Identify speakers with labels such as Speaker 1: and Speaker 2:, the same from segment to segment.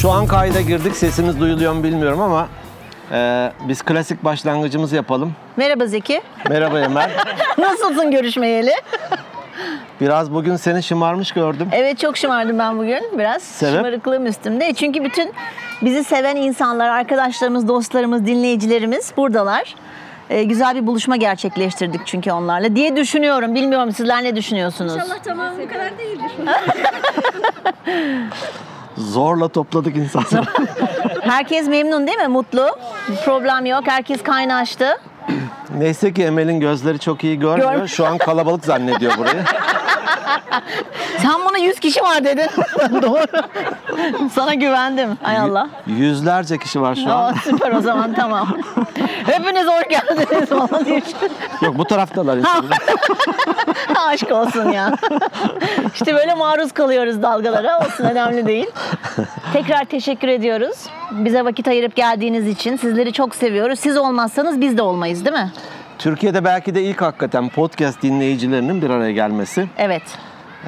Speaker 1: Şu an kayda girdik. Sesimiz duyuluyor mu bilmiyorum ama e, biz klasik başlangıcımızı yapalım.
Speaker 2: Merhaba Zeki.
Speaker 1: Merhaba Emel.
Speaker 2: Nasılsın görüşmeyeli?
Speaker 1: Biraz bugün seni şımarmış gördüm.
Speaker 2: Evet çok şımardım ben bugün biraz.
Speaker 1: Sebep?
Speaker 2: Şımarıklığım üstümde. E, Çünkü bütün bizi seven insanlar, arkadaşlarımız, dostlarımız, dinleyicilerimiz buradalar. Ee, güzel bir buluşma gerçekleştirdik çünkü onlarla diye düşünüyorum. Bilmiyorum sizler ne düşünüyorsunuz?
Speaker 3: İnşallah tamam bu kadar değildir.
Speaker 1: Zorla topladık insanları.
Speaker 2: Herkes memnun değil mi? Mutlu. Problem yok. Herkes kaynaştı.
Speaker 1: Neyse ki Emel'in gözleri çok iyi görmüyor.
Speaker 2: Görmüyor.
Speaker 1: Şu an kalabalık zannediyor burayı.
Speaker 2: Sen bana 100 kişi var dedin. Doğru. Sana güvendim. Ay Allah.
Speaker 1: Yüzlerce kişi var şu
Speaker 2: Aa,
Speaker 1: an.
Speaker 2: süper o zaman tamam. Hepiniz hoş geldiniz falan diye.
Speaker 1: Yok bu taraftalar insanlar.
Speaker 2: Aşk olsun ya. işte böyle maruz kalıyoruz dalgalara. Olsun önemli değil. Tekrar teşekkür ediyoruz. Bize vakit ayırıp geldiğiniz için. Sizleri çok seviyoruz. Siz olmazsanız biz de olmayız değil mi?
Speaker 1: Türkiye'de belki de ilk hakikaten podcast dinleyicilerinin bir araya gelmesi.
Speaker 2: Evet.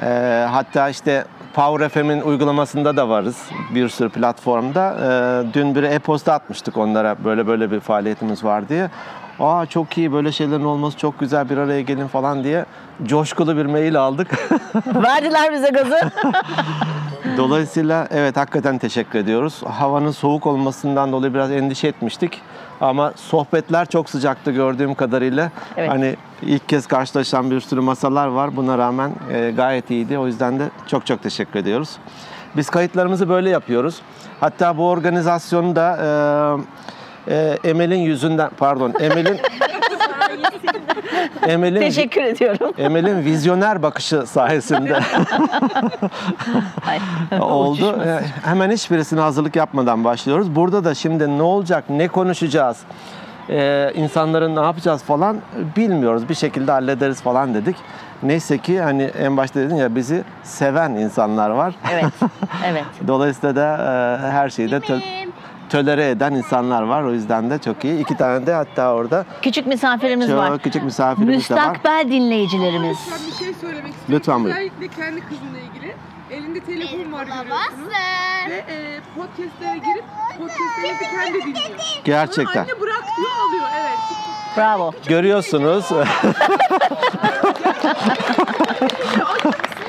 Speaker 1: Ee, hatta işte Power FM'in uygulamasında da varız. Bir sürü platformda. Ee, dün bir e-posta atmıştık onlara böyle böyle bir faaliyetimiz var diye. Aa çok iyi böyle şeylerin olması çok güzel bir araya gelin falan diye coşkulu bir mail aldık.
Speaker 2: Verdiler bize gazı.
Speaker 1: Dolayısıyla evet hakikaten teşekkür ediyoruz. Havanın soğuk olmasından dolayı biraz endişe etmiştik. Ama sohbetler çok sıcaktı gördüğüm kadarıyla.
Speaker 2: Evet.
Speaker 1: Hani ilk kez karşılaşan bir sürü masalar var. Buna rağmen e, gayet iyiydi. O yüzden de çok çok teşekkür ediyoruz. Biz kayıtlarımızı böyle yapıyoruz. Hatta bu organizasyonu da e, e, Emel'in yüzünden pardon Emel'in Emel'in
Speaker 2: teşekkür ediyorum.
Speaker 1: Emel'in vizyoner bakışı sayesinde
Speaker 2: Ay,
Speaker 1: oldu.
Speaker 2: uçuşma.
Speaker 1: Ee, Hemen hiçbirisine hazırlık yapmadan başlıyoruz. Burada da şimdi ne olacak, ne konuşacağız, ee, insanların ne yapacağız falan bilmiyoruz. Bir şekilde hallederiz falan dedik. Neyse ki hani en başta dedin ya bizi seven insanlar var.
Speaker 2: Evet. Evet.
Speaker 1: Dolayısıyla da e, her şeyi de tö- tölere eden insanlar var. O yüzden de çok iyi. İki tane de hatta orada
Speaker 2: Küçük misafirimiz var.
Speaker 1: çok küçük misafirimiz de var.
Speaker 2: Müstakbel dinleyicilerimiz.
Speaker 4: Ben bir şey söylemek istiyorum.
Speaker 1: Lütfen buyurun.
Speaker 4: Özellikle kendi kızımla ilgili. Elinde telefon var görüyorsunuz. Ve e, podcastlere girip podcastlerini kendi dinliyor.
Speaker 1: Gerçekten.
Speaker 4: Anne bırak diyor alıyor evet.
Speaker 2: Bravo.
Speaker 1: Görüyorsunuz.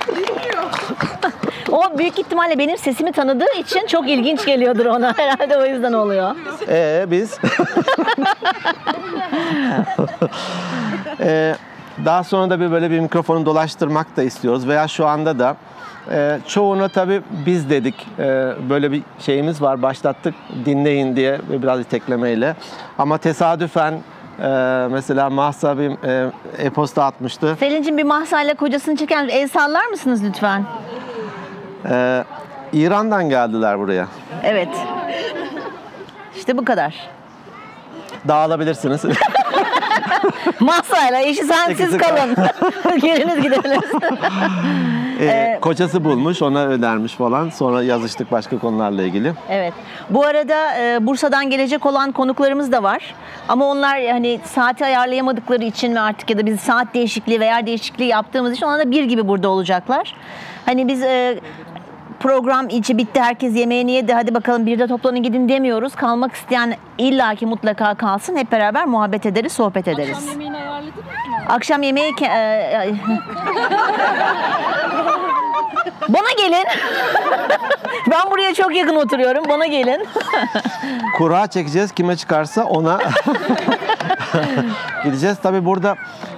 Speaker 4: Dinliyor.
Speaker 2: O büyük ihtimalle benim sesimi tanıdığı için çok ilginç geliyordur ona. Herhalde o yüzden oluyor.
Speaker 1: Ee biz? Ee, daha sonra da bir böyle bir mikrofonu dolaştırmak da istiyoruz veya şu anda da e, çoğuna tabii biz dedik E, böyle bir şeyimiz var başlattık dinleyin diye ve biraz iteklemeyle ama tesadüfen e, mesela Mahsa bir e, e-posta atmıştı
Speaker 2: Selin'cim bir mahsayla kocasını çeken el sallar mısınız lütfen?
Speaker 1: E, İran'dan geldiler buraya
Speaker 2: Evet. İşte bu kadar.
Speaker 1: dağılabilirsiniz E,
Speaker 2: Masayla eşi sensiz
Speaker 1: İkisi
Speaker 2: kalın. Geliniz gidelim.
Speaker 1: E, kocası bulmuş ona önermiş falan sonra yazıştık başka konularla ilgili
Speaker 2: Evet. Bu arada e, Bursa'dan gelecek olan konuklarımız da var. Ama onlar hani saati ayarlayamadıkları için ve artık ya da biz saat değişikliği ve yer değişikliği yaptığımız için onlar da bir gibi burada olacaklar. Hani biz e, program içi bitti herkes yemeğini yedi hadi bakalım bir de toplanın gidin demiyoruz. Kalmak isteyen illaki mutlaka kalsın. Hep beraber muhabbet ederiz, sohbet ederiz.
Speaker 3: Akşam yemeğini ayarladınız mı?
Speaker 2: Akşam yemeği ke- e, ay. Bana gelin. ben buraya çok yakın oturuyorum. Bana gelin.
Speaker 1: Kura çekeceğiz. Kime çıkarsa ona gideceğiz. Tabi burada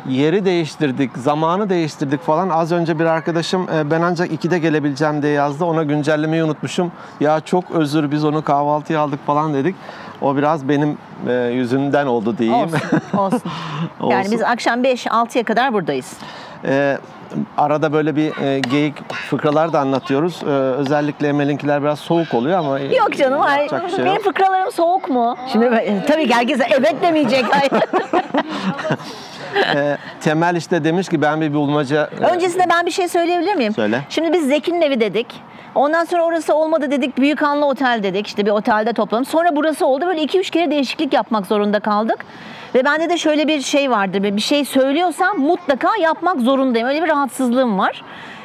Speaker 1: yeri değiştirdik, zamanı değiştirdik falan. Az önce bir arkadaşım "E, ben ancak 2'de gelebileceğim diye yazdı. Ona güncellemeyi unutmuşum. Ya çok özür biz onu kahvaltıya aldık falan dedik. O biraz benim e, yüzümden oldu diyeyim.
Speaker 2: Olsun. Olsun. Yani
Speaker 1: Olsun.
Speaker 2: biz akşam 5-6'ya kadar buradayız.
Speaker 1: E, arada böyle bir e, geyik fıkralar da anlatıyoruz. E, özellikle Emel'inkiler biraz soğuk oluyor ama e,
Speaker 2: Yok canım. Ay,
Speaker 1: yapacak bir şey
Speaker 2: benim
Speaker 1: yok.
Speaker 2: fıkralarım soğuk mu? Şimdi ben- e, tabii ki herkes evet demeyecek. Hayır.
Speaker 1: E, Temel işte demiş ki ben bir bulmaca e,
Speaker 2: Öncesinde ben bir şey söyleyebilir miyim?
Speaker 1: Söyle.
Speaker 2: Şimdi biz Zeki'nin evi dedik. Ondan sonra orası olmadı dedik. Büyükhanlı Otel dedik. İşte bir otelde toplanıp. Sonra burası oldu. Böyle 2-3 kere değişiklik yapmak zorunda kaldık. Ve bende de şöyle bir şey vardır. Bir şey söylüyorsam mutlaka yapmak zorundayım. Öyle bir rahatsızlığım var.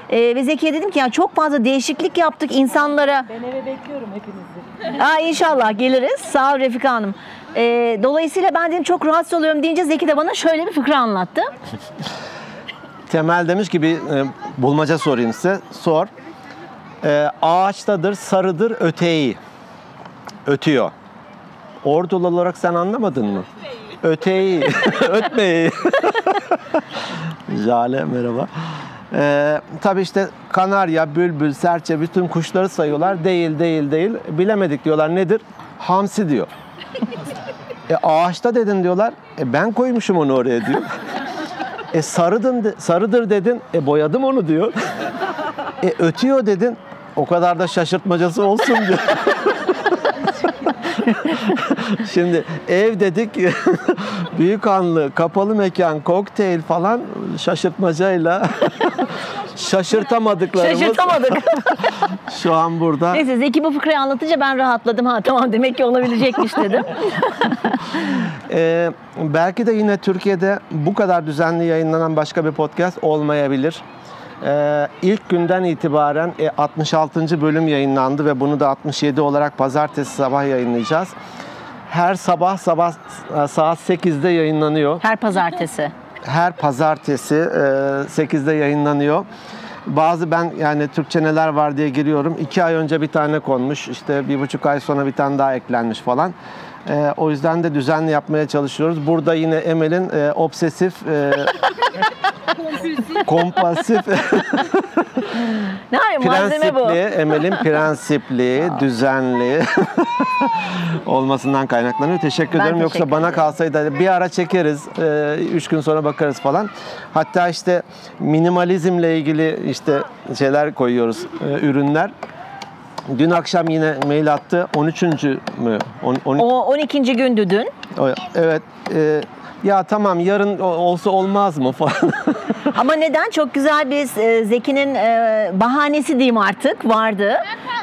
Speaker 2: Ee, ve Zeki'ye dedim ki ya çok fazla değişiklik yaptık insanlara.
Speaker 5: Ben eve bekliyorum hepinizi.
Speaker 2: Aa, inşallah geliriz. Sağ ol Refika Hanım. Ee, dolayısıyla ben dedim çok rahatsız oluyorum deyince Zeki de bana şöyle bir fıkra anlattı.
Speaker 1: Temel demiş ki bir e, bulmaca sorayım size. Sor. E, ağaçtadır, sarıdır, öteği. Ötüyor. Ordulu olarak sen anlamadın mı? Öteği. Ötmeyi. Jale merhaba. E, tabii işte kanarya, bülbül, serçe bütün kuşları sayıyorlar. Değil, değil, değil. Bilemedik diyorlar. Nedir? Hamsi diyor. E, ağaçta dedin diyorlar. E, ben koymuşum onu oraya diyor. E sarıdın, de- sarıdır dedin. E boyadım onu diyor. E ötüyor dedin. O kadar da şaşırtmacası olsun diyor. Şimdi ev dedik büyük anlı kapalı mekan kokteyl falan şaşırtmacayla şaşırtamadıklarımız
Speaker 2: Şaşırtamadık.
Speaker 1: şu an burada.
Speaker 2: Neyse Zeki bu fıkrayı anlatınca ben rahatladım. Ha tamam demek ki olabilecekmiş dedim.
Speaker 1: Ee, belki de yine Türkiye'de bu kadar düzenli yayınlanan başka bir podcast olmayabilir. Ee, ilk günden itibaren e, 66. bölüm yayınlandı ve bunu da 67 olarak pazartesi sabah yayınlayacağız. Her sabah sabah e, saat 8'de yayınlanıyor.
Speaker 2: Her pazartesi.
Speaker 1: Her pazartesi e, 8'de yayınlanıyor. Bazı ben yani Türkçe neler var diye giriyorum. iki ay önce bir tane konmuş. işte bir buçuk ay sonra bir tane daha eklenmiş falan. E, o yüzden de düzenli yapmaya çalışıyoruz. Burada yine Emel'in e, obsesif, e, kompasif
Speaker 2: Ne var ya, malzeme bu.
Speaker 1: prensipli, Emel'in prensipli, düzenli olmasından kaynaklanıyor. Teşekkür
Speaker 2: Ben
Speaker 1: ederim. Yoksa
Speaker 2: teşekkür
Speaker 1: bana kalsaydı hani bir ara çekeriz, e, üç gün sonra bakarız falan. Hatta işte minimalizmle ilgili işte şeyler koyuyoruz, e, ürünler. Dün akşam yine mail attı. 13. mü? On- on-
Speaker 2: O 12. gündü dün.
Speaker 1: o- Evet. e, ya tamam yarın o- olsa olmaz mı falan.
Speaker 2: Ama neden? Çok güzel bir e, Zeki'nin e, bahanesi diyeyim artık vardı.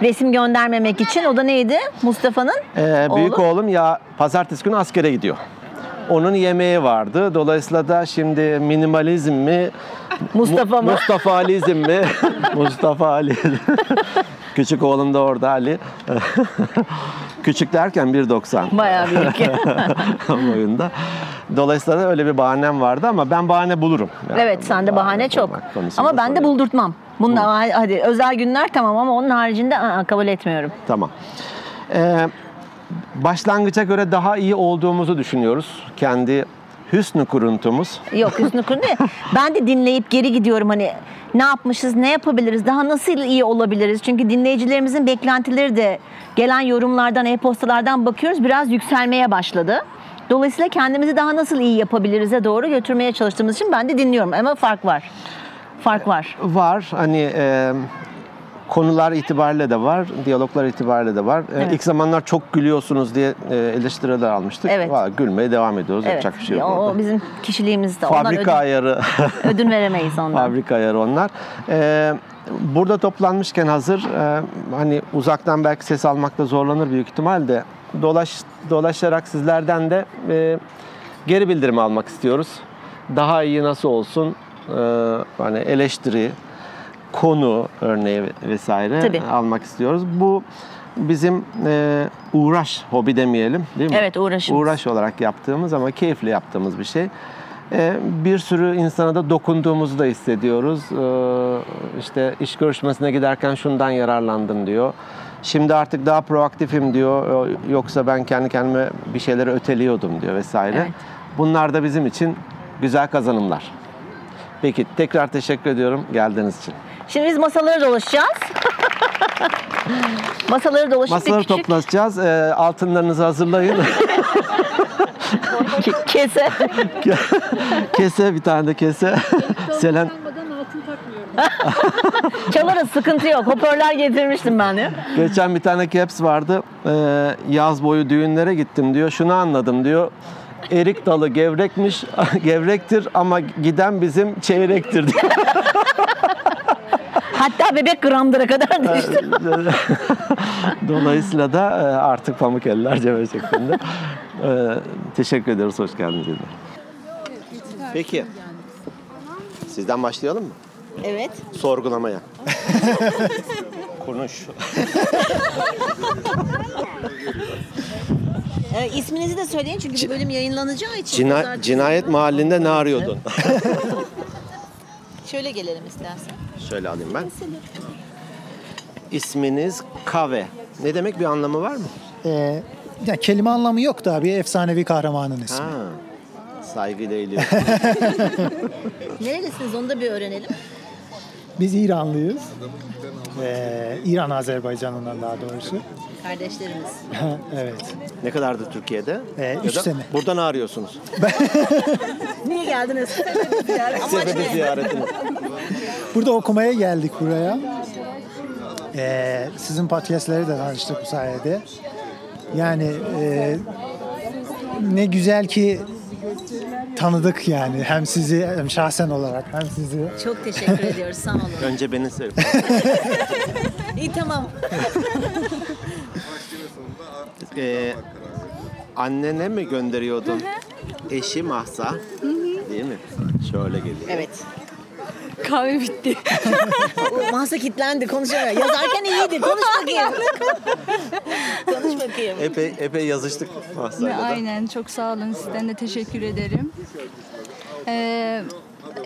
Speaker 2: Resim göndermemek için. O da neydi? Mustafa'nın
Speaker 1: Ee,
Speaker 2: oğlu.
Speaker 1: büyük oğlum ya pazartesi günü askere gidiyor. Onun yemeği vardı. Dolayısıyla da şimdi minimalizm mi?
Speaker 2: Mustafa mı?
Speaker 1: Mustafa Ali'zm mi? Mustafa Ali. Küçük oğlum da orada Ali. Küçük derken 1.90
Speaker 2: Bayağı büyük.
Speaker 1: boyunda. Dolayısıyla da öyle bir bahanem vardı ama ben bahane bulurum. Yani
Speaker 2: evet sende bahane çok.
Speaker 1: bulmak konusunda
Speaker 2: Ama ben de
Speaker 1: sorun yok.
Speaker 2: buldurtmam. Bunlar hadi özel günler tamam ama onun haricinde aa, kabul etmiyorum.
Speaker 1: Tamam. Ee, başlangıca göre daha iyi olduğumuzu düşünüyoruz. Kendi hüsnü kuruntumuz.
Speaker 2: Yok Hüsnü Kurun değil. Ben de dinleyip geri gidiyorum hani ne yapmışız, ne yapabiliriz, daha nasıl iyi olabiliriz? Çünkü dinleyicilerimizin beklentileri de gelen yorumlardan, e-postalardan bakıyoruz biraz yükselmeye başladı. Dolayısıyla kendimizi daha nasıl iyi yapabiliriz'e doğru götürmeye çalıştığımız için ben de dinliyorum ama fark var. Fark var.
Speaker 1: var. Hani e, konular itibariyle de var, diyaloglar itibariyle de var. E,
Speaker 2: Evet.
Speaker 1: İlk zamanlar çok gülüyorsunuz diye e, eleştiriler almıştık.
Speaker 2: Evet.
Speaker 1: Valla gülmeye devam ediyoruz.
Speaker 2: Evet.
Speaker 1: Yapacak bir şey yok.
Speaker 2: o,
Speaker 1: orada.
Speaker 2: o bizim kişiliğimizde. Ondan
Speaker 1: Fabrika ayarı,
Speaker 2: ödün, ödün veremeyiz ondan.
Speaker 1: fabrika ayarı onlar. E, burada toplanmışken hazır, e, hani uzaktan belki ses almakta zorlanır büyük ihtimalle. Dolaş, dolaşarak sizlerden de e, geri bildirim almak istiyoruz. Daha iyi nasıl olsun? E, hani eleştiri, konu örneği ve- vesaire
Speaker 2: Tabii.
Speaker 1: almak istiyoruz. Bu bizim e, uğraş, hobi demeyelim değil mi?
Speaker 2: Evet, uğraşımız.
Speaker 1: Uğraş olarak yaptığımız ama keyifli yaptığımız bir şey. E, bir sürü insana da dokunduğumuzu da hissediyoruz. E, işte iş görüşmesine giderken şundan yararlandım diyor. Şimdi artık daha proaktifim diyor. E, Yoksa ben kendi kendime bir şeyleri öteliyordum diyor vesaire.
Speaker 2: Evet.
Speaker 1: Bunlar da bizim için güzel kazanımlar. Peki tekrar teşekkür ediyorum geldiğiniz için.
Speaker 2: Şimdi biz masaları dolaşacağız. masaları dolaşıp bir
Speaker 1: Masaları
Speaker 2: küçük
Speaker 1: toplayacağız. Ee, altınlarınızı hazırlayın.
Speaker 2: kese.
Speaker 1: kese bir tane de kese. Selen
Speaker 3: Kalmadan altın takmıyorum.
Speaker 2: Çalarız sıkıntı yok. Hoparlör getirmiştim ben de.
Speaker 1: geçen bir tane caps vardı. Ee, yaz boyu düğünlere gittim diyor. Şunu anladım diyor. Erik dalı gevrekmiş, gevrektir ama giden bizim çeyrektir diyor.
Speaker 2: Hatta bebek gramdıra kadar düştü.
Speaker 1: Dolayısıyla da e, artık pamuk eller cebe şeklinde. Ee, teşekkür ediyoruz, hoş geldiniz. Peki. Sizden başlayalım mı?
Speaker 2: Evet.
Speaker 1: sorgulamaya. Konuş.
Speaker 2: Ee, isminizi de söyleyin çünkü bu bölüm yayınlanacağı için.
Speaker 1: Cina-
Speaker 2: pazartesi
Speaker 1: cinayet
Speaker 2: günü.
Speaker 1: mahallinde ne arıyordun?
Speaker 2: Şöyle gelelim istersen.
Speaker 1: Şöyle alayım ben. İsminiz Kave. Ne demek bir anlamı var mı?
Speaker 6: Ee, ya kelime anlamı yok da bir efsanevi kahramanın ismi.
Speaker 1: Ha. Saygıyla eğiliyorum.
Speaker 2: Nerelisiniz onu da bir öğrenelim.
Speaker 6: Biz İranlıyız. Ee, İran Azerbaycanlılar daha doğrusu.
Speaker 2: Kardeşlerimiz.
Speaker 6: evet.
Speaker 1: ne kadardı Türkiye'de?
Speaker 6: Ee,
Speaker 1: Ya
Speaker 6: üç
Speaker 1: da
Speaker 6: sene.
Speaker 1: Buradan arıyorsunuz.
Speaker 2: Niye geldiniz?
Speaker 1: Sebebi ziyaretine.
Speaker 6: Burada okumaya geldik buraya. Ee, sizin podcastleri de tanıştık bu sayede. Yani e, ne güzel ki tanıdık yani. Hem sizi hem şahsen olarak hem sizi.
Speaker 2: Çok teşekkür ediyoruz. Sağ olun.
Speaker 1: Önce beni sev.
Speaker 2: İyi tamam.
Speaker 1: Ee, annene mi gönderiyordun? Eşi Mahsa. Değil mi? Şöyle geliyor.
Speaker 2: Evet.
Speaker 7: Kahve bitti.
Speaker 2: Masa kilitlendi konuşamıyor. Yazarken iyiydi. Konuş bakayım. Konuş bakayım.
Speaker 1: Epey, epey yazıştık Mahsa'yla da.
Speaker 7: Aynen çok sağ olun sizden de teşekkür ederim. Ee,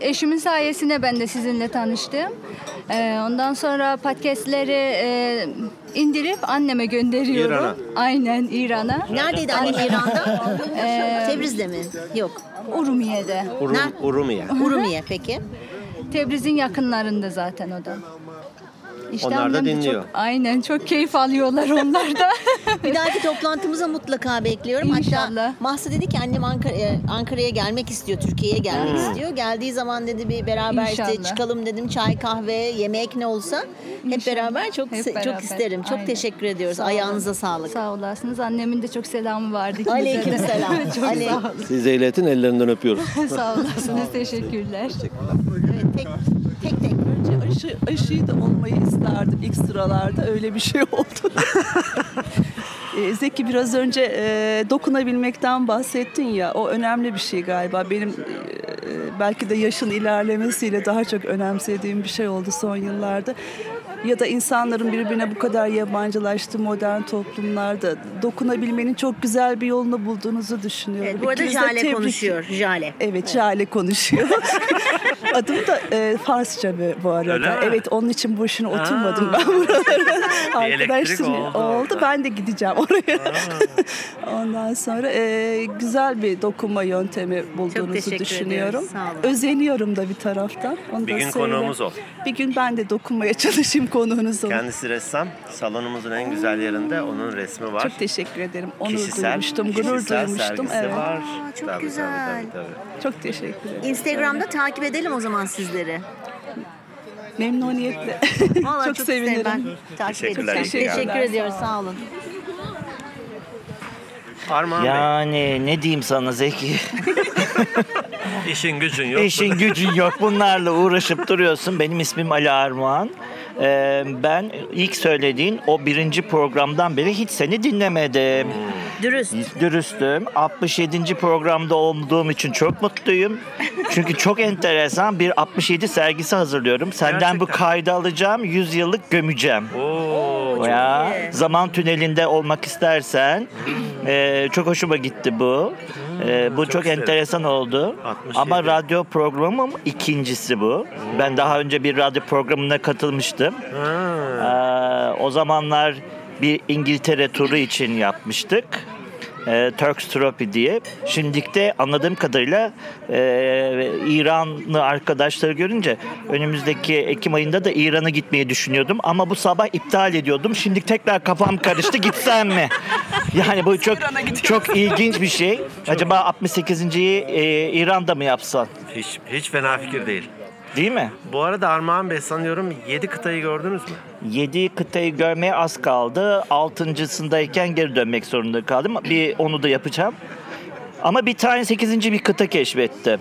Speaker 7: eşimin sayesinde ben de sizinle tanıştım. Ee, ondan sonra podcastleri e, indirip anneme gönderiyorum.
Speaker 1: İran'a.
Speaker 7: Aynen İran'a. Ee,
Speaker 2: Neredeydi annem İran'da? Tebriz'de mi? Yok.
Speaker 7: Urumiye'de.
Speaker 1: Urum, Urumiye.
Speaker 2: Urumiye peki.
Speaker 7: Tebriz'in yakınlarında zaten o da. İşte
Speaker 1: Onlar da
Speaker 7: annem de çok-
Speaker 1: dinliyor.
Speaker 7: aynen çok keyif alıyorlar onlar da.
Speaker 2: Bir dahaki toplantımıza mutlaka bekliyorum. Hatta
Speaker 7: İnşallah.
Speaker 2: Mahsa dedi ki annem Ankara- e, Ankara'ya gelmek istiyor, Türkiye'ye gelmek istiyor. Geldiği zaman dedi bir beraber işte
Speaker 7: İnşallah.
Speaker 2: çıkalım dedim çay kahve yemek ne olsa hep
Speaker 7: İnşallah.
Speaker 2: beraber çok
Speaker 7: Hep
Speaker 2: se-
Speaker 7: beraber.
Speaker 2: çok isterim. Çok
Speaker 7: Aynen.
Speaker 2: teşekkür ediyoruz.
Speaker 7: Sağ olun.
Speaker 2: Ayağınıza sağlık.
Speaker 7: Sağ olasınız. Annemin de çok selamı vardı. ikimize de.
Speaker 2: Aleykümselam.
Speaker 7: çok
Speaker 8: Hani-
Speaker 2: Aley-
Speaker 7: sağ, olun.
Speaker 1: Siz Zeylet'in ellerinden öpüyoruz.
Speaker 7: sağ olasınız. Teşekkürler.
Speaker 2: Evet, tek tek tek.
Speaker 8: Önce aşı, aşıyı da olmayı isterdim ilk sıralarda öyle bir şey oldu. E, Zeki biraz önce e, dokunabilmekten bahsettin ya o önemli bir şey galiba benim e, belki de yaşın ilerlemesiyle daha çok önemsediğim bir şey oldu son yıllarda ya da insanların birbirine bu kadar yabancılaştığı modern toplumlarda dokunabilmenin çok güzel bir yolunu bulduğunuzu düşünüyorum.
Speaker 2: Evet, bu arada
Speaker 8: İkinizi de
Speaker 2: Jale
Speaker 8: tebrik-
Speaker 2: konuşuyor. Jale.
Speaker 8: Evet, Jale konuşuyor. Adım da e, Farsça bu- bu arada.
Speaker 9: Öyle mi?
Speaker 8: Evet, onun için boşuna oturmadım ben buralara.
Speaker 9: elektrik
Speaker 8: Arkadaşım
Speaker 9: oldu
Speaker 8: oldu.
Speaker 9: orada.
Speaker 8: Ben de gideceğim oraya. Ondan sonra e, güzel bir dokunma yöntemi
Speaker 2: teşekkür
Speaker 8: bulduğunuzu düşünüyorum.
Speaker 2: ediyoruz, sağ olun.
Speaker 8: Özeniyorum da bir taraftan. Onu
Speaker 9: Bir
Speaker 8: da
Speaker 9: gün
Speaker 8: söyleyeyim.
Speaker 9: konuğumuz ol.
Speaker 8: Bir gün ben de dokunmaya çalışayım konuğunuz olun.
Speaker 9: Kendisi ressam. Salonumuzun en güzel yerinde onun resmi var.
Speaker 8: Çok teşekkür ederim. Onur
Speaker 9: Kişisel,
Speaker 8: duymuştum, gurur
Speaker 9: kişisel
Speaker 8: duymuştum.
Speaker 9: sergisi
Speaker 8: Evet.
Speaker 9: var.
Speaker 2: çok
Speaker 9: Tabii,
Speaker 2: güzel.
Speaker 9: Tabii, tabii,
Speaker 8: Çok teşekkür ederim.
Speaker 2: Instagram'da takip edelim o zaman sizleri.
Speaker 8: Memnuniyetle.
Speaker 2: Vallahi
Speaker 8: çok,
Speaker 2: isterim
Speaker 8: sevinirim.
Speaker 2: Ben takip
Speaker 9: Teşekkürler,
Speaker 2: edeceğim.
Speaker 9: teşekkürler.
Speaker 2: Teşekkür ediyoruz. Sağ olun.
Speaker 9: tabii. Armağan
Speaker 10: Yani ne diyeyim sana Zeki?
Speaker 9: Bey, işin gücün yok.
Speaker 10: İşin gücün yok. Bunlarla uğraşıp duruyorsun. Benim ismim Ali Armağan. Ee, ben ilk söylediğin o birinci programdan beri hiç seni dinlemedim.
Speaker 9: Hmm.
Speaker 2: Dürüst.
Speaker 10: Dürüstüm. 67. programda olduğum için çok mutluyum. Çünkü çok enteresan bir 67 sergisi hazırlıyorum. Senden bu
Speaker 9: Gerçekten.
Speaker 10: kaydı alacağım. 100 yıllık gömeceğim.
Speaker 9: Oo,
Speaker 10: Ya, zaman tünelinde olmak istersen eee, çok hoşuma gitti bu. E, Eee, Ee, bu çok,
Speaker 9: isterim.
Speaker 10: enteresan oldu.
Speaker 9: 67.
Speaker 10: Ama radyo programım ikincisi bu. Ben daha önce bir radyo programına katılmıştım. Eee, o zamanlar bir İngiltere turu için yapmıştık. Eee Turks Trophy diye. Şimdilik de anladığım kadarıyla ee, eee, İranlı arkadaşları görünce önümüzdeki Ekim ayında da İran'a gitmeyi düşünüyordum. Ama bu sabah iptal ediyordum. Şimdi tekrar kafam karıştı gitsem mi? Yani bu çok çok ilginç bir şey. Acaba 68.yi eee, İran'da mı yapsan?
Speaker 9: hiç, hiç fena fikir değil.
Speaker 10: Değil mi?
Speaker 9: Bu arada Armağan Bey sanıyorum 7 kıtayı gördünüz mü?
Speaker 10: 7 kıtayı görmeye az kaldı. Altıncısındayken geri dönmek zorunda kaldım. Bir onu da yapacağım. Ama bir tane 8. bir kıta keşfettim.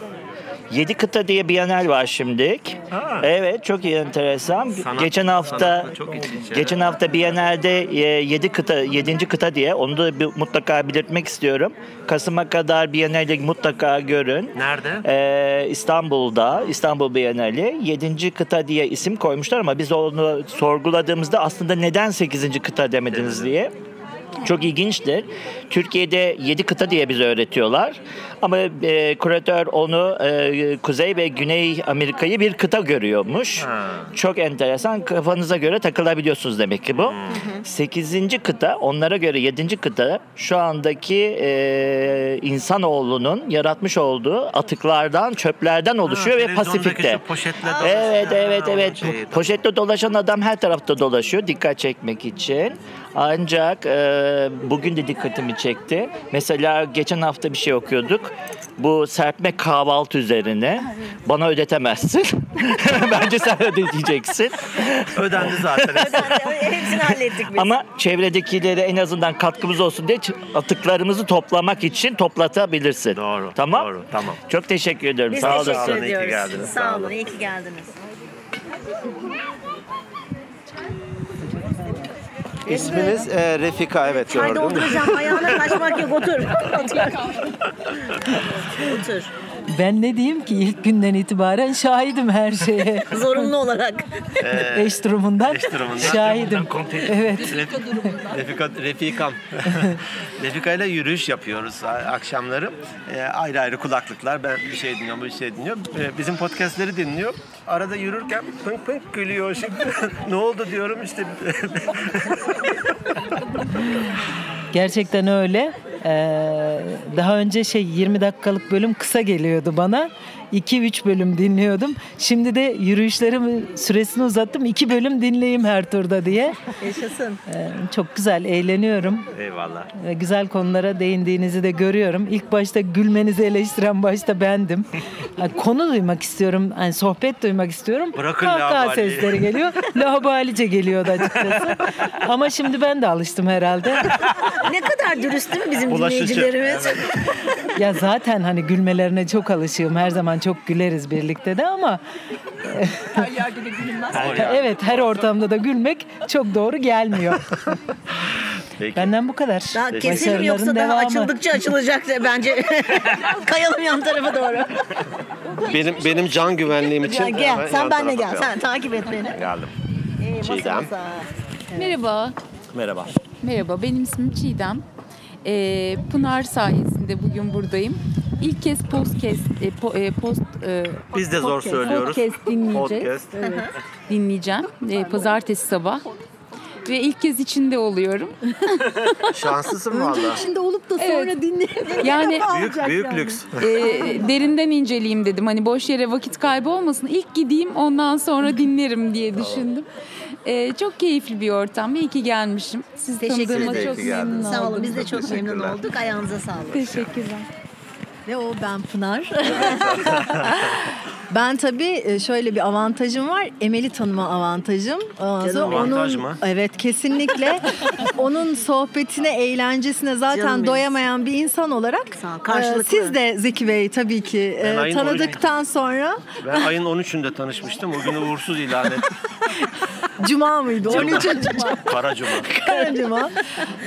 Speaker 10: 7 kıta diye bienal var şimdilik. Evet çok iyi enteresan.
Speaker 1: Sanat-
Speaker 10: geçen hafta
Speaker 1: sanatla çok iç içe.
Speaker 10: geçen hafta Biennale'de 7 kıta 7. kıta diye onu da bir, mutlaka belirtmek istiyorum. Kasım'a kadar Biennale'de mutlaka görün.
Speaker 1: Nerede?
Speaker 10: Ee, İstanbul'da İstanbul Bienali 7. kıta diye isim koymuşlar ama biz onu sorguladığımızda aslında neden 8. kıta demediniz diye. Çok ilginçtir. Türkiye'de 7 kıta diye bize öğretiyorlar. Ama e, kuratör onu e, Kuzey ve Güney Amerika'yı bir kıta görüyormuş. Çok enteresan. Kafanıza göre takılabiliyorsunuz demek ki bu. 8. kıta onlara göre 7. kıta şu andaki e, insanoğlunun yaratmış olduğu atıklardan, çöplerden oluşuyor ve
Speaker 1: televizyondaki
Speaker 10: Pasifik'te.
Speaker 1: şu poşetle dolaşan-
Speaker 10: Ee, Evet, evet,
Speaker 1: Ha,
Speaker 10: evet.
Speaker 1: şey,
Speaker 10: Po- Poşetle dolaşan adam her tarafta dolaşıyor dikkat çekmek için. Ancak e, bugün de dikkatimi çekti. Mesela geçen hafta bir şey okuyorduk. Bu serpme kahvaltı üzerine bana ödetemezsin. Bence sen ödeyeceksin.
Speaker 1: Ödendi zaten.
Speaker 2: Hepsini hallettik biz.
Speaker 10: Ama çevredekilere en azından katkımız olsun diye ç- atıklarımızı toplamak için toplatabilirsin.
Speaker 1: Doğru,
Speaker 10: Tamam.
Speaker 1: doğru, tamam.
Speaker 10: Çok teşekkür ediyorum.
Speaker 2: Biz
Speaker 10: Sağ
Speaker 2: teşekkür
Speaker 10: olasın.
Speaker 1: iyi ki
Speaker 2: ediyoruz.
Speaker 1: geldiniz, sağ
Speaker 2: Sağ olun,
Speaker 1: olun.
Speaker 2: iyi ki geldiniz.
Speaker 11: İsminiz e, Refika evet
Speaker 2: Haydi
Speaker 11: gördüm.
Speaker 2: oturacağım, ayağına kaçmak yok, otur. otur. otur.
Speaker 12: Ben ne diyeyim ki ilk günden itibaren şahidim her şeye.
Speaker 2: Zorunlu olarak.
Speaker 12: eş durumundan
Speaker 1: Ee, durumundan, durumundan
Speaker 12: şahidim.
Speaker 1: komple-
Speaker 12: Evet.
Speaker 1: Refika, Refikam. Refika ile yürüyüş yapıyoruz a- akşamları. Ee, ayrı ayrı kulaklıklar. Ben bir şey dinliyorum, bir şey dinliyor. Ee, bizim podcastleri dinliyor. Arada yürürken pınk pınk gülüyor. Şimdi ne oldu diyorum işte.
Speaker 12: Gerçekten öyle. Ee, daha önce şey 20 dakikalık bölüm kısa geliyordu bana. 2-3 bölüm dinliyordum. Şimdi de yürüyüşlerim süresini uzattım. 2 bölüm dinleyeyim her turda diye.
Speaker 2: Yaşasın.
Speaker 12: Ee, çok güzel eğleniyorum.
Speaker 1: Eyvallah.
Speaker 12: Ee, Güzel konulara değindiğinizi de görüyorum. İlk başta gülmenizi eleştiren başta bendim. Yani konu duymak istiyorum, yani sohbet duymak istiyorum.
Speaker 1: Bırakın
Speaker 12: Kahkaha
Speaker 1: laubaliyi.
Speaker 12: sesleri geliyor. Laubalice geliyordu açıkçası. Ama şimdi ben de alıştım herhalde.
Speaker 2: Ne kadar dürüst değil mi bizim
Speaker 1: Bulaşıcı.
Speaker 2: dinleyicilerimiz?
Speaker 12: Ya zaten hani gülmelerine çok alışığım. Her zaman çok güleriz birlikte de ama
Speaker 8: Her yerde de gülünmez.
Speaker 12: evet her ortamda da gülmek çok doğru gelmiyor.
Speaker 1: Peki.
Speaker 12: Benden bu kadar.
Speaker 2: Daha keselim
Speaker 12: Başarıların
Speaker 2: yoksa daha
Speaker 12: devamı.
Speaker 2: açıldıkça açılacak da bence. Kayalım yan tarafa doğru.
Speaker 11: Benim benim can güvenliğim için.
Speaker 2: Ya gel,
Speaker 11: hemen
Speaker 2: sen
Speaker 11: yan
Speaker 2: benle
Speaker 11: tarafa
Speaker 2: gel.
Speaker 11: koyalım.
Speaker 2: Sen takip et beni.
Speaker 1: Geldim.
Speaker 2: İyi, masa
Speaker 1: Çiğdem.
Speaker 2: masa.
Speaker 13: Merhaba.
Speaker 1: Merhaba.
Speaker 13: Merhaba. Benim ismim Çiğdem. Ee, Pınar sayesinde bugün buradayım. İlk kez podcast e, po- e, post e,
Speaker 1: Biz de zor
Speaker 13: podcast-
Speaker 1: söylüyoruz.
Speaker 13: Podcast dinleyeceğiz.
Speaker 1: Podcast.
Speaker 13: Evet, dinleyeceğim. Ee, pazartesi sabah. Ve ilk kez içinde oluyorum.
Speaker 1: Şanslısın valla.
Speaker 2: Şimdi olup da sonra
Speaker 13: Evet.
Speaker 2: dinleyebilirim.
Speaker 13: Yani
Speaker 1: Büyük, büyük lüks.
Speaker 13: e, derinden inceleyeyim dedim. Hani boş yere vakit kaybı olmasın. İlk gideyim ondan sonra dinlerim diye düşündüm. Ee, çok keyifli bir ortam. İyi ki gelmişim. Siz
Speaker 2: Teşekkür
Speaker 13: tanıdığıma
Speaker 2: ederim.
Speaker 13: çok
Speaker 1: İyi ki geldiniz.
Speaker 13: memnun oldum.
Speaker 2: Sağ olun biz de çok memnun
Speaker 1: teşekkürler.
Speaker 2: olduk. Ayağınıza sağlık.
Speaker 13: Teşekkürler.
Speaker 14: Ve o ben Pınar.
Speaker 2: Ben
Speaker 14: Tabii e, şöyle bir avantajım var. Emel'i tanıma avantajım. Ondan sonra
Speaker 1: Avantaj
Speaker 14: onun,
Speaker 1: mı?
Speaker 14: Evet kesinlikle. onun sohbetine, eğlencesine
Speaker 2: Canım benim.
Speaker 14: zaten doyamayan bir insan olarak.
Speaker 2: Sağ ol, karşılıklı.
Speaker 14: e, Siz de Zeki Bey tabii ki
Speaker 1: Ben
Speaker 14: e,
Speaker 1: ayın
Speaker 14: tanıdıktan sonra.
Speaker 1: Ben ayın 13'ünde tanışmıştım. O günü uğursuz ilan ettim.
Speaker 14: Cuma mıydı? 13.
Speaker 1: Kara cuma.
Speaker 14: Cuma.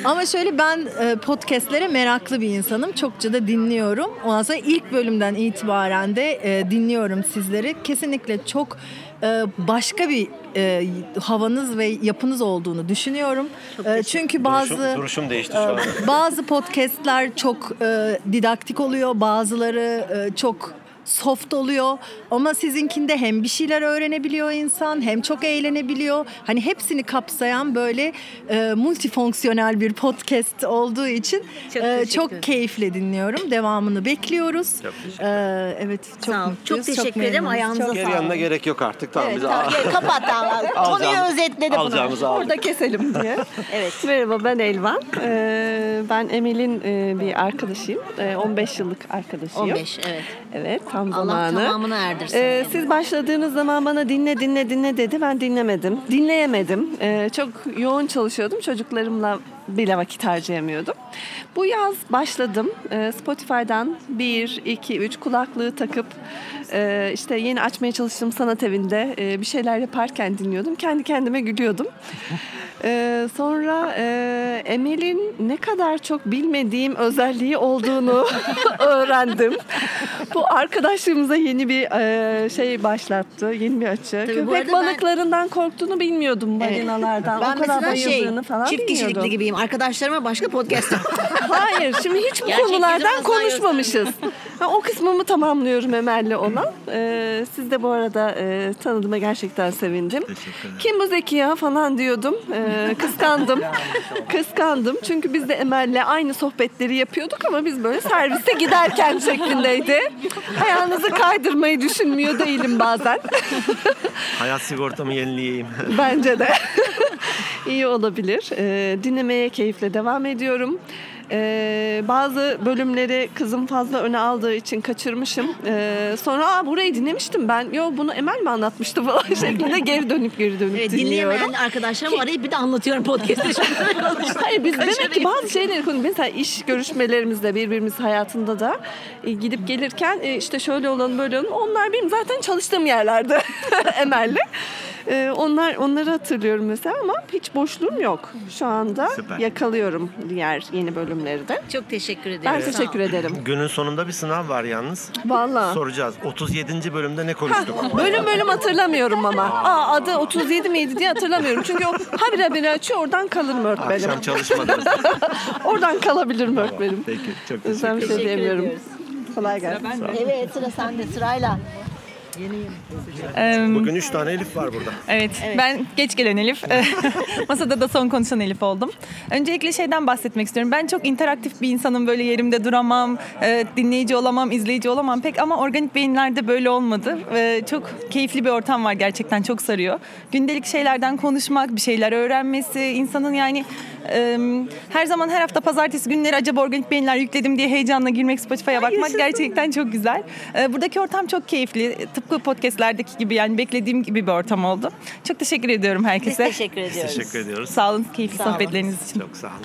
Speaker 14: Ama şöyle ben e, podcastlere meraklı bir insanım. Çokça da dinliyorum. Ondan sonra ilk bölümden itibaren de e, dinliyorum sizleri. Kesinlikle çok e, başka bir e, havanız ve yapınız olduğunu düşünüyorum. E, çünkü bazı e,
Speaker 1: Duruşum, duruşum değişti şu an.
Speaker 14: bazı podcastler çok e, didaktik oluyor, bazıları e, çok soft oluyor ama sizinkinde hem bir şeyler öğrenebiliyor insan hem çok eğlenebiliyor. Hani hepsini kapsayan böyle e, multifonksiyonel bir podcast olduğu için
Speaker 2: Çok
Speaker 14: e,
Speaker 2: teşekkür
Speaker 14: çok
Speaker 2: ederim.
Speaker 14: keyifle dinliyoruz. Devamını bekliyoruz.
Speaker 1: Çok teşekkür
Speaker 14: E, evet çok
Speaker 2: Sağ ol.
Speaker 14: mutluyuz.
Speaker 2: Çok teşekkür ederim.
Speaker 14: memnunuz.
Speaker 2: Ayağınıza sağlık.
Speaker 11: Geri yanına gerek yok artık. Tamam biz
Speaker 2: Tamam, gel, kapat tamam. Konuyu
Speaker 11: Alacağımız-
Speaker 2: özetledi bunu.
Speaker 11: alacağımızı aldık.
Speaker 9: Burada keselim diye.
Speaker 2: Evet.
Speaker 9: Merhaba ben Elvan. Ee, ben Emel'in e, bir arkadaşıyım. Ee, 15 yıllık arkadaşıyım.
Speaker 2: 15 evet.
Speaker 9: Evet tam
Speaker 2: Allah
Speaker 9: zamanı.
Speaker 2: tamamını erdirsin.
Speaker 9: Ee, siz başladığınız zaman bana dinle dinle dinle dedi. Ben dinlemedim. Dinleyemedim. Ee, çok yoğun çalışıyordum. Çocuklarımla bile vakit harcayamıyordum. Bu yaz başladım. Ee, Spotify'dan bir, iki, üç kulaklığı takıp e, işte yeni açmaya çalıştığım sanat evinde e, bir şeyler yaparken dinliyordum. Kendi kendime gülüyordum. Ee, sonra e, Emel'in ne kadar çok bilmediğim özelliği olduğunu öğrendim. Bu arkadaşlığımıza yeni bir e, şey başlattı, yeni bir açı.
Speaker 2: Tabii bu arada
Speaker 9: Köpek
Speaker 2: ben-
Speaker 9: balıklarından korktuğunu bilmiyordum
Speaker 2: Evet.
Speaker 9: balinalardan.
Speaker 2: Ben
Speaker 9: o kadar
Speaker 2: mesela şey,
Speaker 9: bayıldığını falan
Speaker 2: çift kişilikli
Speaker 9: bilmiyordum.
Speaker 2: gibiyim. Arkadaşlarıma başka podcast.
Speaker 9: Hayır şimdi hiç bu
Speaker 2: Gerçek
Speaker 9: konulardan
Speaker 2: yüzümüzden
Speaker 9: konuşmamışız. Ha, o kısmımı tamamlıyorum Emel'le olan. Ee, siz de bu arada e, tanıdığıma gerçekten sevindim. Kim bu Zeki ya falan diyordum. Ee, kıskandım. kıskandım. Çünkü biz de Emel'le aynı sohbetleri yapıyorduk ama biz böyle serviste giderken şeklindeydi. Ayağınızı kaydırmayı düşünmüyor değilim bazen.
Speaker 1: Hayat sigortamı yenileyeyim.
Speaker 9: Bence de. İyi olabilir. Ee, dinlemeye keyifle devam ediyorum. Ee, bazı bölümleri kızım fazla öne aldığı için kaçırmışım. Ee, sonra Aa, burayı dinlemiştim ben. Yo bunu Emel mi anlatmıştı falan şeklinde geri dönüp geri dönüp
Speaker 2: Evet,
Speaker 9: dinliyorum.
Speaker 2: E, dinleyemeyen arkadaşlarımı arayıp bir de anlatıyorum podcast'te.
Speaker 9: Hayır biz demek ki
Speaker 2: Kaçırayım.
Speaker 9: bazı şeyleri konu mesela iş görüşmelerimizde birbirimiz hayatında da e, gidip gelirken e, işte şöyle olalım böyle olalım onlar benim zaten çalıştığım yerlerde Emel'le. E, onlar onları hatırlıyorum mesela ama hiç boşluğum yok. Şu anda
Speaker 1: Süper.
Speaker 9: yakalıyorum diğer yeni bölümleri de.
Speaker 2: Çok teşekkür ederim.
Speaker 9: Ben teşekkür ederim.
Speaker 1: Günün sonunda bir sınav var yalnız.
Speaker 9: Vallahi.
Speaker 1: Soracağız. 37. bölümde ne konuştuk?
Speaker 9: Bölüm bölüm hatırlamıyorum ama. Aa, adı 37 miydi diye hatırlamıyorum. Çünkü o habire habire açıyor oradan kalır mı öğretmenim?
Speaker 1: Akşam çalışmadınız.
Speaker 9: oradan kalabilir mi öğretmenim?
Speaker 1: Peki. Çok
Speaker 9: Özlem bir
Speaker 1: teşekkür
Speaker 9: şey
Speaker 1: ederim.
Speaker 9: diyemiyorum.
Speaker 2: ediyoruz.
Speaker 9: Kolay gelsin.
Speaker 2: Evet sıra sende sırayla.
Speaker 15: Em,
Speaker 1: Bugün 3 tane Elif var burada.
Speaker 15: Evet, ben geç gelen Elif. Masada da son konuşan Elif oldum. Öncelikle şeyden bahsetmek istiyorum. Ben çok interaktif bir insanım. Böyle yerimde duramam, e, dinleyici olamam, izleyici olamam pek. Ama organik beyinlerde böyle olmadı. E, Çok keyifli bir ortam var gerçekten. Çok sarıyor. Gündelik şeylerden konuşmak, bir şeyler öğrenmesi, insanın yani e, her zaman her hafta pazartesi günleri acaba organik beyinler yükledim diye heyecanla girmek, Spotify'a bakmak gerçekten çok güzel. E, Buradaki ortam çok keyifli. Tıpkı podcastlerdeki gibi yani beklediğim gibi bir ortam oldu. Çok teşekkür ediyorum
Speaker 2: Biz
Speaker 15: herkese.
Speaker 2: teşekkür ediyoruz.
Speaker 1: Teşekkür ediyoruz.
Speaker 15: Sağ olun keyifli
Speaker 2: Sağ olun.
Speaker 15: sohbetleriniz için.
Speaker 1: Çok sağ olun.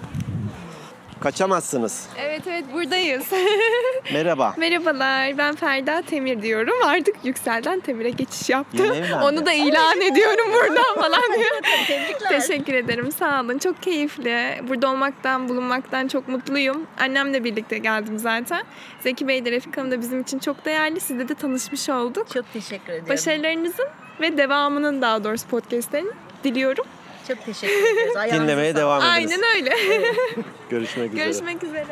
Speaker 1: Kaçamazsınız.
Speaker 16: Evet evet buradayız.
Speaker 1: Merhaba.
Speaker 16: Merhabalar ben Ferda Temir diyorum. Artık Yüksel'den Temir'e geçiş yaptım.
Speaker 1: Yeni evlendi.
Speaker 16: Onu da ilan ediyorum buradan falan diyor.
Speaker 2: Tebrikler.
Speaker 16: Teşekkür ederim sağ olun. Çok keyifli. Burada olmaktan bulunmaktan çok mutluyum. Annemle birlikte geldim zaten. Zeki Bey de Refik Hanım da bizim için çok değerli. Sizle de tanışmış olduk.
Speaker 2: Çok teşekkür ediyorum.
Speaker 16: Başarılarınızın ve devamının daha doğrusu podcastlerin diliyorum.
Speaker 2: Çok teşekkür ediyoruz. Ayağınıza
Speaker 1: Dinlemeye
Speaker 2: sağlık.
Speaker 1: devam ediniz.
Speaker 16: Aynen öyle.
Speaker 1: Görüşmek üzere.
Speaker 16: Görüşmek üzere.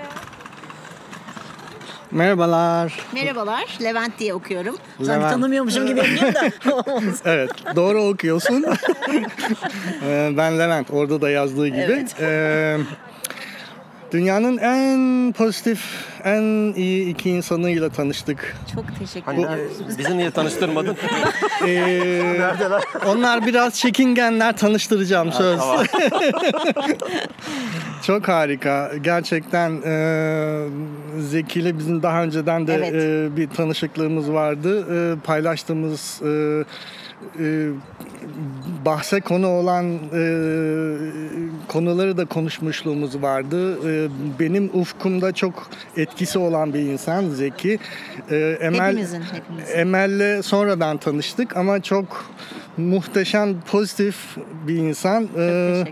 Speaker 17: Merhabalar.
Speaker 2: Merhabalar. Levent diye okuyorum. Sanki
Speaker 17: Levent.
Speaker 2: tanımıyormuşum gibi eminim de.
Speaker 17: Evet, doğru okuyorsun. Ee, ben Levent, orada da yazdığı gibi.
Speaker 2: Evet.
Speaker 17: Ee, dünyanın en pozitif, en iyi iki insanıyla tanıştık.
Speaker 2: Çok teşekkür
Speaker 17: Hani,
Speaker 2: ederim.
Speaker 1: Bizi niye tanıştırmadın?
Speaker 17: Ee, onlar biraz çekingenler, tanıştıracağım söz.
Speaker 1: tamam.
Speaker 17: Çok harika. Gerçekten e, Zeki ile bizim daha önceden de
Speaker 2: Evet.
Speaker 17: e, bir tanışıklığımız vardı. E, paylaştığımız e, e, bahse konu olan e, konuları da konuşmuşluğumuz vardı. E, benim ufkumda çok etkisi olan bir insan Zeki. E,
Speaker 2: Hepimizin, hepimizin.
Speaker 17: Emel'le sonradan tanıştık ama çok muhteşem, pozitif bir insan. E,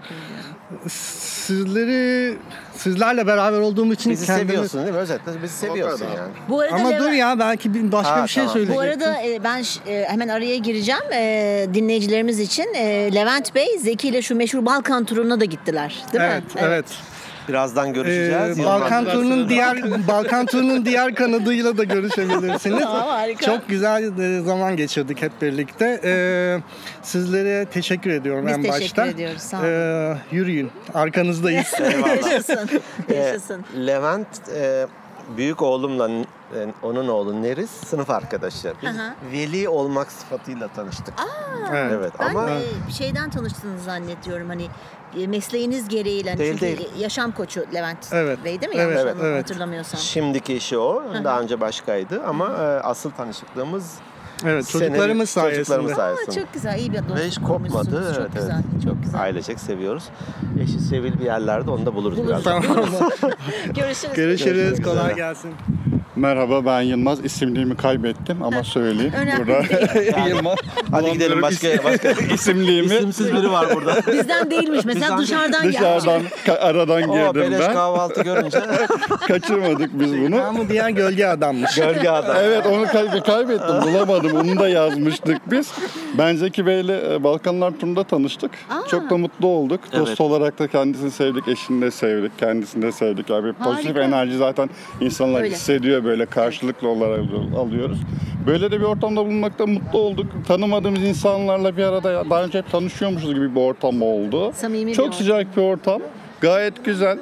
Speaker 17: Sizleri sizlerle beraber olduğum için
Speaker 1: Bizi
Speaker 17: kendimi-
Speaker 1: seviyorsun değil mi? Özetle bizi seviyorsun yani.
Speaker 2: Bu arada
Speaker 17: Ama
Speaker 2: Levent-
Speaker 17: dur ya belki bir- başka
Speaker 1: Ha,
Speaker 17: bir şey
Speaker 1: tamam.
Speaker 17: söyleyecektim.
Speaker 2: Bu arada e, ben ş- e, hemen araya gireceğim e, dinleyicilerimiz için. E, Levent Bey Zeki ile şu meşhur Balkan turuna da gittiler. Değil
Speaker 17: evet,
Speaker 2: mi?
Speaker 17: evet.
Speaker 1: Birazdan görüşeceğiz.
Speaker 17: Ee,
Speaker 1: Yılmaz
Speaker 17: Balkan
Speaker 1: Üniversitesi'nde-
Speaker 17: turunun diğer Balkan turunun diğer kanadıyla da görüşebilirsiniz.
Speaker 2: Tamam, harika.
Speaker 17: Çok güzel e, zaman geçirdik hep birlikte. Ee, sizlere teşekkür ediyorum
Speaker 2: Biz
Speaker 17: en
Speaker 2: teşekkür
Speaker 17: başta.
Speaker 2: ediyoruz, sağ olun.
Speaker 17: Ee, yürüyün. Arkanızdayız.
Speaker 2: Yaşasın.
Speaker 1: Ee,
Speaker 2: Yaşasın.
Speaker 1: Levent e, büyük oğlumla e, onun oğlu Neriz sınıf arkadaşı. Biz
Speaker 2: Aha.
Speaker 1: veli olmak sıfatıyla tanıştık.
Speaker 17: Evet.
Speaker 1: evet
Speaker 2: Ben
Speaker 1: ama
Speaker 2: e, şeyden tanıştığınızı zannediyorum hani e, mesleğiniz gereğiyle. Hani
Speaker 1: Değil,
Speaker 2: çünkü
Speaker 1: değil.
Speaker 2: yaşam koçu Levent
Speaker 17: Evet.
Speaker 2: Bey değil mi?
Speaker 17: Evet,
Speaker 2: Yanlış
Speaker 17: evet.
Speaker 2: hatırlamıyorsam.
Speaker 1: şimdiki işi o. Daha önce başkaydı ama e, asıl tanışıklığımız
Speaker 17: Evet,
Speaker 18: Senelik
Speaker 17: çocuklarımız sayesinde.
Speaker 18: Çocuklarımız
Speaker 17: Aa,
Speaker 18: sayesinde.
Speaker 2: çok güzel, iyi bir dostluk
Speaker 18: Ve hiç
Speaker 2: kurmuşsunuz.
Speaker 18: kopmadı.
Speaker 2: Çok
Speaker 18: evet,
Speaker 2: güzel,
Speaker 18: evet.
Speaker 2: çok güzel.
Speaker 18: Ailecek seviyoruz. Eşi sevil bir yerlerde onu da buluruz,
Speaker 2: Buluruz.
Speaker 18: biraz.
Speaker 2: Tamam.
Speaker 18: Görüşürüz.
Speaker 17: Görüşürüz. Kolay
Speaker 18: Üzere.
Speaker 17: gelsin.
Speaker 19: Merhaba ben Yılmaz. İsimliğimi kaybettim ama söyleyeyim.
Speaker 2: Önemli
Speaker 19: burada.
Speaker 2: değil.
Speaker 19: Yılmaz.
Speaker 18: Hadi gidelim başka başka.
Speaker 19: İsimliğimi.
Speaker 18: İsimsiz biri var burada.
Speaker 2: Bizden değilmiş mesela dışarıdan,
Speaker 19: Dışarıdan
Speaker 2: gelmiş.
Speaker 19: ka- aradan
Speaker 17: Oo,
Speaker 19: girdim
Speaker 17: beleş
Speaker 19: ben.
Speaker 17: kahvaltı görünce.
Speaker 19: Kaçırmadık biz bunu.
Speaker 17: Namı diyen gölge adammış.
Speaker 19: Gölge adam. Evet onu kay- kaybettim bulamadım onu da yazmıştık biz. Ben Zeki Bey'le e, Balkanlar turunda tanıştık. Çok da mutlu olduk.
Speaker 3: Evet.
Speaker 19: Dost olarak da kendisini sevdik, eşini de sevdik, kendisini de sevdik. Yani bir pozitif
Speaker 3: Harika.
Speaker 19: enerji zaten insanlar
Speaker 3: Öyle.
Speaker 19: hissediyor böyle karşılıklı olarak alıyoruz. Böyle de bir ortamda bulunmakta mutlu olduk. Tanımadığımız insanlarla bir arada ya- daha önce hep tanışıyormuşuz gibi bir ortam oldu.
Speaker 2: Samimi bir
Speaker 19: Çok
Speaker 2: ortam.
Speaker 19: sıcak bir ortam. Gayet güzel.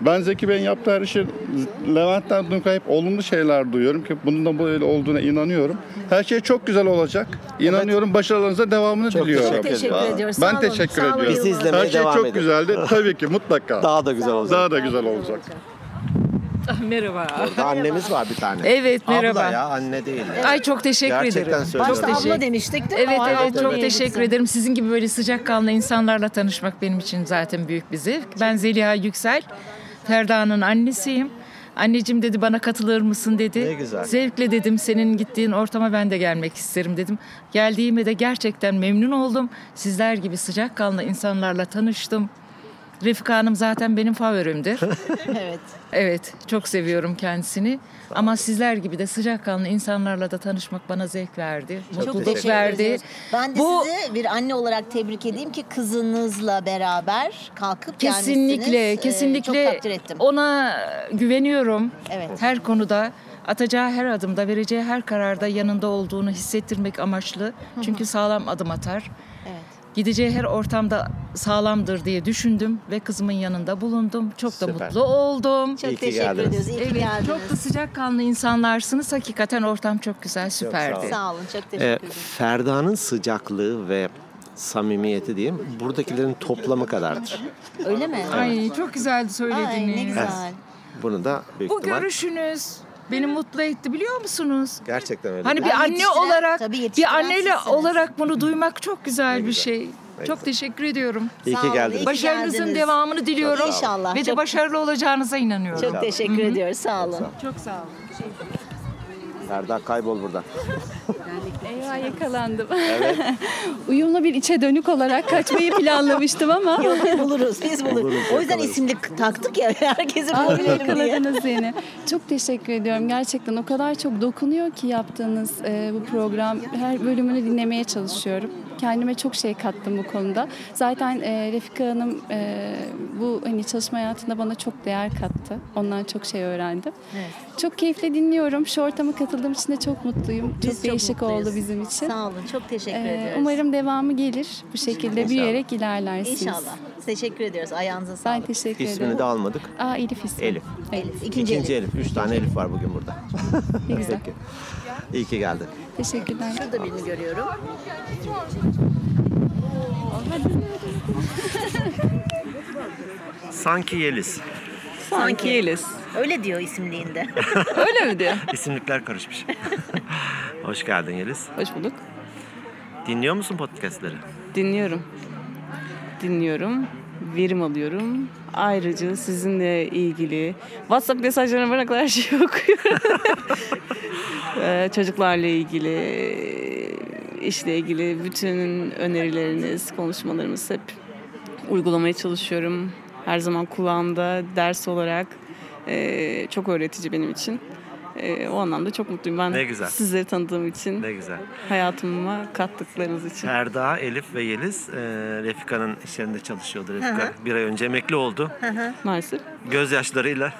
Speaker 19: Ben Zeki Bey'in yaptığı her işi Levent'ten duyunca hep olumlu şeyler duyuyorum ki bunun da böyle olduğuna inanıyorum. Her şey çok güzel olacak. İnanıyorum başarılarınıza devamını
Speaker 18: Çok
Speaker 19: diliyorum.
Speaker 18: teşekkür Çok teşekkür ediyoruz. ediyoruz. Sağ
Speaker 19: Ben
Speaker 18: olun. Sağ
Speaker 19: teşekkür
Speaker 18: olun.
Speaker 19: ediyorum.
Speaker 18: Bizi izlemeye
Speaker 19: her şey
Speaker 18: devam
Speaker 19: çok
Speaker 18: edin.
Speaker 19: güzeldi. Tabii ki mutlaka.
Speaker 18: Daha da güzel olacak.
Speaker 19: Daha da güzel olacak.
Speaker 20: Ah, Merhaba.
Speaker 18: Burada annemiz var bir tane.
Speaker 20: Evet, merhaba.
Speaker 18: Abla ya anne değil.
Speaker 20: Ay çok teşekkür
Speaker 18: Gerçekten
Speaker 20: ederim.
Speaker 18: söylüyorum.
Speaker 20: Çok teşekkür-
Speaker 2: demiştik değil mi?
Speaker 20: Evet
Speaker 2: O
Speaker 20: evet,
Speaker 2: arada
Speaker 20: çok
Speaker 2: evet.
Speaker 20: teşekkür ederim. Sizin gibi böyle sıcakkanlı insanlarla tanışmak benim için zaten büyük bir zevk. Ben Zeliha Yüksel. Ferda'nın annesiyim. Anneciğim dedi bana katılır mısın dedi.
Speaker 18: Ne güzel.
Speaker 20: Zevkle dedim senin gittiğin ortama ben de gelmek isterim dedim. Geldiğime de gerçekten memnun oldum. Sizler gibi sıcakkanlı insanlarla tanıştım. Refika Hanım zaten benim favorimdir.
Speaker 2: evet.
Speaker 20: Evet, çok seviyorum kendisini. Ama sizler gibi de sıcakkanlı insanlarla da tanışmak bana zevk verdi, mutluluk
Speaker 2: teşekkür
Speaker 20: verdi.
Speaker 2: ediyoruz. Ben de
Speaker 20: Bu
Speaker 2: sizi bir anne olarak tebrik edeyim ki kızınızla beraber kalkıp
Speaker 20: kesinlikle,
Speaker 2: gelmişsiniz. Ee,
Speaker 20: kesinlikle
Speaker 2: Çok takdir ettim.
Speaker 20: ona güveniyorum.
Speaker 2: Evet.
Speaker 20: Her konuda atacağı her adımda, vereceği her kararda yanında olduğunu hissettirmek amaçlı.
Speaker 2: hı.
Speaker 20: Çünkü sağlam adım atar. Gideceği her ortamda sağlamdır diye düşündüm ve kızımın yanında bulundum. Çok da
Speaker 18: Süper.
Speaker 20: mutlu oldum.
Speaker 18: Çok İyi ki teşekkür geldiniz. ediyoruz. İyi ki
Speaker 20: Evet,
Speaker 2: geldiniz.
Speaker 20: Çok da sıcakkanlı insanlarsınız. Hakikaten ortam çok güzel, süperdi.
Speaker 2: Sağ olun, çok teşekkür
Speaker 18: Ee,
Speaker 2: ederim.
Speaker 18: Ferda'nın sıcaklığı ve samimiyeti diyeyim buradakilerin toplamı kadardır.
Speaker 2: Öyle mi?
Speaker 20: Ay çok güzeldi söylediğiniz.
Speaker 2: ne güzel.
Speaker 18: Bunu da büyük
Speaker 20: Bu
Speaker 18: ihtimal
Speaker 20: görüşünüz beni mutlu etti biliyor musunuz?
Speaker 18: gerçekten öyle.
Speaker 20: Hani
Speaker 18: değil.
Speaker 20: bir anne olarak, bir anneyle
Speaker 2: sizsiniz.
Speaker 20: olarak bunu duymak çok güzel bir şey. Çok teşekkür ediyorum.
Speaker 18: İyi ki Sağ olun, geldiniz. iyi ki
Speaker 20: Başarınızın
Speaker 2: geldiniz.
Speaker 20: devamını diliyorum.
Speaker 2: Çok sağ olun.
Speaker 20: Ve de
Speaker 2: Çok-
Speaker 20: başarılı olacağınıza inanıyorum.
Speaker 2: Çok teşekkür
Speaker 20: Hı hı.
Speaker 2: ediyoruz. Sağ olun.
Speaker 20: Çok sağ olun.
Speaker 18: Ferda kaybol buradan.
Speaker 21: Eyvah yakalandım.
Speaker 18: Evet.
Speaker 21: Uyumlu bir içe dönük olarak kaçmayı planlamıştım ama.
Speaker 2: Yok, buluruz, biz buluruz. Buluruz, O yüzden yakalarız. isimlik taktık ya, herkesi
Speaker 21: Aa,
Speaker 2: bulabilirim diye.
Speaker 21: yakaladınız beni. Çok teşekkür ediyorum. Gerçekten o kadar çok dokunuyor ki yaptığınız e, bu program. Her bölümünü dinlemeye çalışıyorum. Kendime çok şey kattım bu konuda. Zaten e, Refika Hanım e, bu hani çalışma hayatında bana çok değer kattı. Ondan çok şey öğrendim. Çok keyifle dinliyorum. Şu ortama katıldığım için de çok mutluyum.
Speaker 2: Biz
Speaker 21: çok
Speaker 2: çok
Speaker 21: değişik
Speaker 2: mutluyuz.
Speaker 21: oldu bizim için.
Speaker 2: Sağ olun. Çok teşekkür
Speaker 21: Ee,
Speaker 2: ediyoruz.
Speaker 21: Umarım devamı gelir. Bu şekilde
Speaker 2: İnşallah.
Speaker 21: büyüyerek ilerlersiniz.
Speaker 2: İnşallah. Teşekkür ediyoruz. Ayağınıza sağlık.
Speaker 21: Ben teşekkür
Speaker 18: İsmini
Speaker 21: ederim.
Speaker 18: de almadık.
Speaker 21: Aa Elif ismi.
Speaker 18: Elif.
Speaker 2: Elif.
Speaker 18: İkinci, Elif. Üç tane Elif var bugün burada.
Speaker 21: Ne güzel.
Speaker 18: Peki. İyi ki geldin.
Speaker 21: Teşekkürler.
Speaker 2: Şurada birini görüyorum.
Speaker 1: Sanki Yeliz.
Speaker 2: Sanki Yeliz. Öyle diyor isimliğinde.
Speaker 1: Öyle mi diyor? İsimlikler karışmış. Hoş geldin Yeliz.
Speaker 22: Hoş bulduk.
Speaker 1: Dinliyor musun podcastleri?
Speaker 22: Dinliyorum. Dinliyorum. Verim alıyorum. Ayrıca sizinle ilgili WhatsApp mesajlarına bana kadar her şeyi okuyorum. Ee, Çocuklarla ilgili, işle ilgili bütün önerileriniz, konuşmalarımız hep uygulamaya çalışıyorum. Her zaman kulağımda ders olarak Ee, çok öğretici benim için. Ee, o anlamda çok mutluyum. Ben
Speaker 1: Ne güzel.
Speaker 22: sizleri tanıdığım için,
Speaker 1: Ne güzel.
Speaker 22: hayatıma kattıklarınız için.
Speaker 1: Ferda, Elif ve Yeliz e, Refika'nın işlerinde çalışıyordu.
Speaker 22: Hı
Speaker 1: Refika
Speaker 22: hı.
Speaker 1: bir ay önce emekli oldu.
Speaker 22: Maalesef.
Speaker 1: Gözyaşlarıyla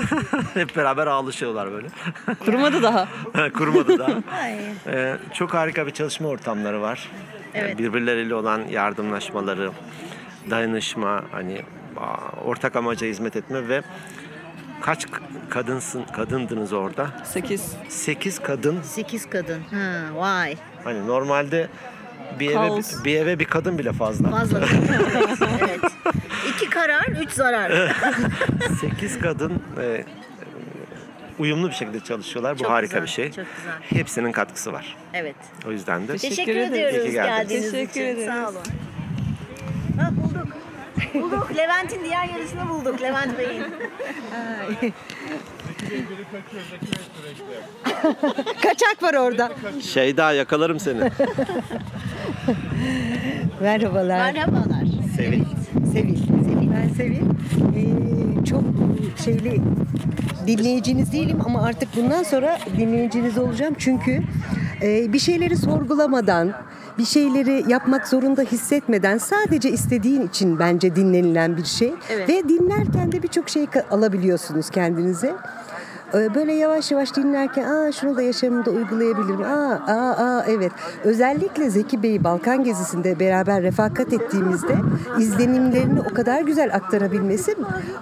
Speaker 1: hep beraber ağlaşıyorlar böyle.
Speaker 22: Kurumadı daha.
Speaker 1: Kurmadı daha.
Speaker 22: Ay.
Speaker 1: Ee, çok harika bir çalışma ortamları var.
Speaker 22: Evet.
Speaker 1: Birbirleriyle olan yardımlaşmaları, dayanışma, hani a- ortak amaca hizmet etme ve kaç k- kadınsın kadındınız orada?
Speaker 22: 8.
Speaker 1: 8 kadın.
Speaker 2: 8 kadın. Ha, vay.
Speaker 1: Hani normalde bir eve
Speaker 2: Kaos.
Speaker 1: bir eve bir kadın bile fazla.
Speaker 2: Fazla. evet. evet. İki karar, üç zarar.
Speaker 1: 8 kadın e,
Speaker 23: e, uyumlu bir şekilde çalışıyorlar. Bu
Speaker 2: Çok
Speaker 23: harika
Speaker 2: güzel,
Speaker 23: bir şey.
Speaker 2: çok güzel.
Speaker 23: Hepsinin katkısı var.
Speaker 2: Evet.
Speaker 23: O yüzden de
Speaker 2: Teşekkür,
Speaker 23: İyi ki
Speaker 2: ediyoruz
Speaker 23: geldiniz.
Speaker 2: geldiğiniz için. Sağ olun. Ha, bulduk. bulduk. Levent'in diğer yarısını bulduk. Levent Bey'in.
Speaker 24: Kaçak var orada.
Speaker 23: Şeyda yakalarım seni.
Speaker 24: Merhabalar.
Speaker 2: Merhabalar.
Speaker 23: Sevin.
Speaker 24: Sevil. Ben Sevil. Ee, çok şeyli dinleyiciniz değilim ama artık bundan sonra dinleyiciniz olacağım. Çünkü e, bir şeyleri sorgulamadan, bir şeyleri yapmak zorunda hissetmeden sadece istediğin için bence dinlenilen bir şey.
Speaker 25: Evet.
Speaker 24: Ve dinlerken de birçok şey ka- alabiliyorsunuz kendinize. Ee, Böyle yavaş yavaş dinlerken aa şunu da yaşamımda uygulayabilirim. Aa, aa, aa evet. Özellikle Zeki Bey'i Balkan gezisinde beraber refakat ettiğimizde izlenimlerini o kadar güzel aktarabilmesi.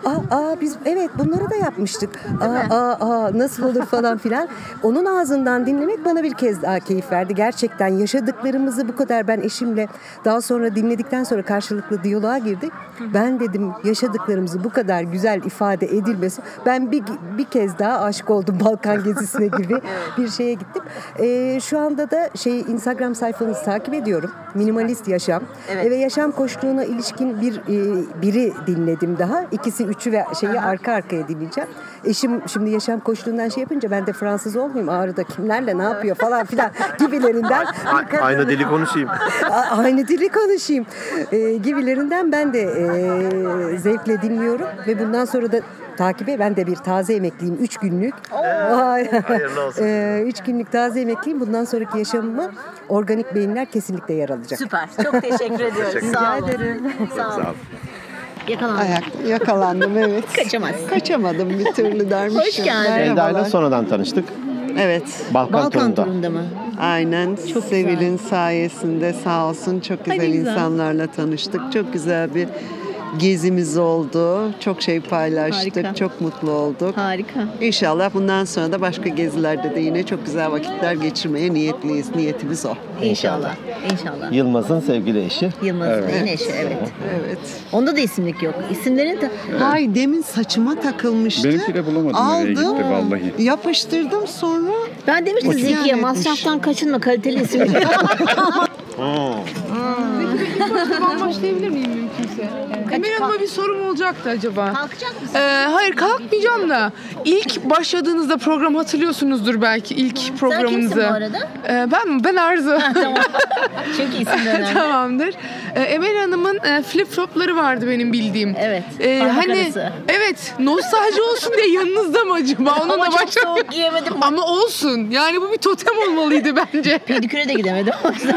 Speaker 24: Aa, aa biz evet bunları da yapmıştık. Aa, aa, aa nasıl olur falan filan. Onun ağzından dinlemek bana bir kez daha keyif verdi. Gerçekten yaşadıklarımızı bu kadar ben eşimle daha sonra dinledikten sonra karşılıklı diyaloğa girdik. Ben dedim yaşadıklarımızı bu kadar güzel ifade edilmesi. Ben bir, bir kez daha aşık oldum Balkan gezisine gibi bir şeye gittim. Ee, şu anda da şey Instagram sayfanızı takip ediyorum. Minimalist yaşam
Speaker 25: Evet.
Speaker 24: ve yaşam koşluğuna ilişkin bir e, biri dinledim daha. İkisi üçü ve şeyi arka arkaya dinleyeceğim. Eşim şimdi yaşam koşluğundan şey yapınca ben de Fransız olmayayım Ağrı'da kimlerle ne yapıyor falan filan gibilerinden.
Speaker 23: A- aynı dili konuşayım.
Speaker 24: A- aynı dili konuşayım e, gibilerinden ben de e, zevkle dinliyorum ve bundan sonra da takibe ben de bir taze emekliyim 3 günlük. Ay.
Speaker 25: hayırlı olsun.
Speaker 24: E, üç günlük taze emekliyim. Bundan sonraki yaşamıma organik beyinler kesinlikle yer alacak.
Speaker 2: Süper. Çok teşekkür ediyoruz.
Speaker 24: Rica
Speaker 2: Sağ olun.
Speaker 24: ederim.
Speaker 2: Sağ olun. Yakalandım.
Speaker 24: Ayak, yakalandım evet.
Speaker 2: Kaçamazsın.
Speaker 24: Kaçamadım bir türlü dermişim.
Speaker 2: Hoş geldin.
Speaker 1: Şeyda ile
Speaker 25: Merhabalar.
Speaker 1: sonradan tanıştık.
Speaker 25: Evet.
Speaker 1: Balkan Balkan turunda. turunda
Speaker 2: mı?
Speaker 25: Aynen. Sevil'in sayesinde sağ olsun çok
Speaker 24: Ay,
Speaker 25: güzel
Speaker 24: ne güzel.
Speaker 25: insanlarla tanıştık. Çok güzel bir gezimiz oldu. Çok şey paylaştık.
Speaker 24: Harika.
Speaker 25: Çok mutlu olduk.
Speaker 2: Harika.
Speaker 25: İnşallah bundan sonra da başka gezilerde de yine çok güzel vakitler geçirmeye niyetliyiz. Niyetimiz o.
Speaker 2: İnşallah. İnşallah.
Speaker 1: Yılmaz'ın sevgili eşi.
Speaker 2: Yılmaz Bey'in eşi evet.
Speaker 25: Evet.
Speaker 2: Onda da isimlik yok. İsimlerin de...
Speaker 25: Ay demin saçıma takılmıştı.
Speaker 26: Benimki de bulamadım nereye
Speaker 25: Aldım.
Speaker 26: gitti vallahi.
Speaker 25: Yapıştırdım sonra.
Speaker 2: Ben demiştim
Speaker 25: Hoş-
Speaker 2: Zekiye
Speaker 25: Yani-
Speaker 2: masraftan kaçınma kaliteli isim. Hmm.
Speaker 4: Zeki Bey, ilk başta ben başlayabilir miyim mümkünse? Emel Hanım'a bir sorum olacaktı acaba.
Speaker 2: Kalkacak
Speaker 4: mısın? hayır kalkmayacağım da. İlk başladığınızda programı hatırlıyorsunuzdur belki ilk programınızı.
Speaker 2: kimsin bu arada?
Speaker 4: Ee, ben mi? Ben Arzu.
Speaker 2: tamam. Çünkü isim de önemli.
Speaker 4: Tamamdır. Ee, Emel Hanım'ın flip flopları vardı benim bildiğim. E, hani Evet.
Speaker 2: Parmak arası.
Speaker 4: Ee, Evet. Nostalji olsun diye yanınızda mı acaba? Onunla
Speaker 2: Ama çok
Speaker 4: başla-
Speaker 2: soğuk giyemedim.
Speaker 4: Ama olsun. Yani bu bir totem olmalıydı bence.
Speaker 2: Pediküre de gidemedim.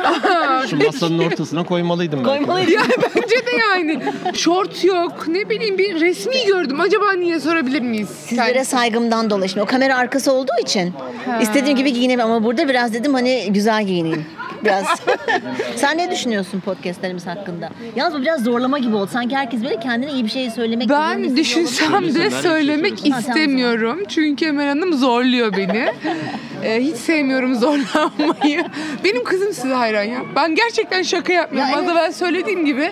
Speaker 1: Şu masanın ortasına koymalıydım ben.
Speaker 4: Ya bence de yani. Şort yok. Ne bileyim bir resmi gördüm. Acaba niye sorabilir miyiz?
Speaker 2: Sizlere saygımdan dolayı. Şimdi o kamera arkası olduğu için
Speaker 4: Ha.
Speaker 2: istediğim gibi giyinemiyorum ama burada biraz dedim hani güzel giyineyim. Biraz. Sen ne düşünüyorsun podcastlerimiz hakkında? Yalnız bu biraz zorlama gibi oldu. Sanki herkes böyle kendine iyi bir şey söylemek
Speaker 4: Ben düşünsem de söylemek
Speaker 2: istemiyorum.
Speaker 4: istemiyorum. Çünkü Emel Hanım zorluyor beni. Ee, hiç sevmiyorum zorlanmayı. Benim kızım size hayran ya. Ben gerçekten şaka yapmıyorum. Az evvel söylediğim gibi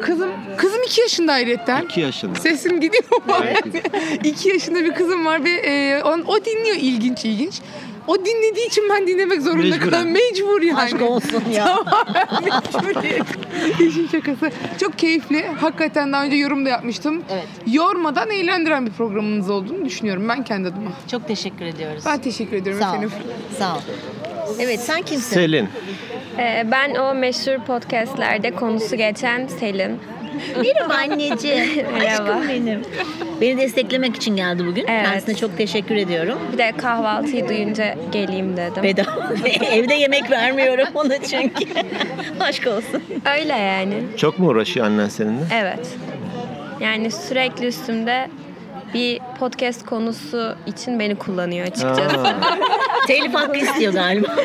Speaker 4: kızım kızım iki yaşında hayretten.
Speaker 1: 2 yaşında.
Speaker 4: Sesim gidiyor mu? İki yaşında bir kızım var ve e, on, o dinliyor ilginç ilginç. O dinlediği için ben dinlemek zorunda
Speaker 2: Mecburen.
Speaker 4: kalıyorum. Mecbur yani.
Speaker 2: Aşk olsun ya.
Speaker 4: Tamamen mecburiyet. İşin şakası. Çok keyifli. Hakikaten daha önce yorum da yapmıştım. Yormadan eğlendiren bir programınız olduğunu düşünüyorum ben kendi adıma.
Speaker 2: Çok teşekkür ediyoruz.
Speaker 4: Ben teşekkür ediyorum
Speaker 2: Sağ ol.
Speaker 4: efendim.
Speaker 2: Sağ ol. Evet sen kimsin?
Speaker 1: Selin.
Speaker 27: Ee, ben o meşhur podcastlerde konusu geçen Selin.
Speaker 2: Merhaba anneciğim.
Speaker 27: Merhaba.
Speaker 2: Aşkım benim. Beni desteklemek için geldi bugün. Kendisine çok teşekkür ediyorum.
Speaker 27: Bir de kahvaltıyı duyunca geleyim dedim.
Speaker 2: Bedava. Evde yemek vermiyorum ona çünkü. Aşk olsun.
Speaker 27: Öyle yani.
Speaker 1: Çok mu uğraşıyor annen seninle?
Speaker 27: Evet. Yani sürekli üstümde bir podcast konusu için beni kullanıyor açıkçası.
Speaker 2: Aa. Telif hakkı istiyor galiba.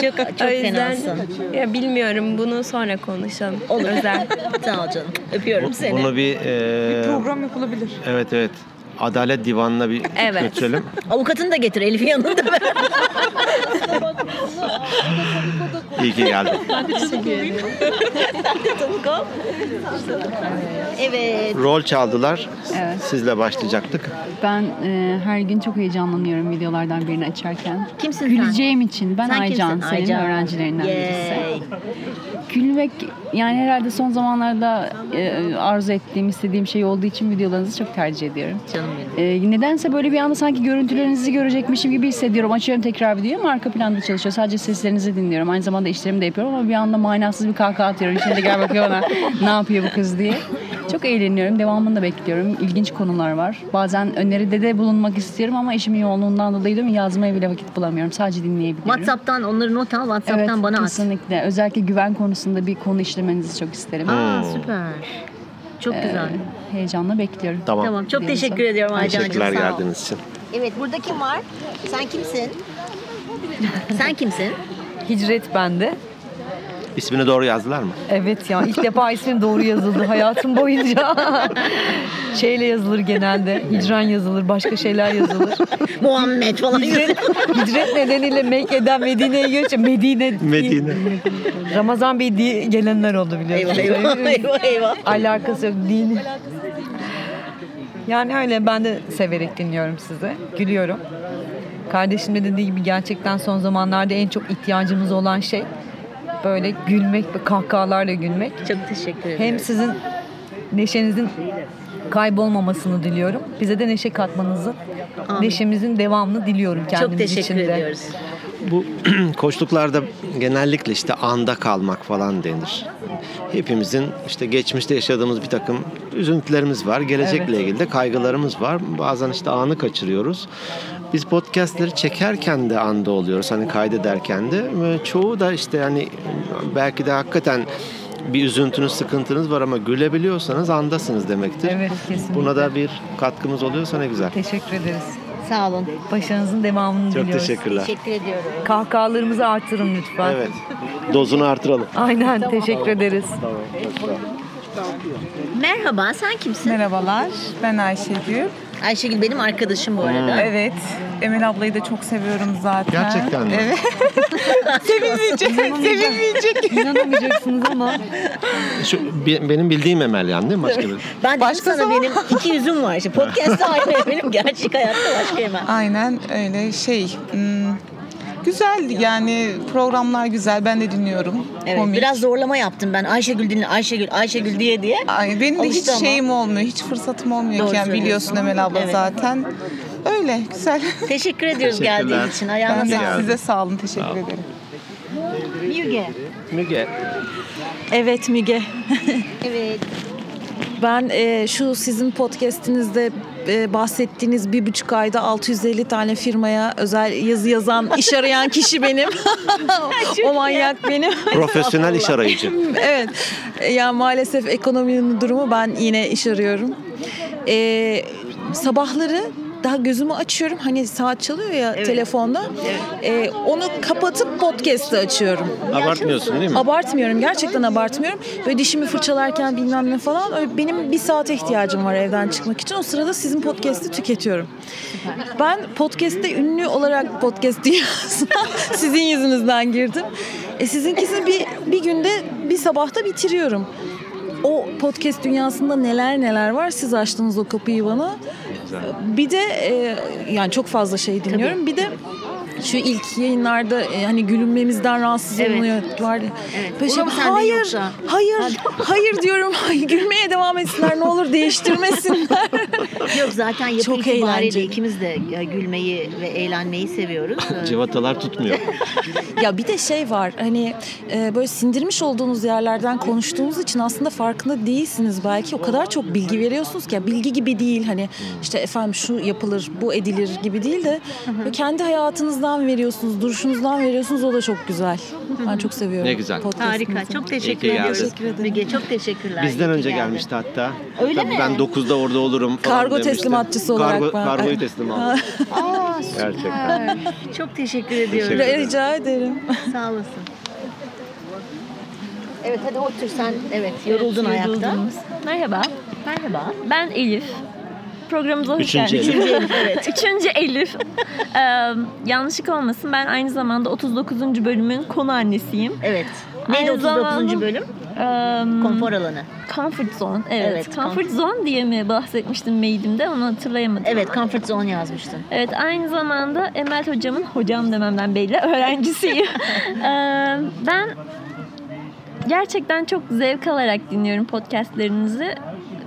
Speaker 2: çok çok
Speaker 27: o yüzden
Speaker 2: fenasın.
Speaker 27: ya bilmiyorum bunu sonra konuşalım.
Speaker 2: Olur.
Speaker 27: Özel.
Speaker 2: Sağ ol canım. Öpüyorum seni.
Speaker 1: Bunu bir, e,
Speaker 27: yapılabilir.
Speaker 1: Evet evet. Adalet Divanı'na bir
Speaker 2: Evet.
Speaker 1: götürelim.
Speaker 2: Avukatını da getir Elif'in yanında.
Speaker 10: İyi ki geldin.
Speaker 2: Ben teşekkür ederim. evet.
Speaker 1: Rol çaldılar.
Speaker 28: Evet.
Speaker 1: Sizle başlayacaktık.
Speaker 28: Ben e, her gün çok heyecanlanıyorum videolardan birini açarken.
Speaker 2: Kimsin
Speaker 28: Güleceğim için. Ben
Speaker 2: Sen
Speaker 28: Aycan,
Speaker 2: kimsin?
Speaker 28: senin
Speaker 2: Aycan.
Speaker 28: öğrencilerinden
Speaker 2: Yay.
Speaker 28: birisi. Gülmek yani herhalde son zamanlarda e, arzu ettiğim, istediğim şey olduğu için videolarınızı çok tercih ediyorum.
Speaker 2: Canım
Speaker 28: E, nedense böyle bir anda sanki görüntülerinizi görecekmişim gibi hissediyorum. Açıyorum tekrar videoyu ama arka planda çalışıyor. Sadece seslerinizi dinliyorum. Aynı zamanda işlerimi de yapıyorum ama bir anda manasız bir kahkaha atıyorum. Şimdi de gel bakıyor bana ne yapıyor bu kız diye. Çok eğleniyorum. Devamını da bekliyorum. İlginç konular var. Bazen öneride de bulunmak istiyorum ama işimin yoğunluğundan dolayı değil mi yazmaya bile vakit bulamıyorum. Sadece dinleyebiliyorum.
Speaker 2: WhatsApp'tan onları not al, WhatsApp'tan
Speaker 28: evet,
Speaker 2: bana at.
Speaker 28: kesinlikle. Özellikle güven konusunda bir konu işlemenizi çok isterim.
Speaker 2: Aa süper. Çok
Speaker 28: Ee,
Speaker 2: güzel.
Speaker 28: Heyecanla bekliyorum.
Speaker 1: Tamam.
Speaker 2: Tamam, çok
Speaker 28: Diyelim
Speaker 2: teşekkür
Speaker 28: sana.
Speaker 2: ediyorum Aycan'cığım.
Speaker 1: Teşekkürler
Speaker 2: sağ ol.
Speaker 1: geldiğiniz için.
Speaker 2: Evet burada kim var? Sen kimsin? Sen kimsin?
Speaker 29: Hicret bende.
Speaker 1: İsmini doğru yazdılar mı?
Speaker 29: Evet ya ilk defa ismim doğru yazıldı hayatım boyunca. Şeyle yazılır genelde. Hicran yazılır, başka şeyler yazılır.
Speaker 2: Muhammed falan
Speaker 29: Hicret, hicret nedeniyle Mekke'den Medine'ye geçince Medine.
Speaker 1: Medine.
Speaker 29: Ramazan Bey diye gelenler oldu biliyorsunuz.
Speaker 2: Eyvah, eyvah, eyvah, eyvah.
Speaker 29: Alakası yok dini. Yani öyle ben de severek dinliyorum sizi. Gülüyorum. Kardeşim de dediği gibi gerçekten son zamanlarda en çok ihtiyacımız olan şey böyle gülmek ve kahkahalarla gülmek.
Speaker 2: Çok teşekkür ederim.
Speaker 29: Hem sizin neşenizin kaybolmamasını diliyorum. Bize de neşe katmanızı,
Speaker 2: Amin.
Speaker 29: neşemizin devamını diliyorum kendimiz
Speaker 2: Çok teşekkür
Speaker 29: için de.
Speaker 2: ediyoruz.
Speaker 1: Bu koçluklarda genellikle işte anda kalmak falan denir. Hepimizin işte geçmişte yaşadığımız bir takım üzüntülerimiz var. Gelecekle
Speaker 30: Evet.
Speaker 1: ilgili de kaygılarımız var. Bazen işte anı kaçırıyoruz. Biz podcastleri çekerken de anda oluyoruz. Hani kaydederken de. Ve Çoğu da işte hani belki de hakikaten bir üzüntünüz, sıkıntınız var ama gülebiliyorsanız andasınız demektir.
Speaker 29: Evet, kesinlikle.
Speaker 1: Buna da bir katkımız oluyorsa ne güzel.
Speaker 29: Teşekkür ederiz.
Speaker 2: Sağ olun.
Speaker 29: Başarınızın devamını
Speaker 1: Çok
Speaker 29: diliyoruz.
Speaker 1: teşekkürler. Teşekkür
Speaker 2: ediyorum.
Speaker 29: Kahkahalarımızı artırın lütfen.
Speaker 1: Evet. Dozunu artıralım.
Speaker 29: Aynen, teşekkür ederiz.
Speaker 2: Merhaba, sen kimsin?
Speaker 31: Merhabalar, ben Ayşegül.
Speaker 2: Ayşegül benim arkadaşım bu arada.
Speaker 31: Evet. Emel ablayı da çok seviyorum zaten.
Speaker 2: Gerçekten mi?
Speaker 31: Evet. sevinmeyecek, sevinmeyecek.
Speaker 28: İnanamayacaksınız ama.
Speaker 1: Şu, bi- benim bildiğim Emel yani değil mi? Başka bir...
Speaker 31: Ben Başka sana benim
Speaker 2: iki yüzüm var. İşte podcast'ta ayrı, benim gerçek hayatta başka Emel.
Speaker 31: Aynen öyle şey. hmm, Güzeldi yani programlar güzel. Ben de dinliyorum.
Speaker 2: Evet, biraz zorlama yaptım ben. Ayşegül dinle, Ayşegül, Ayşegül diye diye.
Speaker 31: Ay, benim de hiç
Speaker 2: Alıştı ama.
Speaker 31: şeyim olmuyor. Hiç fırsatım olmuyor
Speaker 2: Doğru
Speaker 31: ki. Yani biliyorsun
Speaker 2: söylüyorsun.
Speaker 31: Emel abla
Speaker 2: Evet.
Speaker 31: zaten. Öyle güzel.
Speaker 2: Teşekkür ediyoruz
Speaker 31: Teşekkürler.
Speaker 2: geldiğin için. Ayağına
Speaker 31: Ben de
Speaker 2: sağlık.
Speaker 31: size sağ olun. Teşekkür ederim.
Speaker 2: Müge.
Speaker 1: Müge.
Speaker 32: Evet Müge.
Speaker 2: evet.
Speaker 32: Ben e, şu sizin podcastinizde e, bahsettiğiniz bir buçuk ayda 650 tane firmaya özel yazı yazan, iş arayan kişi benim. o manyak benim.
Speaker 1: Profesyonel iş arayıcı.
Speaker 32: evet. Ya maalesef ekonominin durumu ben yine iş arıyorum. Ee, sabahları daha gözümü açıyorum. Hani saat çalıyor ya telefonda. Ee, onu kapatıp podcast'ı açıyorum.
Speaker 1: Abartmıyorsun değil mi?
Speaker 32: Abartmıyorum. Gerçekten abartmıyorum. Böyle dişimi fırçalarken bilmem ne falan. Öyle benim bir saate ihtiyacım var evden çıkmak için. O sırada sizin podcast'i tüketiyorum. Ben podcast'te ünlü olarak podcast dünyasına sizin yüzünüzden girdim. E sizinkisini bir, bir günde bir sabahta bitiriyorum. O podcast dünyasında neler neler var. Siz açtınız o kapıyı bana. Bir de e, yani çok fazla şey dinliyorum. Bir de şu ilk yayınlarda e, hani gülünmemizden rahatsız
Speaker 2: Evet.
Speaker 32: oluyorlar.
Speaker 2: Evet.
Speaker 32: Böyle şey,
Speaker 2: Olur mu sende
Speaker 32: hayır,
Speaker 2: yoksa?"
Speaker 32: hayır, hayır diyorum. Gülmeye devam etsinler ne olur değiştirmesinler.
Speaker 2: Yok zaten yapı
Speaker 32: Çok
Speaker 2: itibariyle
Speaker 32: eğlenceli.
Speaker 2: ikimiz de ya, gülmeyi ve eğlenmeyi seviyoruz. Ee,
Speaker 1: Civatalar tutmuyor.
Speaker 32: ya bir de şey var hani e, böyle sindirmiş olduğunuz yerlerden konuştuğunuz için aslında farkında değilsiniz belki. O kadar çok bilgi veriyorsunuz ki ya bilgi gibi değil hani işte efendim şu yapılır bu edilir gibi değil de böyle kendi hayatınızdan veriyorsunuz, duruşunuzdan veriyorsunuz o da çok güzel. Ben çok seviyorum.
Speaker 1: Ne güzel.
Speaker 32: podcast'ınızı.
Speaker 2: Harika. Çok
Speaker 1: teşekkür İyi ki ediyoruz. geldin.
Speaker 2: Müge çok teşekkürler.
Speaker 1: Bizden
Speaker 2: İyi ki
Speaker 1: önce
Speaker 2: geldin.
Speaker 1: gelmişti hatta.
Speaker 2: Öyle
Speaker 1: Tabii
Speaker 2: mi?
Speaker 1: Ben 9'da orada olurum falan
Speaker 32: Kargo
Speaker 1: demiştim.
Speaker 32: teslimatçısı olarak
Speaker 1: Kargo,
Speaker 32: ben-
Speaker 1: Kargoyu teslim aldım.
Speaker 2: Aa, süper.
Speaker 1: Gerçekten.
Speaker 2: Çok teşekkür ediyorum.
Speaker 1: Teşekkür ederim.
Speaker 32: Rica ederim.
Speaker 2: Sağ olasın. Evet hadi otur sen. Evet yoruldun ayakta.
Speaker 33: Merhaba.
Speaker 2: Merhaba.
Speaker 33: Ben Elif.
Speaker 27: programımıza hoş
Speaker 3: Üçüncü
Speaker 27: geldiniz.
Speaker 3: Elif.
Speaker 27: Elif, evet. Üçüncü Elif. Ee, yanlışlık olmasın ben aynı zamanda 39. bölümün konu annesiyim. Evet.
Speaker 2: Neydi 39. bölüm? Konfor alanı.
Speaker 27: Comfort zone. Evet.
Speaker 2: Evet,
Speaker 27: comfort,
Speaker 2: comfort-
Speaker 27: zone diye mi bahsetmiştim mailimde onu hatırlayamadım.
Speaker 2: Evet,
Speaker 27: ama.
Speaker 2: comfort zone yazmıştın.
Speaker 27: Evet aynı zamanda Emel hocamın hocam dememden belli öğrencisiyim. Ee, ben gerçekten çok zevk alarak dinliyorum podcastlerinizi.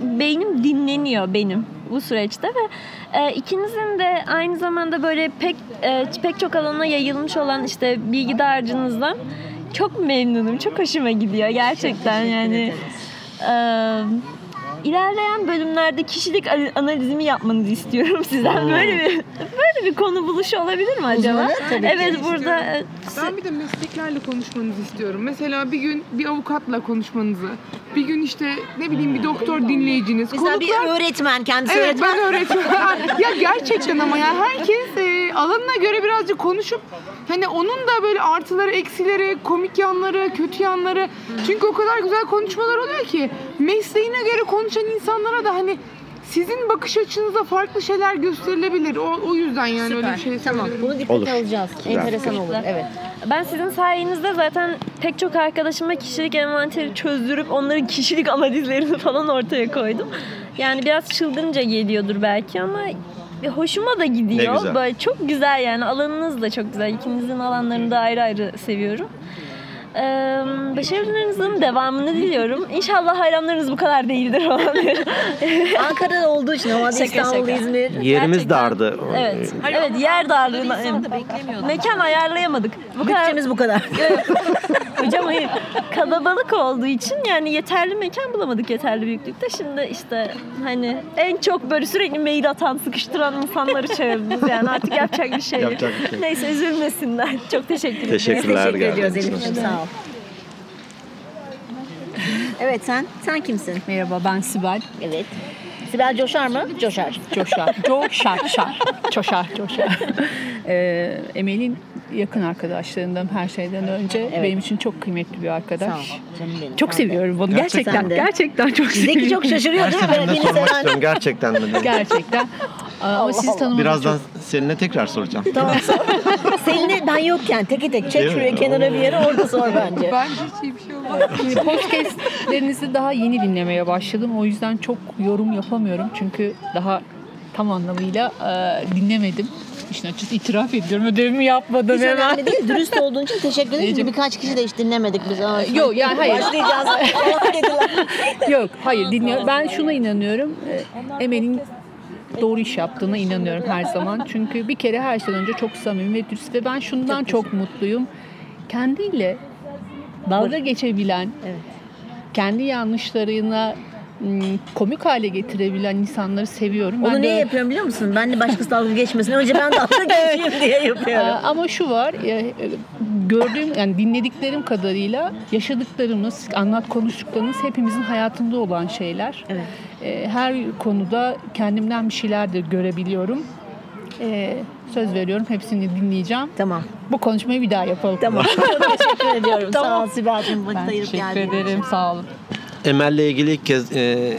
Speaker 27: Beynim dinleniyor benim bu süreçte ve e, ikinizin de aynı zamanda böyle pek e, pek çok alana yayılmış olan işte bilgi dağarcığınızdan çok memnunum. Çok hoşuma gidiyor gerçekten yani. Ee, ilerleyen bölümlerde kişilik an- analizimi yapmanızı istiyorum sizden.
Speaker 4: Oo.
Speaker 27: Böyle bir böyle bir konu buluşu olabilir mi acaba? evet burada e,
Speaker 4: Ben bir de mesleklerle konuşmanızı istiyorum. Mesela bir gün bir avukatla konuşmanızı. Bir gün işte ne bileyim bir doktor dinleyiciniz.
Speaker 2: Mesela bir öğretmen, kendisi
Speaker 4: evet,
Speaker 2: öğretmen.
Speaker 4: ben öğretmen. ya gerçekten ama ya herkes e, alanına göre birazcık konuşup hani onun da böyle artıları, eksileri, komik yanları, kötü yanları. Çünkü o kadar güzel konuşmalar oluyor ki mesleğine göre konuşan insanlara da hani sizin bakış açınızda farklı şeyler gösterilebilir. O, o yüzden yani öyle bir şey Tamam.
Speaker 2: Bunu dikkate Olur. alacağız. Güzel Enteresan fikir. olur, evet.
Speaker 27: Ben sizin sayenizde zaten pek çok arkadaşıma kişilik envanteri çözdürüp onların kişilik analizlerini falan ortaya koydum. Yani biraz çılgınca geliyordur belki ama hoşuma da gidiyor.
Speaker 5: Ne güzel.
Speaker 27: Böyle çok güzel yani alanınız da çok güzel. İkinizin alanlarını da ayrı ayrı seviyorum. Ee, başarılarınızın devamını diliyorum. İnşallah hayranlarınız bu kadar değildir. Ankara'da olduğu için
Speaker 2: ama biz İstanbul, İzmir.
Speaker 1: Yerimiz dardı.
Speaker 27: Evet.
Speaker 2: Ee,
Speaker 27: evet yer darlığına. Mekan ayarlayamadık. Bu Bütçemiz
Speaker 2: bu kadar.
Speaker 27: Hocam hayır. Kalabalık olduğu için yani yeterli mekan bulamadık yeterli büyüklükte. Şimdi işte hani en çok böyle sürekli mail atan, sıkıştıran insanları çağırdınız yani. Artık yapacak bir şey yok.
Speaker 2: Yapacak bir şey yok.
Speaker 27: Neyse üzülmesinler. Çok teşekkür ederim.
Speaker 2: Teşekkürler Teşekkür geldiğiniz ediyoruz için. Elif'ciğim, sağ ol. Evet sen, sen kimsin?
Speaker 34: Merhaba ben Sibel.
Speaker 2: Evet. Sibel coşar mı? Coşar.
Speaker 34: Coşar. Coşar. Şar. Coşar. Coşar. Ee, Emel'in yakın arkadaşlarından her şeyden önce
Speaker 2: Evet.
Speaker 34: benim için çok kıymetli bir arkadaş.
Speaker 2: Sağ ol, canım benim.
Speaker 34: Çok
Speaker 2: Sağ ol.
Speaker 34: seviyorum bunu.
Speaker 1: Gerçekten.
Speaker 34: Gerçekten.
Speaker 1: Sen
Speaker 34: Gerçekten,
Speaker 1: de.
Speaker 34: çok seviyorum.
Speaker 2: Zeki çok şaşırıyor değil mi?
Speaker 1: Ben de
Speaker 2: Beni
Speaker 1: sormak
Speaker 2: seven.
Speaker 1: istiyorum gerçekten mi?
Speaker 34: Gerçekten. Aa, Ama sizi tanımadım.
Speaker 1: Birazdan seninle tekrar soracağım.
Speaker 2: Tamam. Seninle ben yokken teke tek çek
Speaker 1: Değil mi?
Speaker 2: şuraya kenara bir yere orada sor bence.
Speaker 34: Ben
Speaker 4: hiç iyi bir şey
Speaker 34: Şimdi podcastlerinizi daha yeni dinlemeye başladım. O yüzden çok yorum yapamıyorum. Çünkü daha tam anlamıyla e, dinlemedim. İşin açıkçası itiraf ediyorum. Ödevimi yapmadım
Speaker 2: Hiç
Speaker 34: hemen.
Speaker 2: önemli değil. Dürüst olduğun için teşekkür ederim. Çünkü
Speaker 34: Diyeceğim.
Speaker 2: Birkaç kişi de hiç dinlemedik biz. Aa, şimdi
Speaker 34: Yok yani hayır.
Speaker 2: Başlayacağız.
Speaker 34: Yok hayır dinliyorum. Ben şuna inanıyorum. Ee, Emel'in doğru iş yaptığına inanıyorum her zaman. Çünkü bir kere her şeyden önce çok samimi ve dürüst ve ben şundan çok mutluyum. Kendiyle dalga geçebilen, kendi yanlışlarına m, komik hale getirebilen insanları seviyorum.
Speaker 2: Onu niye
Speaker 34: de-
Speaker 2: yapıyorum biliyor musun? Ben de başkası dalga geçmesin. Hani Önce ben dalga geçeyim diye yapıyorum.
Speaker 34: Aa, Ama şu var, ya, e, gördüğüm yani dinlediklerim kadarıyla yaşadıklarımız, anlat konuştuklarımız hepimizin hayatında olan şeyler. E, Her konuda kendimden bir şeyler de görebiliyorum. E, söz veriyorum hepsini dinleyeceğim.
Speaker 2: Tamam.
Speaker 34: Bu konuşmayı bir daha yapalım.
Speaker 2: Tamam. Çok teşekkür ediyorum. Sağ ol
Speaker 34: Tamam.
Speaker 2: Sibel'cim. Vakit
Speaker 34: Ben
Speaker 2: ayırıp
Speaker 34: teşekkür
Speaker 2: geldiğin için.
Speaker 34: ederim. Sağ olun.
Speaker 1: Emel'le ilgili ilk kez e,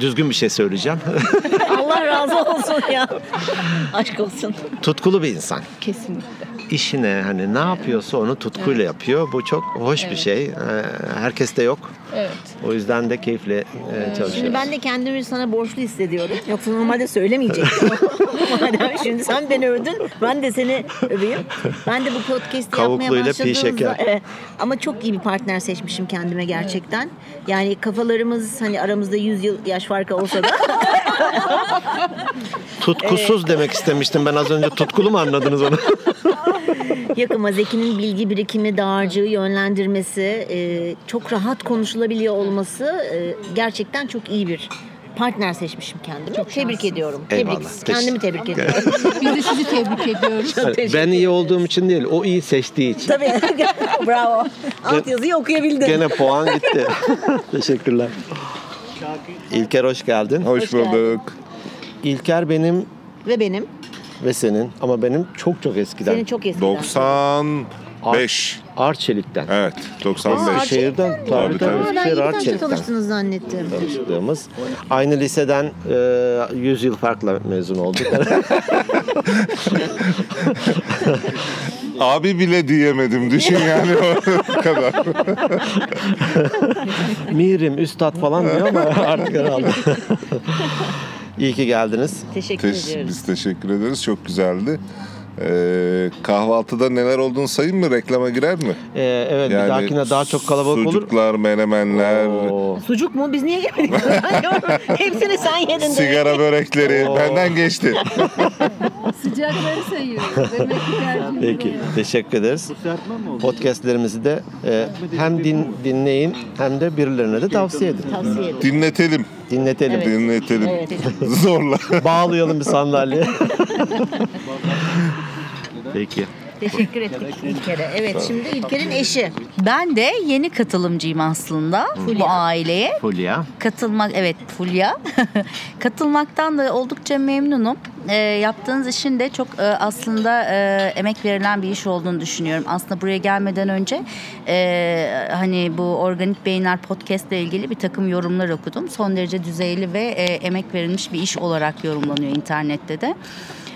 Speaker 1: düzgün bir şey söyleyeceğim.
Speaker 2: Allah razı olsun ya. Aşk olsun.
Speaker 1: Tutkulu bir insan.
Speaker 34: Kesinlikle.
Speaker 1: İşine hani ne yapıyorsa onu tutkuyla
Speaker 34: Evet.
Speaker 1: yapıyor. Bu çok hoş bir
Speaker 2: Evet.
Speaker 1: şey. E, herkes de yok.
Speaker 34: Evet.
Speaker 1: O yüzden de keyifle e, çalışıyoruz.
Speaker 2: Şimdi ben de kendimi sana borçlu hissediyorum. Yoksa normalde söylemeyecektim. Madem şimdi sen beni övdün, ben de seni öveyim. Ben de bu podcast'i yapmaya
Speaker 1: Kavukluyla pi
Speaker 2: başladığımda...
Speaker 1: şeker.
Speaker 2: Evet. ama çok iyi bir partner seçmişim kendime gerçekten. Yani kafalarımız hani aramızda 100 yıl yaş farkı olsa da...
Speaker 1: Tutkusuz demek istemiştim. Ben az önce tutkulu mu anladınız onu?
Speaker 2: Yakıma Zeki'nin bilgi birikimi, dağarcığı yönlendirmesi, e, çok rahat konuşulabiliyor olması e, gerçekten çok iyi bir partner seçmişim kendime. tebrik ediyorum.
Speaker 1: Eyvallah.
Speaker 2: Tebrik. Kendimi tebrik
Speaker 1: Teşekkür-
Speaker 2: ediyorum.
Speaker 34: Biz de sizi tebrik ediyoruz.
Speaker 1: Hani ben iyi olduğum için değil, o iyi seçtiği için.
Speaker 2: Tabii. Bravo. Alt yazıyı okuyabildin.
Speaker 1: Gene puan gitti. Teşekkürler. İlker hoş geldin.
Speaker 2: Hoş Hoş bulduk. geldin.
Speaker 1: İlker benim
Speaker 2: Ve benim.
Speaker 1: ve senin ama benim çok çok eskiden.
Speaker 2: Senin çok eskiden.
Speaker 1: 90
Speaker 3: 5.
Speaker 1: Arçelik'ten.
Speaker 3: Evet, 95.
Speaker 2: Aa,
Speaker 1: Şehirden tabii şey tabii.
Speaker 2: Aa, ben
Speaker 1: Şehir
Speaker 2: yeniden
Speaker 1: Arçelik'ten
Speaker 2: tanıştınız zannettim.
Speaker 1: tanıştığımız. Aynı liseden e, 100 yıl farkla mezun olduk.
Speaker 3: Abi bile diyemedim. Düşün yani o kadar.
Speaker 1: Mirim, üstad falan diyor ama artık herhalde. İyi ki geldiniz.
Speaker 3: Teş- Biz teşekkür ederiz. Çok güzeldi. Ee, kahvaltıda neler olduğunu sayayım mı? Reklama girer mi?
Speaker 1: Ee, evet, bir dahakine daha çok kalabalık olur.
Speaker 3: Sucuklar, menemenler,
Speaker 2: Sucuk mu? Biz niye yemedik? Hepsini sen yedin. demek.
Speaker 3: sigara börekleri. Benden geçti.
Speaker 28: Sıcakları sayıyoruz. Demek ki tercih
Speaker 1: Peki, teşekkür ederiz. Podcastlerimizi de e, hem din, dinleyin hem de birilerine de tavsiye edin.
Speaker 2: Tavsiye edin.
Speaker 3: Dinletelim.
Speaker 1: Dinletelim.
Speaker 2: Evet.
Speaker 3: Dinletelim.
Speaker 2: Evet.
Speaker 3: Zorla.
Speaker 1: Bağlayalım bir sandalyeye. Peki.
Speaker 2: Teşekkür ettik İlker'e. Evet şimdi İlker'in eşi.
Speaker 5: Ben de yeni katılımcıyım aslında bu aileye.
Speaker 1: Fulya.
Speaker 5: Katılmak evet Fulya. Katılmaktan da oldukça memnunum. E, yaptığınız işin de çok e, aslında e, emek verilen bir iş olduğunu düşünüyorum. Aslında buraya gelmeden önce e, hani bu Organik Beyinler podcast ile ilgili bir takım yorumlar okudum. Son derece düzeyli ve e, emek verilmiş bir iş olarak yorumlanıyor internette de.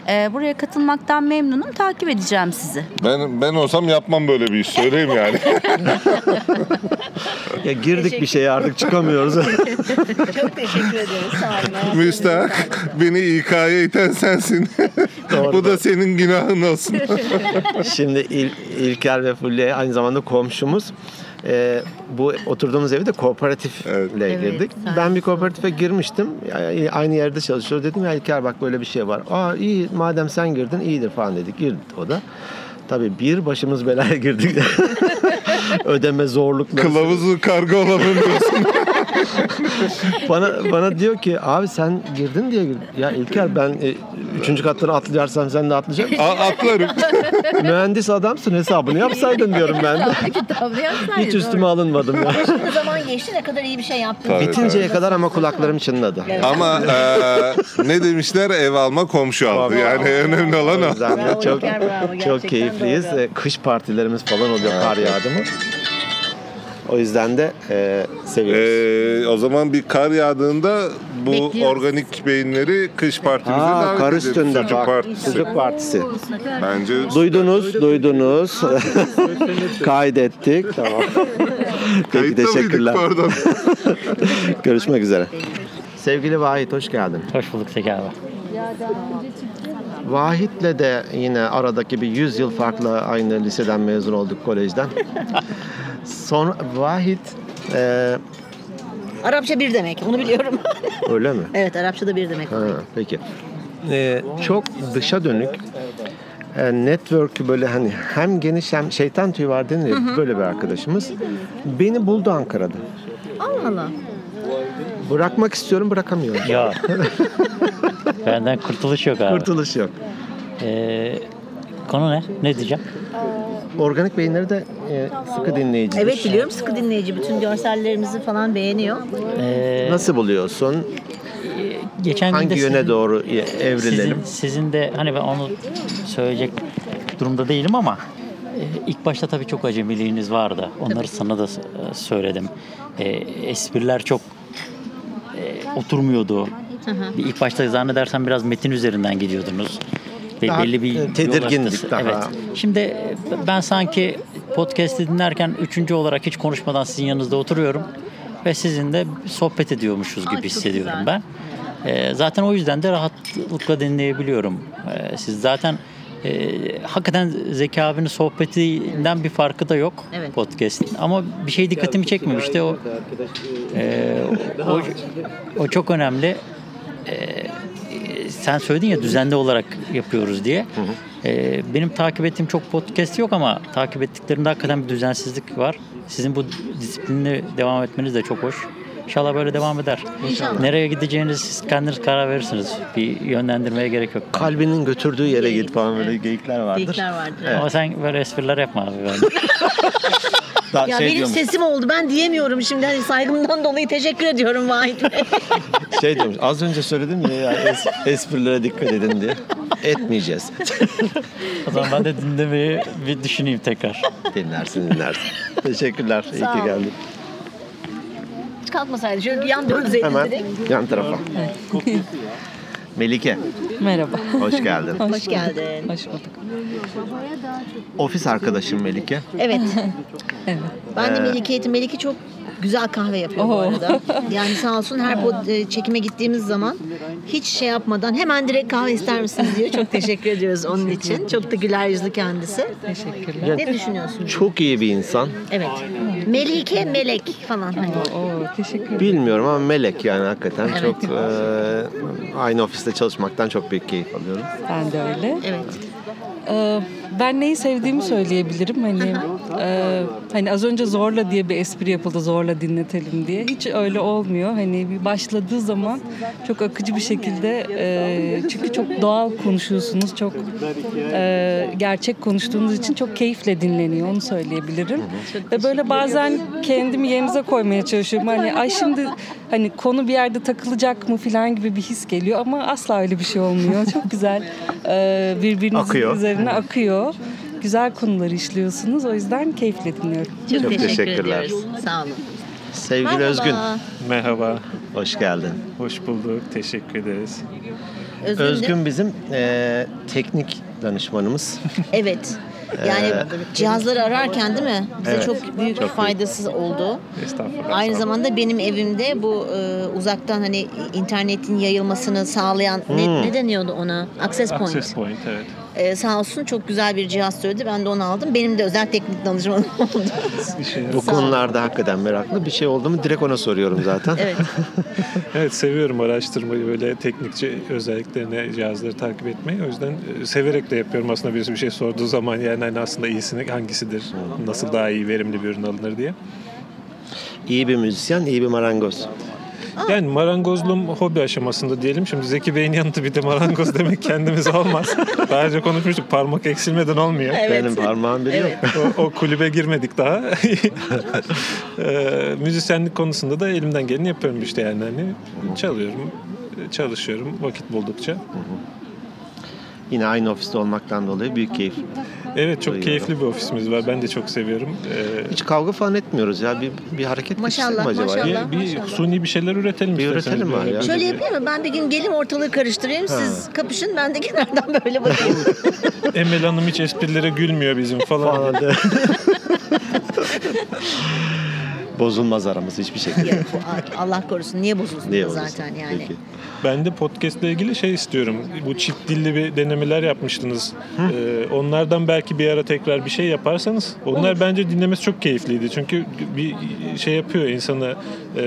Speaker 5: E, buraya katılmaktan memnunum. Takip edeceğim sizi.
Speaker 3: Ben ben olsam yapmam böyle bir iş. Söyleyeyim yani.
Speaker 1: ya girdik bir şeye artık çıkamıyoruz.
Speaker 2: Çok teşekkür ederiz. Sağ olun.
Speaker 3: Müstahak beni İK'ya iten sensin. Bu da senin günahın olsun.
Speaker 1: Şimdi İl, İlker ve Fulya aynı zamanda komşumuz. Ee, bu oturduğumuz evi de kooperatifle girdik. ben bir kooperatife girmiştim. Ya- Aynı yerde çalışıyor. Dedim ya İlker bak böyle bir şey var. Aa iyi madem sen girdin iyidir falan dedik. Girdi o da. Tabii bir başımız belaya girdik. Ödeme zorlukları.
Speaker 3: Kılavuzu karga olanın diyorsun.
Speaker 1: bana bana diyor ki abi sen girdin diye girdim. Ya İlker ben e, üçüncü katları atlayarsam sen de atlayacak mısın?
Speaker 3: A- atlarım.
Speaker 1: Mühendis adamsın hesabını yapsaydın diyorum ben de.
Speaker 2: Tabii yapsaydın,
Speaker 1: Hiç üstüme alınmadım ya.
Speaker 2: doğru. Bu zaman geçti ne kadar iyi bir şey yaptın.
Speaker 1: Bitinceye kadar ama kulaklarım çınladı.
Speaker 3: Ama eee, ne demişler ev alma komşu aldı. Yani önemli olan o.
Speaker 1: Bravo, çok çok keyifliyiz. Ee, Kış partilerimiz falan oluyor kar yağdı mı? O yüzden de e, seviyoruz.
Speaker 3: e, o zaman bir kar yağdığında bu
Speaker 1: Bekliyoruz.
Speaker 3: organik beyinleri kış partimize
Speaker 1: Aa,
Speaker 3: davet
Speaker 1: kar
Speaker 3: ederiz.
Speaker 1: üstünde
Speaker 3: Çocuk
Speaker 1: bak.
Speaker 3: partisi.
Speaker 1: Çocuk partisi.
Speaker 3: Bence
Speaker 1: Duydunuz, duydunuz. Kaydettik. Tamam. Peki teşekkürler.
Speaker 3: pardon.
Speaker 1: Görüşmek üzere. Sevgili Vahit hoş geldin. Hoş bulduk Zeki abi. Vahit'le de yine aradaki bir 100 yıl farkla aynı liseden mezun olduk kolejden. Son Vahit e,
Speaker 2: Arapça bir demek. Onu biliyorum.
Speaker 1: öyle mi?
Speaker 2: evet Arapçada bir demek.
Speaker 1: Ha, peki. Ee, çok dışa dönük e, network'ü böyle hani hem geniş hem şeytan tüyü var denir ya,
Speaker 2: Hı hı.
Speaker 1: böyle bir arkadaşımız. Beni buldu Ankara'da.
Speaker 2: Allah Allah.
Speaker 1: Bırakmak istiyorum bırakamıyorum.
Speaker 35: Ya. Benden kurtuluş yok abi. Ee,
Speaker 1: Kurtuluş yok.
Speaker 35: konu ne? Ne diyeceğim?
Speaker 1: Organik beyinleri de e, sıkı dinleyici.
Speaker 2: Evet biliyorum sıkı dinleyici. Bütün görsellerimizi falan beğeniyor.
Speaker 1: Nasıl buluyorsun?
Speaker 35: Geçen gün
Speaker 1: Hangi
Speaker 35: de
Speaker 1: yöne
Speaker 35: sizin-
Speaker 1: doğru e, evrilelim?
Speaker 35: Sizin, sizin de hani ben onu söyleyecek durumda değilim ama e, ilk başta tabii çok acemiliğiniz vardı. Onları sana da s- e, söyledim. E, espriler çok e, oturmuyordu. Bir İlk başta zannedersem biraz metin üzerinden gidiyordunuz. Ve
Speaker 1: Daha,
Speaker 35: belli bir
Speaker 1: e,
Speaker 35: yol
Speaker 1: tedirgindik
Speaker 35: haritası-
Speaker 1: daha.
Speaker 35: Evet. Şimdi e, ben sanki podcast'i dinlerken üçüncü olarak hiç konuşmadan sizin yanınızda oturuyorum ve sizinle sohbet ediyormuşuz gibi hissediyorum ben. E, zaten o yüzden de rahatlıkla dinleyebiliyorum. E, siz zaten e, hakikaten Zeki abinin sohbetinden bir farkı da yok
Speaker 2: Evet.
Speaker 35: podcast'in. Ama bir şey dikkatimi çekmemişti. O ee, o, o çok önemli. Ee, sen söyledin ya düzenli olarak yapıyoruz diye. Ee, benim takip ettiğim çok podcast yok ama takip ettiklerimde hakikaten bir düzensizlik var. Sizin bu disiplinli devam etmeniz de çok hoş. İnşallah böyle devam eder.
Speaker 2: İnşallah.
Speaker 35: Nereye gideceğiniz siz kendiniz karar verirsiniz. Bir yönlendirmeye gerek yok.
Speaker 1: Kalbinin götürdüğü yere git falan böyle geyikler vardır.
Speaker 2: Geyikler vardır.
Speaker 35: Ama sen böyle espriler yapma abi. Ben.
Speaker 1: Daha
Speaker 2: ya
Speaker 1: şey
Speaker 2: benim
Speaker 1: diyormuş.
Speaker 2: sesim oldu. Ben diyemiyorum şimdi. Hani saygımdan dolayı teşekkür ediyorum Vahit Bey.
Speaker 1: Şey diyormuş az önce söyledim ya, ya es- esprilere dikkat edin diye. Etmeyeceğiz.
Speaker 35: o zaman ben de dinlemeyi bir düşüneyim tekrar.
Speaker 1: Dinlersin dinlersin. Teşekkürler. İyi
Speaker 2: Sağ
Speaker 1: ki
Speaker 2: ol.
Speaker 1: geldin.
Speaker 2: Hiç kalkmasaydı. Şöyle bir yan dönseydin
Speaker 1: Hemen
Speaker 2: direkt.
Speaker 1: yan tarafa. Melike.
Speaker 36: Merhaba.
Speaker 1: Hoş geldin.
Speaker 2: Hoş geldin.
Speaker 36: Hoş bulduk.
Speaker 1: Ofis arkadaşım Melike.
Speaker 2: Evet.
Speaker 36: Evet.
Speaker 2: Ben de
Speaker 1: Ee,
Speaker 2: Melike'ydim. Melike çok güzel kahve yapıyor bu
Speaker 36: Oo.
Speaker 2: arada. Yani sağ olsun her pod- e, çekime gittiğimiz zaman hiç şey yapmadan hemen direkt kahve ister misiniz diyor. Çok teşekkür ediyoruz onun için. Çok da güler yüzlü kendisi. Teşekkürler. Ne düşünüyorsun?
Speaker 1: Çok iyi bir insan.
Speaker 2: Evet. Melike, Melek falan. Hani. teşekkür
Speaker 1: Bilmiyorum ama melek yani hakikaten
Speaker 2: Evet.
Speaker 1: çok e, aynı ofiste çalışmaktan çok büyük keyif alıyorum.
Speaker 36: Ben de öyle.
Speaker 2: Evet.
Speaker 36: Ee, ben neyi sevdiğimi söyleyebilirim. Hani e, hani az önce zorla diye bir espri yapıldı. Zorla dinletelim diye. Hiç öyle olmuyor. Hani bir başladığı zaman çok akıcı bir şekilde e, çünkü çok doğal konuşuyorsunuz. Çok e, gerçek konuştuğunuz için çok keyifle dinleniyor. Onu söyleyebilirim. Ve böyle bazen kendimi yerinize koymaya çalışıyorum. Hani ay şimdi hani konu bir yerde takılacak mı falan gibi bir his geliyor ama asla öyle bir şey olmuyor. Çok güzel. E, birbirinizin
Speaker 1: Akıyor.
Speaker 36: üzerine akıyor. Güzel konuları işliyorsunuz. O yüzden keyifle dinliyorum.
Speaker 1: Çok Çok teşekkür teşekkürler. ediyoruz.
Speaker 2: Sağ olun.
Speaker 1: Sevgili
Speaker 2: Merhaba.
Speaker 1: Özgün.
Speaker 37: Merhaba.
Speaker 1: Hoş geldin.
Speaker 37: Hoş bulduk. Teşekkür ederiz.
Speaker 2: Özgün de-
Speaker 1: Özgün bizim e, teknik danışmanımız.
Speaker 2: Evet. Yani
Speaker 1: Ee,
Speaker 2: cihazları ararken değil mi? Bize
Speaker 1: Evet.
Speaker 2: çok büyük
Speaker 1: Çok
Speaker 2: faydasız oldu.
Speaker 37: Estağfurullah.
Speaker 2: Aynı
Speaker 37: Sağ olun.
Speaker 2: zamanda benim evimde bu e, uzaktan hani internetin yayılmasını sağlayan
Speaker 37: Hmm.
Speaker 2: ne, ne deniyordu ona? Access point.
Speaker 37: Access Point evet.
Speaker 2: E, sağ olsun çok güzel bir cihaz söyledi. Ben de onu aldım. Benim de özel teknik danışmanım oldu.
Speaker 37: şey
Speaker 1: Bu konularda hakikaten meraklı. Bir şey oldu mu direkt ona soruyorum zaten.
Speaker 2: Evet.
Speaker 37: Evet seviyorum araştırmayı böyle teknikçe özelliklerini cihazları takip etmeyi. O yüzden e, severek de yapıyorum aslında birisi bir şey sorduğu zaman yani hani aslında iyisini hangisidir? Nasıl daha iyi verimli bir ürün alınır diye.
Speaker 1: İyi bir müzisyen, iyi bir marangoz.
Speaker 37: Yani marangozluğum hobi aşamasında diyelim. Şimdi Zeki Bey'in yanında bir de marangoz demek kendimiz olmaz. Daha önce konuşmuştuk parmak eksilmeden olmuyor.
Speaker 1: Evet. Benim parmağım biri yok.
Speaker 37: O, o kulübe girmedik daha. Eee, müzisyenlik konusunda da elimden geleni yapıyorum işte yani. Hani çalıyorum, çalışıyorum vakit buldukça.
Speaker 1: Yine aynı ofiste olmaktan dolayı büyük şey keyif.
Speaker 37: Evet çok Ee,
Speaker 1: Duyuyorum.
Speaker 37: keyifli bir ofisimiz var. Ben de çok seviyorum. Eee,
Speaker 1: Hiç kavga falan etmiyoruz ya. Bir, bir hareket
Speaker 2: Maşallah,
Speaker 1: geçirelim acaba?
Speaker 2: maşallah, Bir- bir maşallah.
Speaker 37: suni bir şeyler üretelim
Speaker 1: Bir
Speaker 37: isterseniz
Speaker 1: üretelim
Speaker 37: bir
Speaker 1: var ya.
Speaker 2: Şöyle yapayım mı? Ben bir gün geleyim ortalığı karıştırayım.
Speaker 37: Ha.
Speaker 2: Siz kapışın. Ben de kenardan böyle bakayım.
Speaker 37: Emel Hanım hiç esprilere gülmüyor bizim falan.
Speaker 1: Bozulmaz aramız hiçbir şekilde.
Speaker 2: Yok, bu- Allah korusun. Niye bozulsun
Speaker 37: Niye bozulsun?
Speaker 2: zaten yani?
Speaker 37: Ben de podcastle ilgili şey istiyorum. Bu çift dilli bir denemeler yapmıştınız. Ee, onlardan belki bir ara tekrar bir şey yaparsanız. Onlar bence dinlemesi çok keyifliydi. Çünkü bir şey yapıyor insanı e,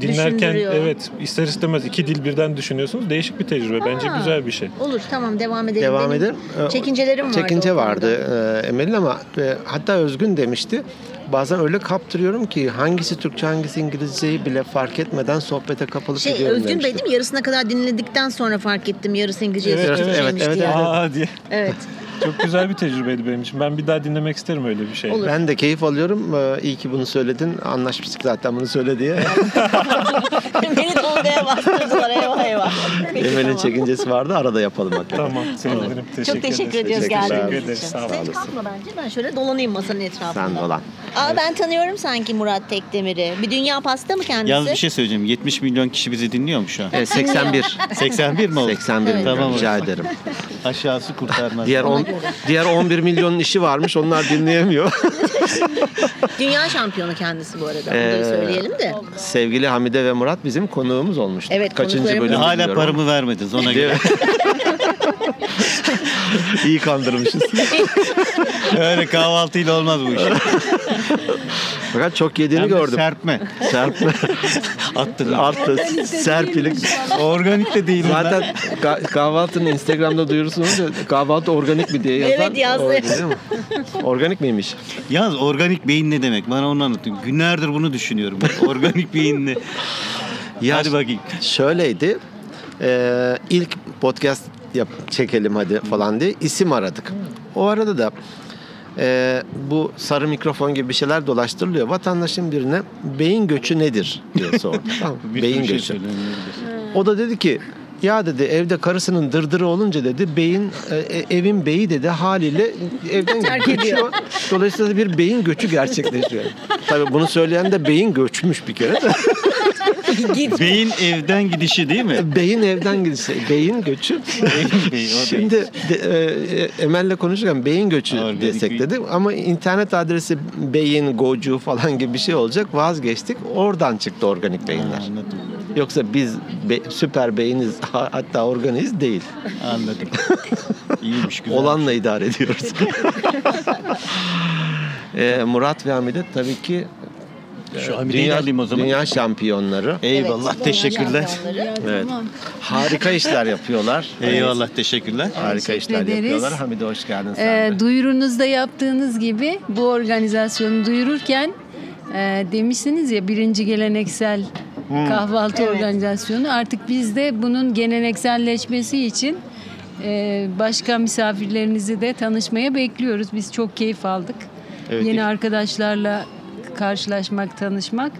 Speaker 37: dinlerken
Speaker 2: Düşündürüyor.
Speaker 37: evet ister istemez iki dil birden düşünüyorsunuz. Değişik bir tecrübe. Bence
Speaker 2: Ha.
Speaker 37: güzel bir şey.
Speaker 2: Olur tamam devam edelim.
Speaker 1: Devam
Speaker 2: Benim
Speaker 1: edelim. Ee,
Speaker 2: Çekincelerim vardı.
Speaker 1: Çekince
Speaker 2: o konuda.
Speaker 1: vardı e, Emel'in ama e, hatta Özgün demişti. Bazen öyle kaptırıyorum ki hangisi Türkçe hangisi İngilizceyi bile fark etmeden sohbete kapılıp
Speaker 2: Şey
Speaker 1: gidiyorum
Speaker 2: Özgün Bey
Speaker 1: demişti.
Speaker 2: değil mi? Yarısına kadar dinledikten sonra fark ettim. Yarısı İngilizce,
Speaker 37: Evet,
Speaker 2: yarısı
Speaker 37: evet, evet,
Speaker 2: Türkçeymiş
Speaker 37: evet,
Speaker 2: diye.
Speaker 37: Aa, diye.
Speaker 2: Evet.
Speaker 37: Çok güzel bir tecrübeydi benim için. Ben bir daha dinlemek isterim öyle bir şey.
Speaker 1: Ben de keyif alıyorum. Ee, İyi ki bunu söyledin. Anlaşmıştık zaten bunu söyle diye.
Speaker 2: Beni de odaya bastırdılar. Eyvah eyvah. Peki,
Speaker 1: Emel'in
Speaker 2: tamam.
Speaker 1: çekincesi vardı. Arada yapalım hakikaten.
Speaker 37: Tamam. Sevinirim.
Speaker 2: Çok teşekkür ediyoruz geldiğiniz için.
Speaker 1: Sağ
Speaker 2: Sen
Speaker 1: olasın.
Speaker 2: kalkma bence. Ben şöyle dolanayım masanın etrafında.
Speaker 1: Sen dolan.
Speaker 2: Aa, ben tanıyorum sanki Murat Tekdemir'i. Bir dünya pasta mı kendisi?
Speaker 9: Yalnız bir şey söyleyeceğim. 70 milyon kişi bizi dinliyor mu
Speaker 1: Ee,
Speaker 9: şu an?
Speaker 2: Evet, 81.
Speaker 9: 81 mi oldu?
Speaker 1: 81 milyon, rica ederim.
Speaker 9: Aşağısı kurtarmaz.
Speaker 1: Diğer on- diğer 11 milyonun işi varmış. Onlar dinleyemiyor.
Speaker 2: Dünya şampiyonu kendisi bu arada. Onu da
Speaker 1: Ee,
Speaker 2: söyleyelim de.
Speaker 1: Sevgili Hamide ve Murat bizim konuğumuz olmuştu.
Speaker 2: Evet,
Speaker 1: Kaçıncı
Speaker 2: konuklarımız-
Speaker 1: bölüm
Speaker 2: Hala paramı
Speaker 9: vermediniz ona
Speaker 1: göre. İyi kandırmışız.
Speaker 9: Öyle kahvaltıyla olmaz bu iş.
Speaker 1: Fakat çok yediğini
Speaker 38: Hem de
Speaker 1: gördüm.
Speaker 38: serpme.
Speaker 1: Serpme. Attı. Attı. Serpilik.
Speaker 38: Organik de değil bunlar.
Speaker 1: Zaten ka- kahvaltının Instagram'da duyurusunu olunca kahvaltı organik mi diye yazan.
Speaker 2: Evet, yazdı.
Speaker 1: oydu, değil mi? Organik miymiş?
Speaker 38: Yalnız organik beyin ne demek? Bana onu anlatın. Günlerdir bunu düşünüyorum. organik beyin ne?
Speaker 1: Hadi bakayım. Şöyleydi. Ee, ilk podcast yap çekelim hadi falan diye isim aradık. O arada da e, bu sarı mikrofon gibi bir şeyler dolaştırılıyor. Vatandaşın birine beyin göçü nedir diye sordum. Tamam,
Speaker 38: Bir
Speaker 1: beyin
Speaker 38: sürü şey
Speaker 1: göçü.
Speaker 38: söyleniyor.
Speaker 1: O da dedi ki ya dedi evde karısının dırdırı olunca dedi beyin e, e, evin beyi dedi haliyle evden
Speaker 2: Terk
Speaker 1: göçüyor.
Speaker 2: ediyor.
Speaker 1: Dolayısıyla bir beyin göçü gerçekleşiyor. Tabii bunu söyleyen de beyin göçmüş bir kere de.
Speaker 38: Beyin evden gidişi değil mi?
Speaker 1: Beyin evden gidişi. Beyin göçü. Şimdi de, e, e, Emel'le konuşurken beyin göçü desek dedi ama internet adresi beyin gocu falan gibi bir şey olacak vazgeçtik. Oradan çıktı organik beyinler. Yoksa biz be- süper beyiniz ha- hatta organiz değil.
Speaker 38: Anladım. İyiymiş
Speaker 1: Olanla idare ediyoruz. E, Murat ve Hamide tabii ki e,
Speaker 38: Şu Hamide'yi de alayım o zaman. E,
Speaker 1: Dünya şampiyonları.
Speaker 38: Eyvallah, Evet, teşekkürler.
Speaker 18: şampiyonları.
Speaker 1: Evet.
Speaker 18: Tamam.
Speaker 1: Harika işler yapıyorlar.
Speaker 38: Eyvallah, teşekkürler.
Speaker 1: Harika
Speaker 18: Teşekkür
Speaker 1: işler
Speaker 18: ederiz.
Speaker 1: yapıyorlar. Hamide hoş geldin sen.
Speaker 18: Ee, duyurunuzda yaptığınız gibi bu organizasyonu duyururken e, demiştiniz ya birinci geleneksel
Speaker 1: Hmm.
Speaker 18: kahvaltı organizasyonu artık biz de bunun gelenekselleşmesi için e, başka misafirlerinizi de tanışmaya bekliyoruz. Biz çok keyif aldık.
Speaker 1: Evet,
Speaker 18: Yeni
Speaker 1: ilk-
Speaker 18: arkadaşlarla karşılaşmak, tanışmak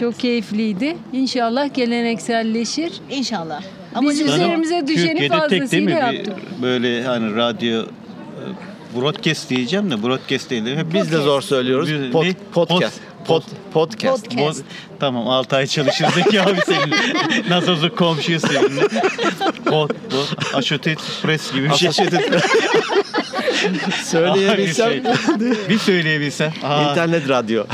Speaker 18: çok keyifliydi. İnşallah gelenekselleşir.
Speaker 2: İnşallah.
Speaker 18: Biz
Speaker 38: Sanırım
Speaker 18: üzerimize düşeni
Speaker 38: Türkiye'de tek değil mi?
Speaker 18: fazlasıyla
Speaker 38: Bir-
Speaker 18: yaptık.
Speaker 38: Böyle hani radyo e, broadcast diyeceğim de broadcast değil. Hep
Speaker 1: Biz de zor söylüyoruz.
Speaker 38: Bir-
Speaker 1: Pod-
Speaker 38: ne?
Speaker 1: podcast. Pod- podcast.
Speaker 38: Bo- tamam 6 ay çalışırdık ya abi seninle. Nasıl olsa komşuyuz seninle. Bot, bot. Aşotet pres gibi bir şey.
Speaker 1: Associated Press. Söyleyebilsem.
Speaker 38: Abi şey, bir söyleyebilsem. Aa.
Speaker 1: İnternet radyo.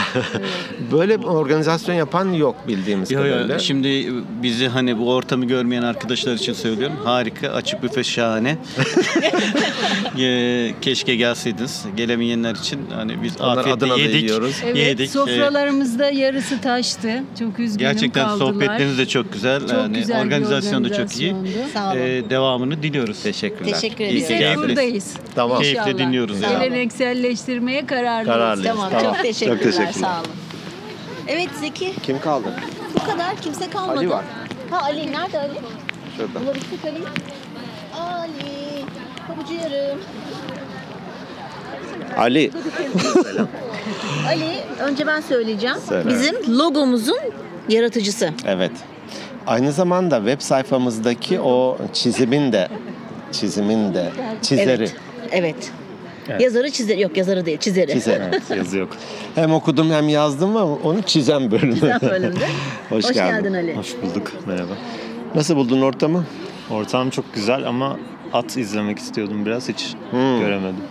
Speaker 1: Böyle bir organizasyon yapan yok bildiğimiz
Speaker 38: Yo, yo,
Speaker 1: kadarıyla.
Speaker 38: Şimdi bizi hani bu ortamı görmeyen arkadaşlar için söylüyorum. Harika, açık büfe şahane. Ee, Keşke gelseydiniz. Gelemeyenler için hani biz
Speaker 1: Onlar
Speaker 38: afiyetle
Speaker 1: Adana'da
Speaker 38: yedik.
Speaker 1: yiyoruz.
Speaker 18: Evet,
Speaker 38: yedik. Ee,
Speaker 18: sofralarımızda yarısı taştı. Çok üzgünüm
Speaker 38: Gerçekten
Speaker 18: kaldılar.
Speaker 38: sohbetleriniz de çok güzel.
Speaker 18: Çok
Speaker 38: yani
Speaker 18: güzel bir
Speaker 38: organizasyon da çok iyi.
Speaker 18: organizasyondu. Sağ olun.
Speaker 38: Ee, devamını diliyoruz.
Speaker 1: Teşekkürler.
Speaker 18: Teşekkür ederiz. Biz hep buradayız.
Speaker 1: Tamam.
Speaker 38: Keyifle dinliyoruz. yani.
Speaker 18: Gelenekselleştirmeye kararlıyız.
Speaker 38: Kararlıyız,
Speaker 2: Tamam,
Speaker 38: tamam.
Speaker 2: çok teşekkürler.
Speaker 38: Çok teşekkürler.
Speaker 2: Sağ olun. Evet Zeki.
Speaker 1: Kim kaldı?
Speaker 2: Bu kadar kimse kalmadı.
Speaker 1: Ali var.
Speaker 2: Ha Ali nerede Ali?
Speaker 1: Şurada.
Speaker 2: Bulabildik Ali. Ali. Pabucu yarım.
Speaker 1: Ali.
Speaker 2: Ali önce ben söyleyeceğim.
Speaker 1: Söyle.
Speaker 2: Bizim logomuzun yaratıcısı.
Speaker 1: Evet. Aynı zamanda web sayfamızdaki o çizimin de çizimin de çizeri.
Speaker 2: Evet. evet.
Speaker 1: Evet.
Speaker 2: Yazarı çizer yok yazarı değil çizeri.
Speaker 1: Çizeri. yazı yok. Hem okudum hem yazdım ama onu çizen bölümü.
Speaker 2: Çizen bölümde.
Speaker 1: Hoş,
Speaker 2: Hoş
Speaker 1: geldin.
Speaker 2: geldin Ali. Hoş
Speaker 39: bulduk. Merhaba.
Speaker 1: Nasıl buldun ortamı?
Speaker 39: Ortam çok güzel ama at izlemek istiyordum biraz hiç
Speaker 1: Hmm.
Speaker 39: göremedim.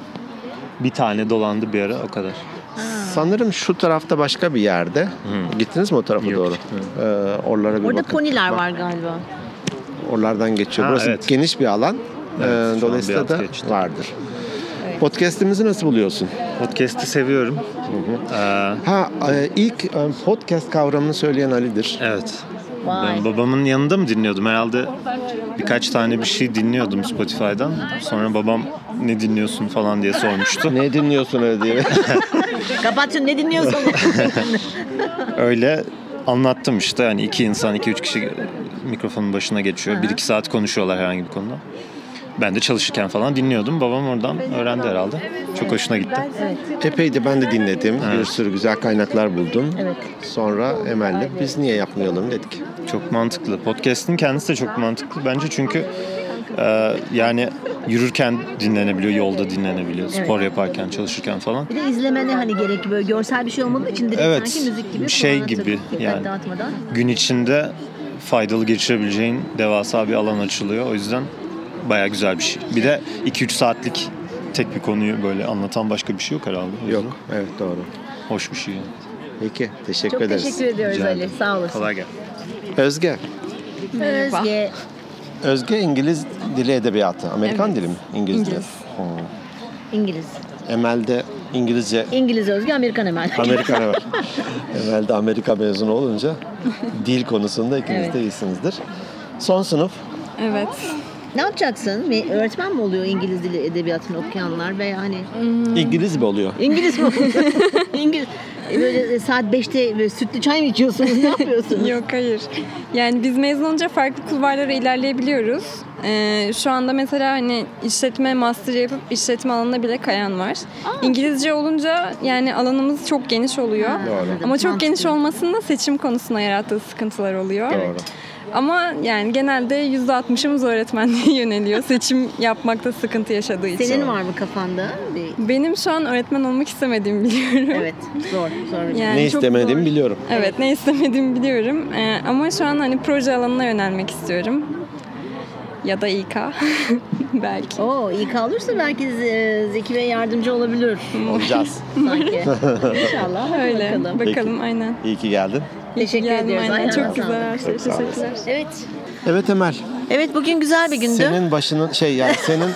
Speaker 39: Bir tane dolandı bir ara o kadar.
Speaker 1: Sanırım şu tarafta başka bir yerde.
Speaker 39: Hmm.
Speaker 1: Gittiniz mi o tarafa doğru? Ee, oralara bir
Speaker 2: Orada
Speaker 1: bakın.
Speaker 2: poniler
Speaker 1: Bak,
Speaker 2: var galiba.
Speaker 1: Oralardan geçiyor.
Speaker 39: Ha,
Speaker 1: Burası
Speaker 39: evet.
Speaker 1: geniş bir alan.
Speaker 39: Evet,
Speaker 1: Ee,
Speaker 39: şu an
Speaker 1: dolayısıyla
Speaker 39: biraz
Speaker 1: da
Speaker 39: geçti.
Speaker 1: vardır. Podcast'imizi nasıl buluyorsun?
Speaker 39: Podcast'i seviyorum. Ee,
Speaker 1: Ha e, ilk e, podcast kavramını söyleyen Ali'dir.
Speaker 39: Evet.
Speaker 1: Vay.
Speaker 39: Ben babamın yanında mı dinliyordum? Herhalde birkaç tane bir şey dinliyordum Spotify'dan. Sonra babam ne dinliyorsun falan diye sormuştu.
Speaker 1: ne dinliyorsun öyle diye.
Speaker 2: Kapat şunu ne dinliyorsun?
Speaker 39: Öyle anlattım işte yani iki insan iki üç kişi mikrofonun başına geçiyor. Bir iki saat konuşuyorlar herhangi bir konuda. Ben de çalışırken falan dinliyordum. Babam oradan öğrendi herhalde. Çok hoşuna gitti.
Speaker 1: Epey de ben de dinledim. Bir sürü güzel kaynaklar buldum. Sonra Emel'le biz niye yapmayalım dedik.
Speaker 39: Çok mantıklı. Podcast'in kendisi de çok mantıklı bence çünkü e, yani yürürken dinlenebiliyor, yolda dinlenebiliyor,
Speaker 2: Evet.
Speaker 39: spor yaparken, çalışırken falan.
Speaker 2: Bir de izlemene hani gerek böyle görsel bir şey olmadığı için direkt
Speaker 39: Evet,
Speaker 2: sanki müzik gibi
Speaker 39: şey
Speaker 2: kulağına
Speaker 39: gibi
Speaker 2: takıp
Speaker 39: yani.
Speaker 2: dağıtmadan.
Speaker 39: Gün içinde faydalı geçirebileceğin devasa bir alan açılıyor. O yüzden baya güzel bir şey. Bir de 2-3 saatlik tek bir konuyu böyle anlatan başka bir şey yok herhalde. Yok,
Speaker 1: evet doğru.
Speaker 39: Hoş bir şey.
Speaker 1: Peki, teşekkür
Speaker 2: Çok
Speaker 1: ederiz.
Speaker 2: teşekkür ediyoruz Ali. Sağ olasın.
Speaker 39: gelsin.
Speaker 1: Özge.
Speaker 2: Özge.
Speaker 1: Özge İngiliz dili edebiyatı. Amerikan
Speaker 2: Evet.
Speaker 1: dili mi? İngiliz,
Speaker 2: İngiliz.
Speaker 1: dili. Hmm.
Speaker 2: İngiliz.
Speaker 1: Emel'de İngilizce,
Speaker 2: İngiliz özgü Amerikan Emel.
Speaker 1: Amerikan Emel. Emel de Amerika mezunu olunca dil konusunda ikiniz
Speaker 2: Evet.
Speaker 1: de iyisinizdir. Son sınıf
Speaker 2: Evet. Ne yapacaksın? Bir Öğretmen mi oluyor İngiliz dili edebiyatını okuyanlar veya hani
Speaker 1: İngiliz mi oluyor?
Speaker 2: İngiliz mi oluyor? İngiliz E, böyle saat 5'te böyle sütlü çay mı içiyorsunuz? Ne yapıyorsunuz?
Speaker 23: Yok hayır. Yani biz mezun olunca farklı kulvarlara ilerleyebiliyoruz. Ee, şu anda mesela hani işletme master yapıp işletme alanına bile kayan var. İngilizce olunca yani alanımız çok geniş oluyor.
Speaker 20: Doğru.
Speaker 23: Ama çok geniş olmasının da seçim konusuna yarattığı sıkıntılar oluyor.
Speaker 20: Doğru.
Speaker 23: Ama yani genelde %60'ımız öğretmenliğe yöneliyor. Seçim yapmakta sıkıntı yaşadığı için.
Speaker 2: Senin var mı kafanda? Bir-
Speaker 23: Benim şu an öğretmen olmak istemediğimi biliyorum.
Speaker 2: Evet, zor. zor.
Speaker 23: Yani
Speaker 1: ne
Speaker 23: çok
Speaker 1: istemediğimi biliyorum.
Speaker 23: Evet ne istemediğimi biliyorum Ee, ama şu an hani proje alanına yönelmek istiyorum. Ya da İK belki.
Speaker 2: Oo İK olursa belki Z- Zeki Bey yardımcı olabilir.
Speaker 1: Olacağız.
Speaker 2: Sanki. İnşallah. Hadi
Speaker 23: Öyle.
Speaker 2: Bakalım.
Speaker 23: Bakalım,
Speaker 1: Peki.
Speaker 23: aynen.
Speaker 1: İyi ki geldin.
Speaker 2: Teşekkür
Speaker 23: Yani
Speaker 2: ediyoruz.
Speaker 23: aynen,
Speaker 2: Ayağına
Speaker 23: çok güzel her şey.
Speaker 1: Çok sağ olasın.
Speaker 23: Teşekkürler.
Speaker 2: Evet.
Speaker 1: Evet Emel.
Speaker 2: Evet bugün güzel bir gündü.
Speaker 1: Senin başının şey yani senin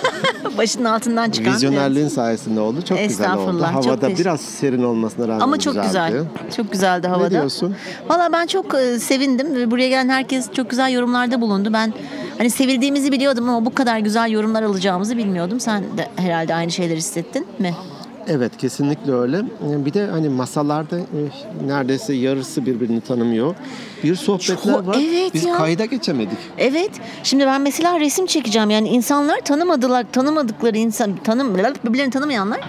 Speaker 2: Başının altından çıkan.
Speaker 1: vizyonerliğin sayesinde oldu. Çok güzel oldu.
Speaker 2: Estağfurullah, çok
Speaker 1: Havada
Speaker 2: teşekkür-
Speaker 1: biraz serin olmasına rağmen
Speaker 2: Ama çok güzel.
Speaker 1: güzeldi.
Speaker 2: Çok güzeldi havada.
Speaker 1: diyorsun?
Speaker 2: Valla ben çok e, sevindim. ve Buraya gelen herkes çok güzel yorumlarda bulundu. Ben hani sevildiğimizi biliyordum ama bu kadar güzel yorumlar alacağımızı bilmiyordum. Sen de herhalde aynı şeyleri hissettin mi?
Speaker 1: Evet kesinlikle öyle. Bir de hani masalarda e, neredeyse yarısı birbirini tanımıyor. Bir sohbetler
Speaker 2: Çok-
Speaker 1: var.
Speaker 2: evet
Speaker 1: Biz
Speaker 2: ya.
Speaker 1: kayda geçemedik.
Speaker 2: Evet. Şimdi ben mesela resim çekeceğim. Yani insanlar tanımadılar, tanımadıkları insan, tanım, birbirlerini tanımayanlar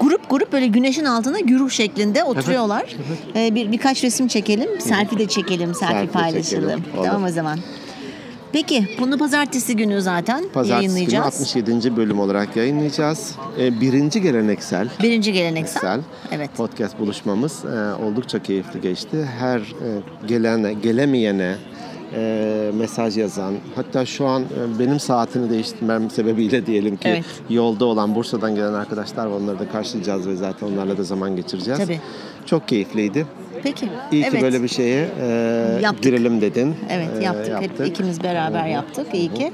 Speaker 2: grup grup böyle güneşin altına güruh şeklinde oturuyorlar. Ee, bir birkaç resim çekelim, selfie de çekelim, selfie,
Speaker 1: Selfie
Speaker 2: paylaşalım.
Speaker 1: çekelim, olur.
Speaker 2: Tamam o zaman. Peki bunu pazartesi günü zaten
Speaker 1: Pazartesi günü
Speaker 2: yayınlayacağız.
Speaker 1: 67. bölüm olarak yayınlayacağız. E, Birinci geleneksel.
Speaker 2: Birinci geleneksel.
Speaker 1: Geleneksel
Speaker 2: Evet.
Speaker 1: podcast buluşmamız e, oldukça keyifli geçti. Her e, gelene, gelemeyene e, mesaj yazan, hatta şu an e, benim saatini değiştirmem sebebiyle diyelim ki
Speaker 2: Evet.
Speaker 1: yolda olan Bursa'dan gelen arkadaşlar var. Onları da karşılayacağız ve zaten onlarla da zaman geçireceğiz.
Speaker 2: Tabii.
Speaker 1: Çok keyifliydi.
Speaker 2: Peki.
Speaker 1: İyi
Speaker 2: evet.
Speaker 1: ki böyle bir şeye e,
Speaker 2: Yaptık.
Speaker 1: girelim dedin.
Speaker 2: Evet
Speaker 1: E,
Speaker 2: yaptık. Hep ikimiz beraber
Speaker 1: Hı hı.
Speaker 2: yaptık. İyi ki.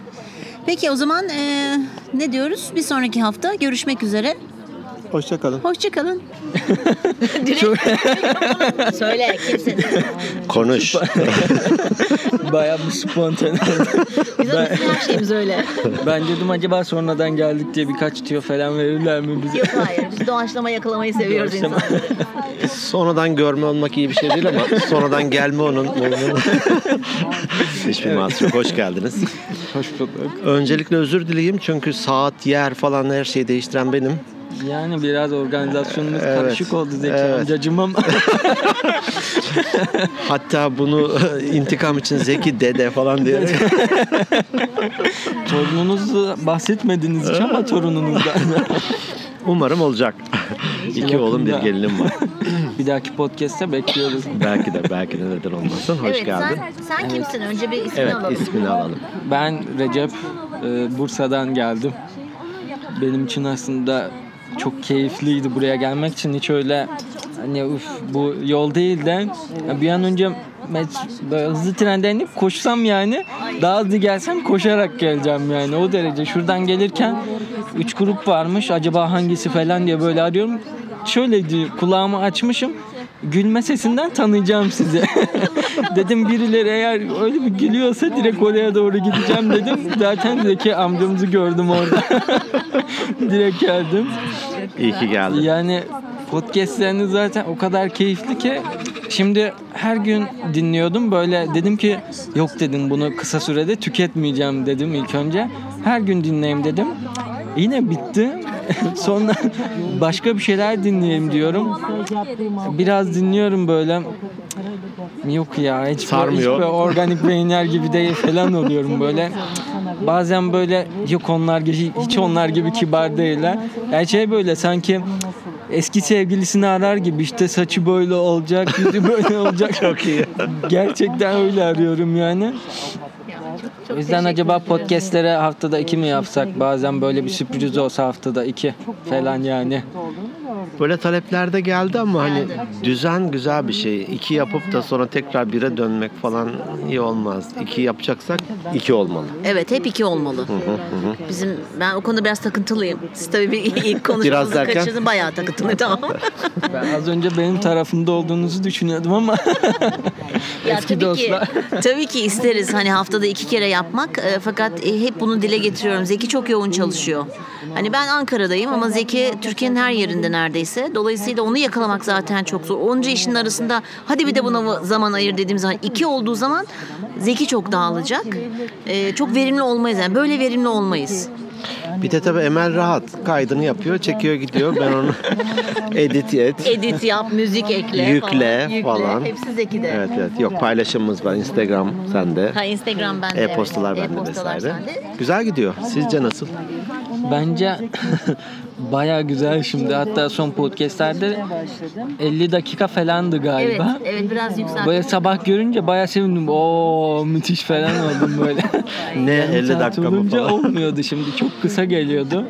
Speaker 2: Peki o zaman e, ne diyoruz? Bir sonraki hafta görüşmek üzere.
Speaker 1: Hoşçakalın.
Speaker 2: Hoşçakalın. Söyle kimsin?
Speaker 1: Konuş.
Speaker 40: Bayağı bir spontane. ben,
Speaker 2: Her şeyimiz öyle.
Speaker 40: ben dedim acaba sonradan geldik diye birkaç tüyo falan verirler mi bize?
Speaker 2: Yok hayır. Biz doğaçlama yakalamayı seviyoruz
Speaker 40: Doğaçlama.
Speaker 2: insanları.
Speaker 1: Sonradan görme olmak iyi bir şey değil ama sonradan gelme onun. Hiçbir mahsuru yok. Hoş geldiniz.
Speaker 40: Hoş bulduk.
Speaker 1: Öncelikle özür dileyeyim çünkü saat, yer falan her şeyi değiştiren benim.
Speaker 40: Yani biraz organizasyonumuz
Speaker 1: Evet.
Speaker 40: karışık oldu Zeki
Speaker 1: Evet.
Speaker 40: amcacım ama
Speaker 1: Hatta bunu intikam için Zeki dede falan diye.
Speaker 40: torununuzu bahsetmediniz hiç ama torununuzdan.
Speaker 1: Umarım olacak. İki oğlum bir
Speaker 40: Yakında.
Speaker 1: gelinim var.
Speaker 40: bir dahaki podcast'te bekliyoruz.
Speaker 1: Belki de belki de neden olmasın. Hoş
Speaker 2: evet,
Speaker 1: geldin.
Speaker 2: Sen, sen kimsin? Önce bir ismini
Speaker 40: Evet,
Speaker 2: alalım.
Speaker 40: ismini
Speaker 1: alalım.
Speaker 40: Ben Recep, e, Bursa'dan geldim. Benim için aslında çok keyifliydi buraya gelmek için. Hiç öyle hani uf, bu yol değil de ya bir an önce met- böyle hızlı trenden inip koşsam yani daha hızlı gelsem koşarak geleceğim yani o derece. Şuradan gelirken üç grup varmış acaba hangisi falan diye böyle arıyorum. Şöyle diyor, kulağımı açmışım gülme sesinden tanıyacağım sizi. dedim birileri eğer öyle bir gülüyorsa direkt oraya doğru gideceğim dedim. Zaten Zeki amcamızı gördüm orada. direkt geldim.
Speaker 1: İyi ki geldin.
Speaker 40: Yani podcastleriniz zaten o kadar keyifli ki şimdi her gün dinliyordum böyle dedim ki yok dedim bunu kısa sürede tüketmeyeceğim dedim ilk önce. Her gün dinleyeyim dedim. Yine bitti. Sonra başka bir şeyler dinleyeyim diyorum. Biraz dinliyorum böyle. Yok ya hiç
Speaker 1: Sarmıyor.
Speaker 40: Hiç böyle organik beyinler gibi değil falan oluyorum böyle. Bazen böyle yok onlar gibi hiç onlar gibi kibar değiller. Yani şey böyle sanki eski sevgilisini arar gibi işte saçı böyle olacak, yüzü böyle olacak. Çok iyi. Gerçekten öyle arıyorum yani. O yüzden acaba podcastlere haftada iki mi yapsak? Bazen böyle bir sürpriz olsa haftada iki falan yani.
Speaker 1: Böyle taleplerde geldi ama hani düzen güzel bir şey. İki yapıp da sonra tekrar bire dönmek falan iyi olmaz. İki yapacaksak iki olmalı.
Speaker 2: Evet hep iki olmalı.
Speaker 1: Hı hı hı hı.
Speaker 2: Bizim ben o konuda biraz takıntılıyım. Siz tabii bir ilk
Speaker 1: Biraz
Speaker 2: konuşmamızı
Speaker 1: derken?
Speaker 2: kaçırdınız. Bayağı takıntılı tamam.
Speaker 40: Ben az önce benim tarafımda olduğunuzu düşünüyordum ama
Speaker 2: Ya
Speaker 40: eski
Speaker 2: tabii ki,
Speaker 40: dostlar.
Speaker 2: tabii ki isteriz hani haftada iki kere yapmak E, fakat e, hep bunu dile getiriyorum. Zeki çok yoğun çalışıyor. Hani ben Ankara'dayım ama Zeki Türkiye'nin her yerinde neredeyse. Dolayısıyla onu yakalamak zaten çok zor. Onca işin arasında hadi bir de buna zaman ayır dediğim zaman iki olduğu zaman Zeki çok dağılacak. E, çok verimli olmayız yani böyle verimli olmayız.
Speaker 1: Bir de tabii Emel rahat. Kaydını yapıyor, çekiyor gidiyor. Ben onu edit et.
Speaker 2: Edit yap, müzik ekle
Speaker 1: Yükle falan.
Speaker 2: Hepsi Zeki'de.
Speaker 1: Evet evet. Yok paylaşımımız var. Instagram sende.
Speaker 2: Ha, Instagram bende. evet.
Speaker 1: E-postalar bende
Speaker 2: E-postalar
Speaker 1: vesaire.
Speaker 2: sende.
Speaker 1: Güzel gidiyor. Sizce nasıl?
Speaker 40: Bence baya güzel şimdi. Hatta son podcastlerde 50 dakika falandı
Speaker 2: Evet,
Speaker 40: galiba.
Speaker 2: evet biraz yükselttim.
Speaker 40: Böyle sabah görünce baya sevindim. Oo müthiş falan oldum böyle.
Speaker 1: ne
Speaker 40: 50
Speaker 1: dakika mı
Speaker 40: olunca
Speaker 1: falan?
Speaker 40: olmuyordu şimdi. Çok kısa geliyordu.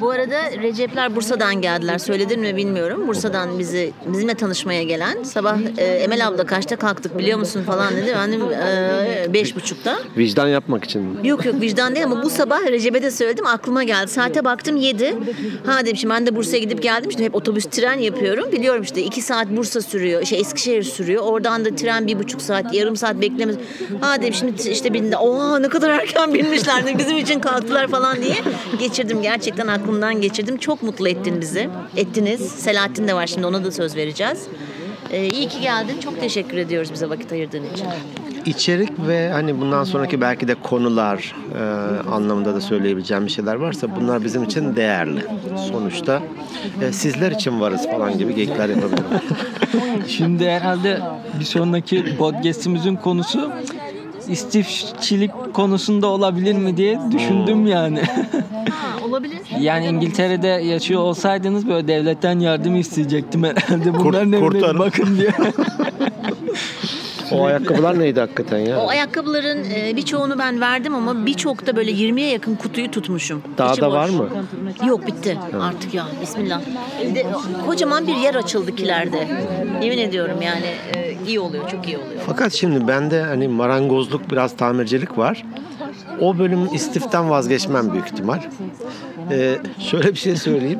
Speaker 2: Bu arada Recepler Bursa'dan geldiler. Söyledin mi bilmiyorum. Bursa'dan bizi bizimle tanışmaya gelen. Sabah e, Emel abla kaçta kalktık biliyor musun falan dedi. Ben de e, beş buçukta.
Speaker 1: Vicdan yapmak için mi?
Speaker 2: Yok yok vicdan değil ama bu sabah Recep'e de söyledim aklıma geldi. Saate baktım 7. Ha dedim şimdi ben de Bursa'ya gidip geldim işte hep otobüs tren yapıyorum. Biliyorum işte 2 saat Bursa sürüyor. Şey Eskişehir sürüyor. Oradan da tren bir buçuk saat yarım saat beklemez. Ha dedim şimdi t- işte bindi. Oha ne kadar erken binmişler. de Bizim için kalktılar falan diye. Geçirdim gerçekten aklımdan geçirdim. Çok mutlu ettin bizi. Ettiniz. Selahattin de var şimdi ona da söz vereceğiz. Ee, iyi ki geldin. Çok teşekkür ediyoruz bize vakit ayırdığın için.
Speaker 1: İçerik ve hani bundan sonraki belki de konular e, anlamında da söyleyebileceğim bir şeyler varsa bunlar bizim için değerli. Sonuçta e, sizler için varız falan gibi geyikler yapabilirim.
Speaker 40: Şimdi herhalde bir sonraki podcast'imizin konusu istifçilik konusunda olabilir mi diye düşündüm yani.
Speaker 2: olabilir.
Speaker 40: Yani İngiltere'de yaşıyor olsaydınız böyle devletten yardım isteyecektim herhalde. Bunların evine bir
Speaker 1: kurtarın.
Speaker 40: bakın diye.
Speaker 1: O ayakkabılar neydi hakikaten ya?
Speaker 2: O ayakkabıların e, birçoğunu ben verdim ama birçok da böyle 20'ye yakın kutuyu tutmuşum.
Speaker 1: Daha
Speaker 2: İçi
Speaker 1: da
Speaker 2: boş.
Speaker 1: var mı?
Speaker 2: Yok bitti
Speaker 1: Ha.
Speaker 2: artık ya bismillah. Evde kocaman bir yer açıldı kilerde. Yemin ediyorum yani e, iyi oluyor çok iyi oluyor.
Speaker 1: Fakat şimdi bende hani marangozluk biraz tamircilik var. O bölüm istiften vazgeçmem büyük ihtimal. Ee, şöyle bir şey söyleyeyim.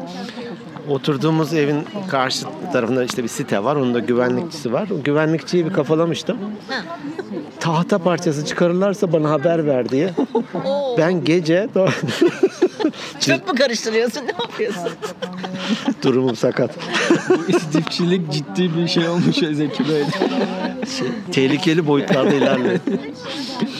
Speaker 1: Oturduğumuz evin karşı tarafında işte bir site var. Onun da güvenlikçisi var. O güvenlikçiyi bir kafalamıştım. Tahta parçası çıkarırlarsa bana haber ver diye. Ben gece
Speaker 2: Çok mu karıştırıyorsun ne yapıyorsun?
Speaker 1: durumum sakat.
Speaker 40: İstifçilik ciddi bir şey olmuş Zeki Bey.
Speaker 1: Tehlikeli boyutlarda ilerliyor.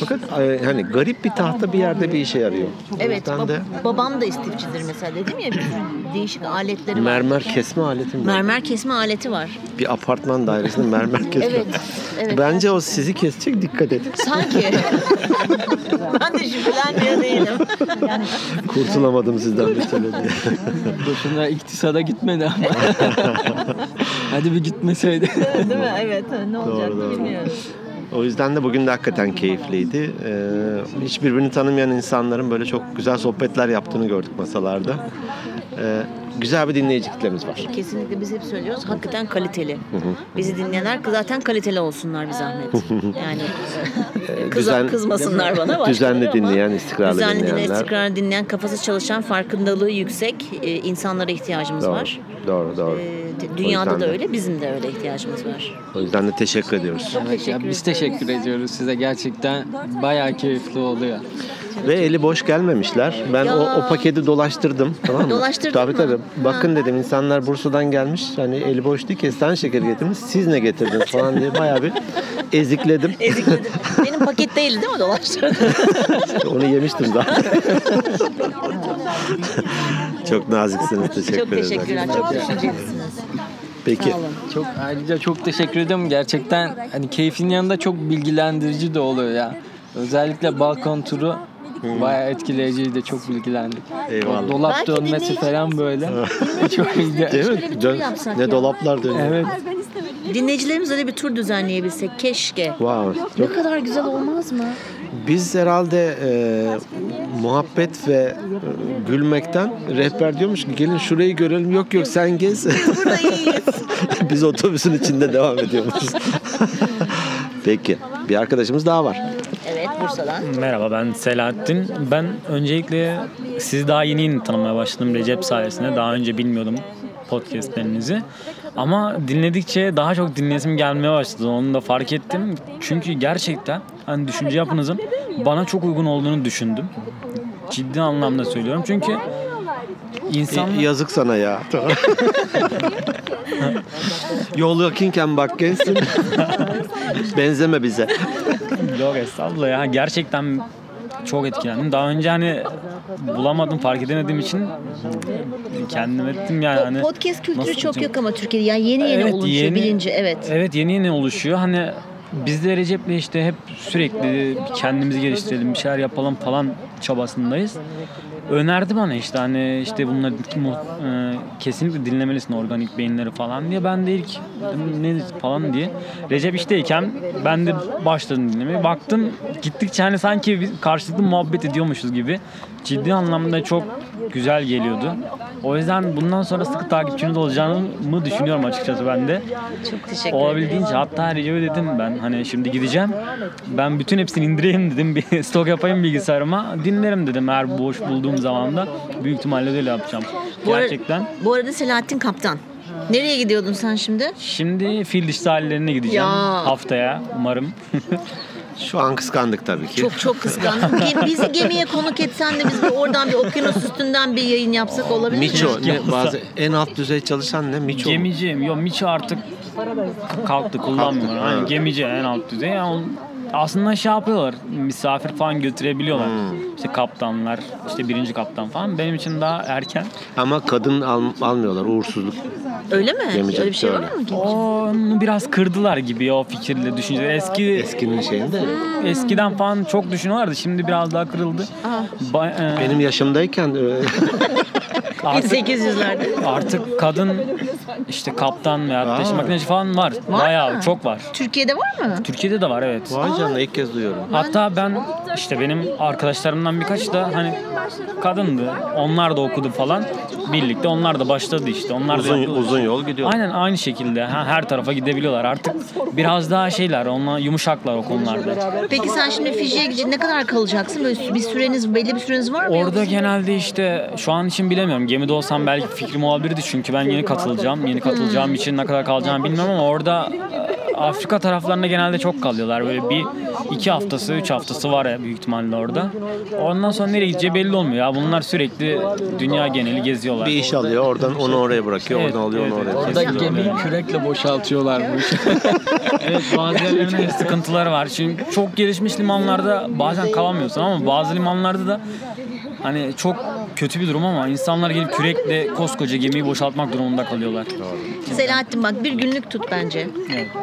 Speaker 1: Fakat e, hani garip bir tahta bir yerde bir işe yarıyor.
Speaker 2: Evet
Speaker 1: O yüzden de
Speaker 2: bab- babam da istifçidir mesela dedim ya bir sürü değişik aletleri var.
Speaker 1: mermer kesme aleti mi?
Speaker 2: Mermer kesme aleti var.
Speaker 1: Bir apartman dairesinde mermer kesme.
Speaker 2: Evet. evet.
Speaker 1: Bence o sizi kesecek dikkat edin.
Speaker 2: Sanki. ben de şüphelenmiyor değilim.
Speaker 1: Kurtulamadım sizden bir türlü diye.
Speaker 40: Boşuna iktisada gitmedi ama. Hadi bir gitmeseydi.
Speaker 2: Değil mi? Evet. Ne olacak
Speaker 1: Doğru, doğru.
Speaker 2: bilmiyorum.
Speaker 1: O yüzden de bugün de hakikaten keyifliydi. Ee, hiç birbirini tanımayan insanların böyle çok güzel sohbetler yaptığını gördük masalarda. Ee, güzel bir dinleyici kitlemiz var.
Speaker 2: Şey, Kesinlikle biz hep söylüyoruz. Hakikaten kaliteli.
Speaker 1: Hı hı.
Speaker 2: Bizi dinleyenler zaten kaliteli olsunlar bir zahmet. Yani
Speaker 1: Ee,
Speaker 2: Kıza- kızmasınlar bana, başkaları
Speaker 1: Düzenli
Speaker 2: ama-
Speaker 1: dinleyen, istikrarlı
Speaker 2: düzenli dinleyen,
Speaker 1: dinleyenler.
Speaker 2: istikrarlı dinleyen, kafası çalışan, farkındalığı yüksek e, insanlara ihtiyacımız
Speaker 1: doğru,
Speaker 2: var.
Speaker 1: Doğru, doğru.
Speaker 2: D-
Speaker 1: O
Speaker 2: Dünyada
Speaker 1: yüzden
Speaker 2: da
Speaker 1: de-
Speaker 2: öyle, bizim de öyle ihtiyacımız var.
Speaker 1: O yüzden de teşekkür ediyoruz.
Speaker 40: Evet ya, biz teşekkür ediyoruz size. Gerçekten bayağı keyifli oluyor.
Speaker 1: Ve eli boş gelmemişler. Ben o,
Speaker 2: Ya.
Speaker 1: o paketi dolaştırdım. Tamam mı?
Speaker 2: Dolaştırdın
Speaker 1: tabii,
Speaker 2: mı?
Speaker 1: Tabii Bakın dedim insanlar Bursa'dan gelmiş. Hani eli boş değil kestane şekeri getirmiş. Siz ne getirdiniz falan diye bayağı bir ezikledim.
Speaker 2: Benim paket değildi değil mi dolaştırdın?
Speaker 1: Onu yemiştim zaten. Çok naziksiniz. Teşekkür
Speaker 2: çok
Speaker 1: ederim.
Speaker 2: teşekkürler, çok düşüncelisiniz.
Speaker 1: Peki.
Speaker 2: Sağ olun.
Speaker 40: Çok ayrıca çok teşekkür ediyorum. Gerçekten hani keyfin yanında çok bilgilendirici de oluyor ya. Özellikle balkon turu bayağı etkileyiciydi. Çok bilgilendik.
Speaker 1: Hmm. Eyvallah.
Speaker 40: Dolap
Speaker 2: Belki
Speaker 40: dönmesi
Speaker 2: dinleyicimiz-
Speaker 40: falan böyle. çok iyiydi.
Speaker 1: Değil mi? Dön- ne dolaplar dönüyor.
Speaker 40: Evet.
Speaker 2: Dinleyicilerimiz öyle bir tur düzenleyebilsek keşke.
Speaker 1: Wow, çok-
Speaker 2: Ne kadar güzel olmaz mı?
Speaker 1: Biz herhalde e, muhabbet ve e, gülmekten rehber diyormuş ki gelin şurayı görelim. Yok yok sen gez. Biz Biz otobüsün içinde devam ediyormuşuz. Peki bir arkadaşımız daha var.
Speaker 2: Evet Bursa'dan.
Speaker 26: Merhaba ben Selahattin. Ben öncelikle sizi daha yeni yeni tanımaya başladım Recep sayesinde. Daha önce bilmiyordum podcastlerinizi. Ama dinledikçe daha çok dinlesim gelmeye başladı. Onu da fark ettim. Çünkü gerçekten hani düşünce yapınızın bana çok uygun olduğunu düşündüm. Ciddi anlamda söylüyorum. Çünkü
Speaker 1: E,
Speaker 26: insan
Speaker 1: Y- Yazık sana ya. Yol yakınken bak gençsin. Benzeme bize.
Speaker 26: Yok estağfurullah ya. Gerçekten çok etkilendim. Daha önce hani bulamadım, fark edemediğim için kendim ettim yani. Hani
Speaker 2: Podcast kültürü
Speaker 26: nasıl
Speaker 2: çok
Speaker 26: diyeceğim?
Speaker 2: yok ama Türkiye'de yani yeni yeni
Speaker 26: Evet,
Speaker 2: oluşuyor
Speaker 26: yeni-
Speaker 2: bilinci evet.
Speaker 26: Evet yeni yeni oluşuyor. Hani biz de Recep'le işte hep sürekli kendimizi geliştirelim, bir şeyler yapalım falan çabasındayız. Önerdi bana işte hani işte bunları mu- e, kesinlikle dinlemelisin organik beyinleri falan diye. Ben de ilk dedim ne falan diye. Recep işteyken ben de başladım dinlemeye. Baktım gittikçe hani sanki biz karşılıklı muhabbet ediyormuşuz gibi. Ciddi anlamda çok güzel geliyordu. O yüzden bundan sonra sıkı takipçiniz olacağımı düşünüyorum açıkçası ben de.
Speaker 2: Çok teşekkür ederim.
Speaker 26: Olabildiğince hatta Recep'e dedim ben hani şimdi gideceğim. Ben bütün hepsini indireyim dedim. Bir stok yapayım bilgisayarıma. Dinlerim dedim eğer boş bulduğum zaman da. Büyük ihtimalle de öyle yapacağım.
Speaker 2: Bu ara-
Speaker 26: Gerçekten.
Speaker 2: Bu arada Selahattin Kaptan. Nereye gidiyordun sen şimdi?
Speaker 26: Şimdi fil dişi sahillerine gideceğim
Speaker 2: Ya.
Speaker 26: haftaya umarım.
Speaker 1: Şu an kıskandık tabii ki.
Speaker 2: Çok çok kıskandım. Ge- Bizi gemiye konuk etsen de biz bir oradan bir okyanus üstünden bir yayın yapsak olabilir mi?
Speaker 1: Miço ne, bazı en alt düzey çalışan ne Miço? mu?
Speaker 26: Gemiciyim. Yok Miço artık kalktı kullanmıyor.
Speaker 1: Kalktı,
Speaker 26: Hani
Speaker 1: evet.
Speaker 26: gemici en alt düzey. Yani on- aslında şey yapıyorlar. Misafir falan götürebiliyorlar.
Speaker 1: Hmm.
Speaker 26: İşte kaptanlar, işte birinci kaptan falan. Benim için daha erken.
Speaker 1: Ama kadın al- almıyorlar uğursuzluk.
Speaker 2: Öyle mi?
Speaker 1: Gemicilik
Speaker 26: Öyle bir şey var
Speaker 1: öyle.
Speaker 2: mı?
Speaker 26: Onu biraz kırdılar gibi ya, o fikirle düşünce. Eski
Speaker 1: Eskinin şeyinde.
Speaker 2: Hmm.
Speaker 26: Eskiden falan çok düşünüyorlardı. Şimdi biraz daha kırıldı. Ba- e,
Speaker 1: Benim yaşımdayken e,
Speaker 26: artık-
Speaker 2: 1800'lerde.
Speaker 26: Artık kadın işte kaptan veya ateş
Speaker 1: Aa.
Speaker 26: makineci falan var.
Speaker 2: Var
Speaker 26: Bayağı
Speaker 2: mı?
Speaker 26: çok var.
Speaker 2: Türkiye'de var mı?
Speaker 26: Türkiye'de de var evet.
Speaker 1: Vay canına ilk kez duyuyorum.
Speaker 26: Hatta ben işte benim arkadaşlarımdan birkaç da hani kadındı. Onlar da okudu falan. Birlikte onlar da başladı işte. Onlar da
Speaker 1: Uzun-
Speaker 26: yapıyorlar.
Speaker 1: uzun yol gidiyor.
Speaker 26: Aynen aynı şekilde ha, her tarafa gidebiliyorlar. Artık biraz daha şeyler onlar yumuşaklar o konularda.
Speaker 2: Peki sen şimdi Fiji'ye gideceksin. Ne kadar kalacaksın? Böyle bir süreniz, belli bir süreniz var mı?
Speaker 26: Orada genelde işte şu an için bilemiyorum. Gemide olsam belki fikrim olabilirdi çünkü ben yeni katılacağım. Yeni katılacağım
Speaker 2: Hmm.
Speaker 26: için ne kadar kalacağımı bilmem ama orada e, Afrika taraflarına genelde çok kalıyorlar. Böyle bir iki haftası, üç haftası var ya büyük ihtimalle orada. Ondan sonra nereye gideceği belli olmuyor ya. Bunlar sürekli dünya geneli geziyorlar.
Speaker 1: bir iş alıyor oradan onu oraya bırakıyor oradan alıyor onu oraya.
Speaker 26: Orada
Speaker 1: bırakıyor.
Speaker 26: gemi-
Speaker 40: Kürekle boşaltıyorlar bu işi.
Speaker 26: evet bazı yerlerinde sıkıntıları var. Çünkü çok gelişmiş limanlarda bazen kalamıyorsun ama bazı limanlarda da hani çok kötü bir durum ama insanlar gelip kürekle koskoca gemiyi boşaltmak durumunda kalıyorlar.
Speaker 2: Selahattin bak bir günlük tut bence.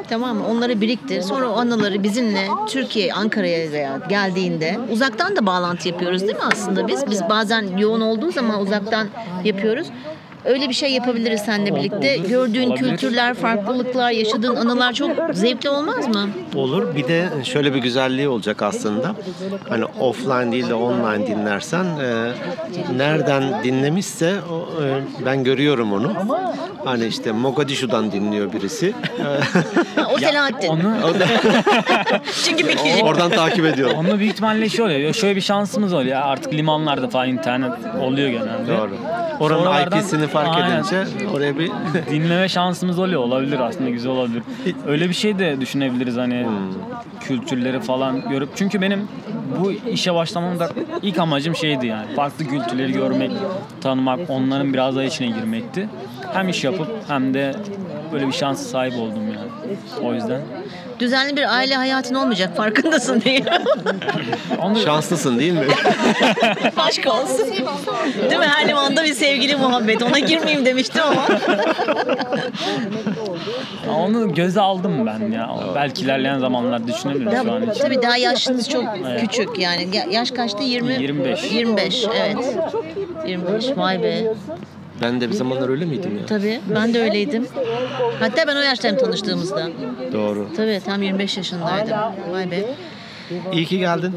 Speaker 2: Tamam mı? Onları biriktir. Sonra o anıları bizimle Türkiye, Ankara'ya veya geldiğinde uzaktan da bağlantı yapıyoruz değil mi aslında biz? Biz bazen yoğun olduğu zaman uzaktan yapıyoruz. Öyle bir şey yapabiliriz seninle birlikte. Gördüğün
Speaker 1: Olabilir.
Speaker 2: kültürler, farklılıklar, yaşadığın anılar çok zevkli olmaz mı?
Speaker 1: Olur. Bir de şöyle bir güzelliği olacak aslında. Hani offline değil de online dinlersen e, nereden dinlemişse o, e, ben görüyorum onu. Hani işte Mogadishu'dan dinliyor birisi.
Speaker 2: Ha, o Selahattin. Çünkü bir kişi.
Speaker 1: Oradan takip ediyorum.
Speaker 26: Onunla büyük ihtimalle şey oluyor. Şöyle bir şansımız oluyor. Artık limanlarda falan internet oluyor genelde.
Speaker 1: Doğru. Oranın
Speaker 26: Sonralardan-
Speaker 1: IP'sini fark
Speaker 26: Aynen.
Speaker 1: edince oraya bir
Speaker 26: dinleme şansımız oluyor. Olabilir aslında güzel olabilir. Öyle bir şey de düşünebiliriz hani
Speaker 1: Hmm.
Speaker 26: kültürleri falan görüp. Çünkü benim bu işe başlamamda ilk amacım şeydi yani. Farklı kültürleri görmek, tanımak, onların biraz daha içine girmekti. Hem iş yapıp hem de böyle bir şansa sahip oldum yani. O yüzden.
Speaker 2: Düzenli bir aile hayatın olmayacak farkındasın değil mi?
Speaker 1: şanslısın değil mi?
Speaker 2: Aşk olsun. Değil mi? Her limanda bir sevgili muhabbet. Ona girmeyeyim demiştim ama.
Speaker 26: Ya Onu göze aldım ben ya. Belki ilerleyen zamanlar düşünebilirim şu an
Speaker 2: Tabii,
Speaker 26: için.
Speaker 2: tabii daha yaşınız çok
Speaker 26: Evet.
Speaker 2: küçük yani. Ya- Yaş kaçtı? 20
Speaker 26: 25.
Speaker 2: 25 evet. 25 vay be.
Speaker 1: Ben de bir zamanlar öyle miydim ya?
Speaker 2: Tabii ben de öyleydim. Hatta ben o yaştayım tanıştığımızda.
Speaker 1: Doğru.
Speaker 2: Tabii tam 25 yaşındaydım. Vay be.
Speaker 1: İyi ki geldin.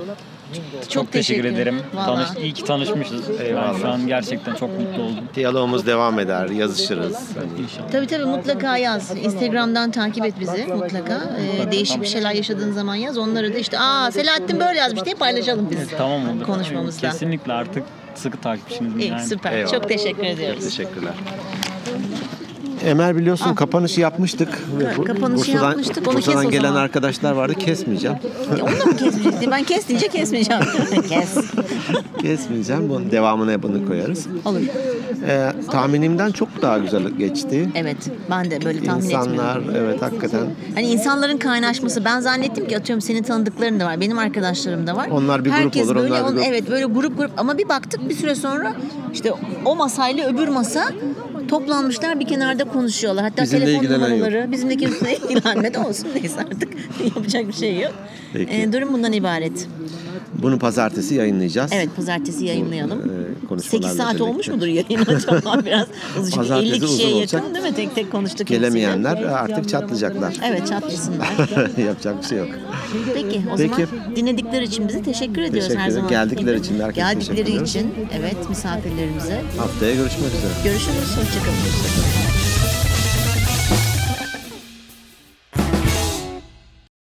Speaker 2: Çok, teşekkür teşekkür ederim. ederim. Vallahi. Tanış-
Speaker 26: iyi ki tanışmışız. Ben şu an gerçekten çok mutlu oldum.
Speaker 1: Diyalogumuz devam eder, yazışırız. İnşallah.
Speaker 2: Tabii tabii mutlaka yaz. Instagram'dan takip et bizi mutlaka. Ee, değişik bir şeyler yaşadığın zaman yaz. Onları da işte aa Selahattin böyle yazmış diye paylaşalım biz.
Speaker 26: Tamam olur.
Speaker 2: Konuşmamızda.
Speaker 26: Kesinlikle artık sıkı takipçiniz.
Speaker 2: İyi, süper. Çok teşekkür ediyoruz.
Speaker 1: Teşekkürler. Emel biliyorsun kapanışı yapmıştık.
Speaker 2: Ha, kapanışı yapmıştık, onu kes
Speaker 1: Bursa'dan
Speaker 2: o
Speaker 1: gelen
Speaker 2: zaman.
Speaker 1: arkadaşlar vardı kesmeyeceğim.
Speaker 2: Onu da mı kesmeyeceksin? Ben kes deyince kesmeyeceğim. kes.
Speaker 1: kesmeyeceğim. Bunun devamına bunu koyarız.
Speaker 2: Olur.
Speaker 1: Ee, tahminimden çok daha güzel geçti.
Speaker 2: Evet. Ben de böyle tahmin
Speaker 1: İnsanlar
Speaker 2: etmiyorum.
Speaker 1: evet hakikaten
Speaker 2: Hani insanların kaynaşması. Ben zannettim ki atıyorum senin tanıdıkların da var. Benim arkadaşlarım da var.
Speaker 1: Onlar bir grup
Speaker 2: Herkes
Speaker 1: olur,
Speaker 2: böyle,
Speaker 1: onlar bir
Speaker 2: on-
Speaker 1: grup.
Speaker 2: Evet böyle grup grup. Ama bir baktık bir süre sonra işte o masayla öbür masa toplanmışlar bir kenarda konuşuyorlar. Hatta
Speaker 1: Bizimle
Speaker 2: telefon
Speaker 1: ilgilenen yok.
Speaker 2: numaraları. Bizimle kimse ilgilenmedi olsun. Neyse artık yapacak bir şey yok.
Speaker 1: Peki.
Speaker 2: Ee, durum bundan ibaret.
Speaker 1: bunu pazartesi yayınlayacağız.
Speaker 2: Evet pazartesi yayınlayalım.
Speaker 1: Ee, konuşmalarla
Speaker 2: 8 saat
Speaker 1: birlikte.
Speaker 2: olmuş mudur yayın acaba biraz? Uzun,
Speaker 1: Pazartesi
Speaker 2: 50 kişiye
Speaker 1: uzun
Speaker 2: yakın
Speaker 1: olacak.
Speaker 2: değil mi? Tek tek konuştuk.
Speaker 1: Gelemeyenler e,
Speaker 2: hepsiyle.
Speaker 1: artık çatlayacaklar.
Speaker 2: Evet çatlasınlar.
Speaker 1: Yapacak bir şey yok.
Speaker 2: Peki o
Speaker 1: Peki.
Speaker 2: zaman dinledikleri için bize teşekkür ediyoruz
Speaker 1: Teşekkür
Speaker 2: her
Speaker 1: ederim.
Speaker 2: zaman.
Speaker 1: Geldikleri için de herkese teşekkür
Speaker 2: Geldikleri
Speaker 1: ediyoruz.
Speaker 2: için evet misafirlerimize.
Speaker 1: Haftaya görüşmek üzere.
Speaker 2: Görüşürüz. Hoşçakalın.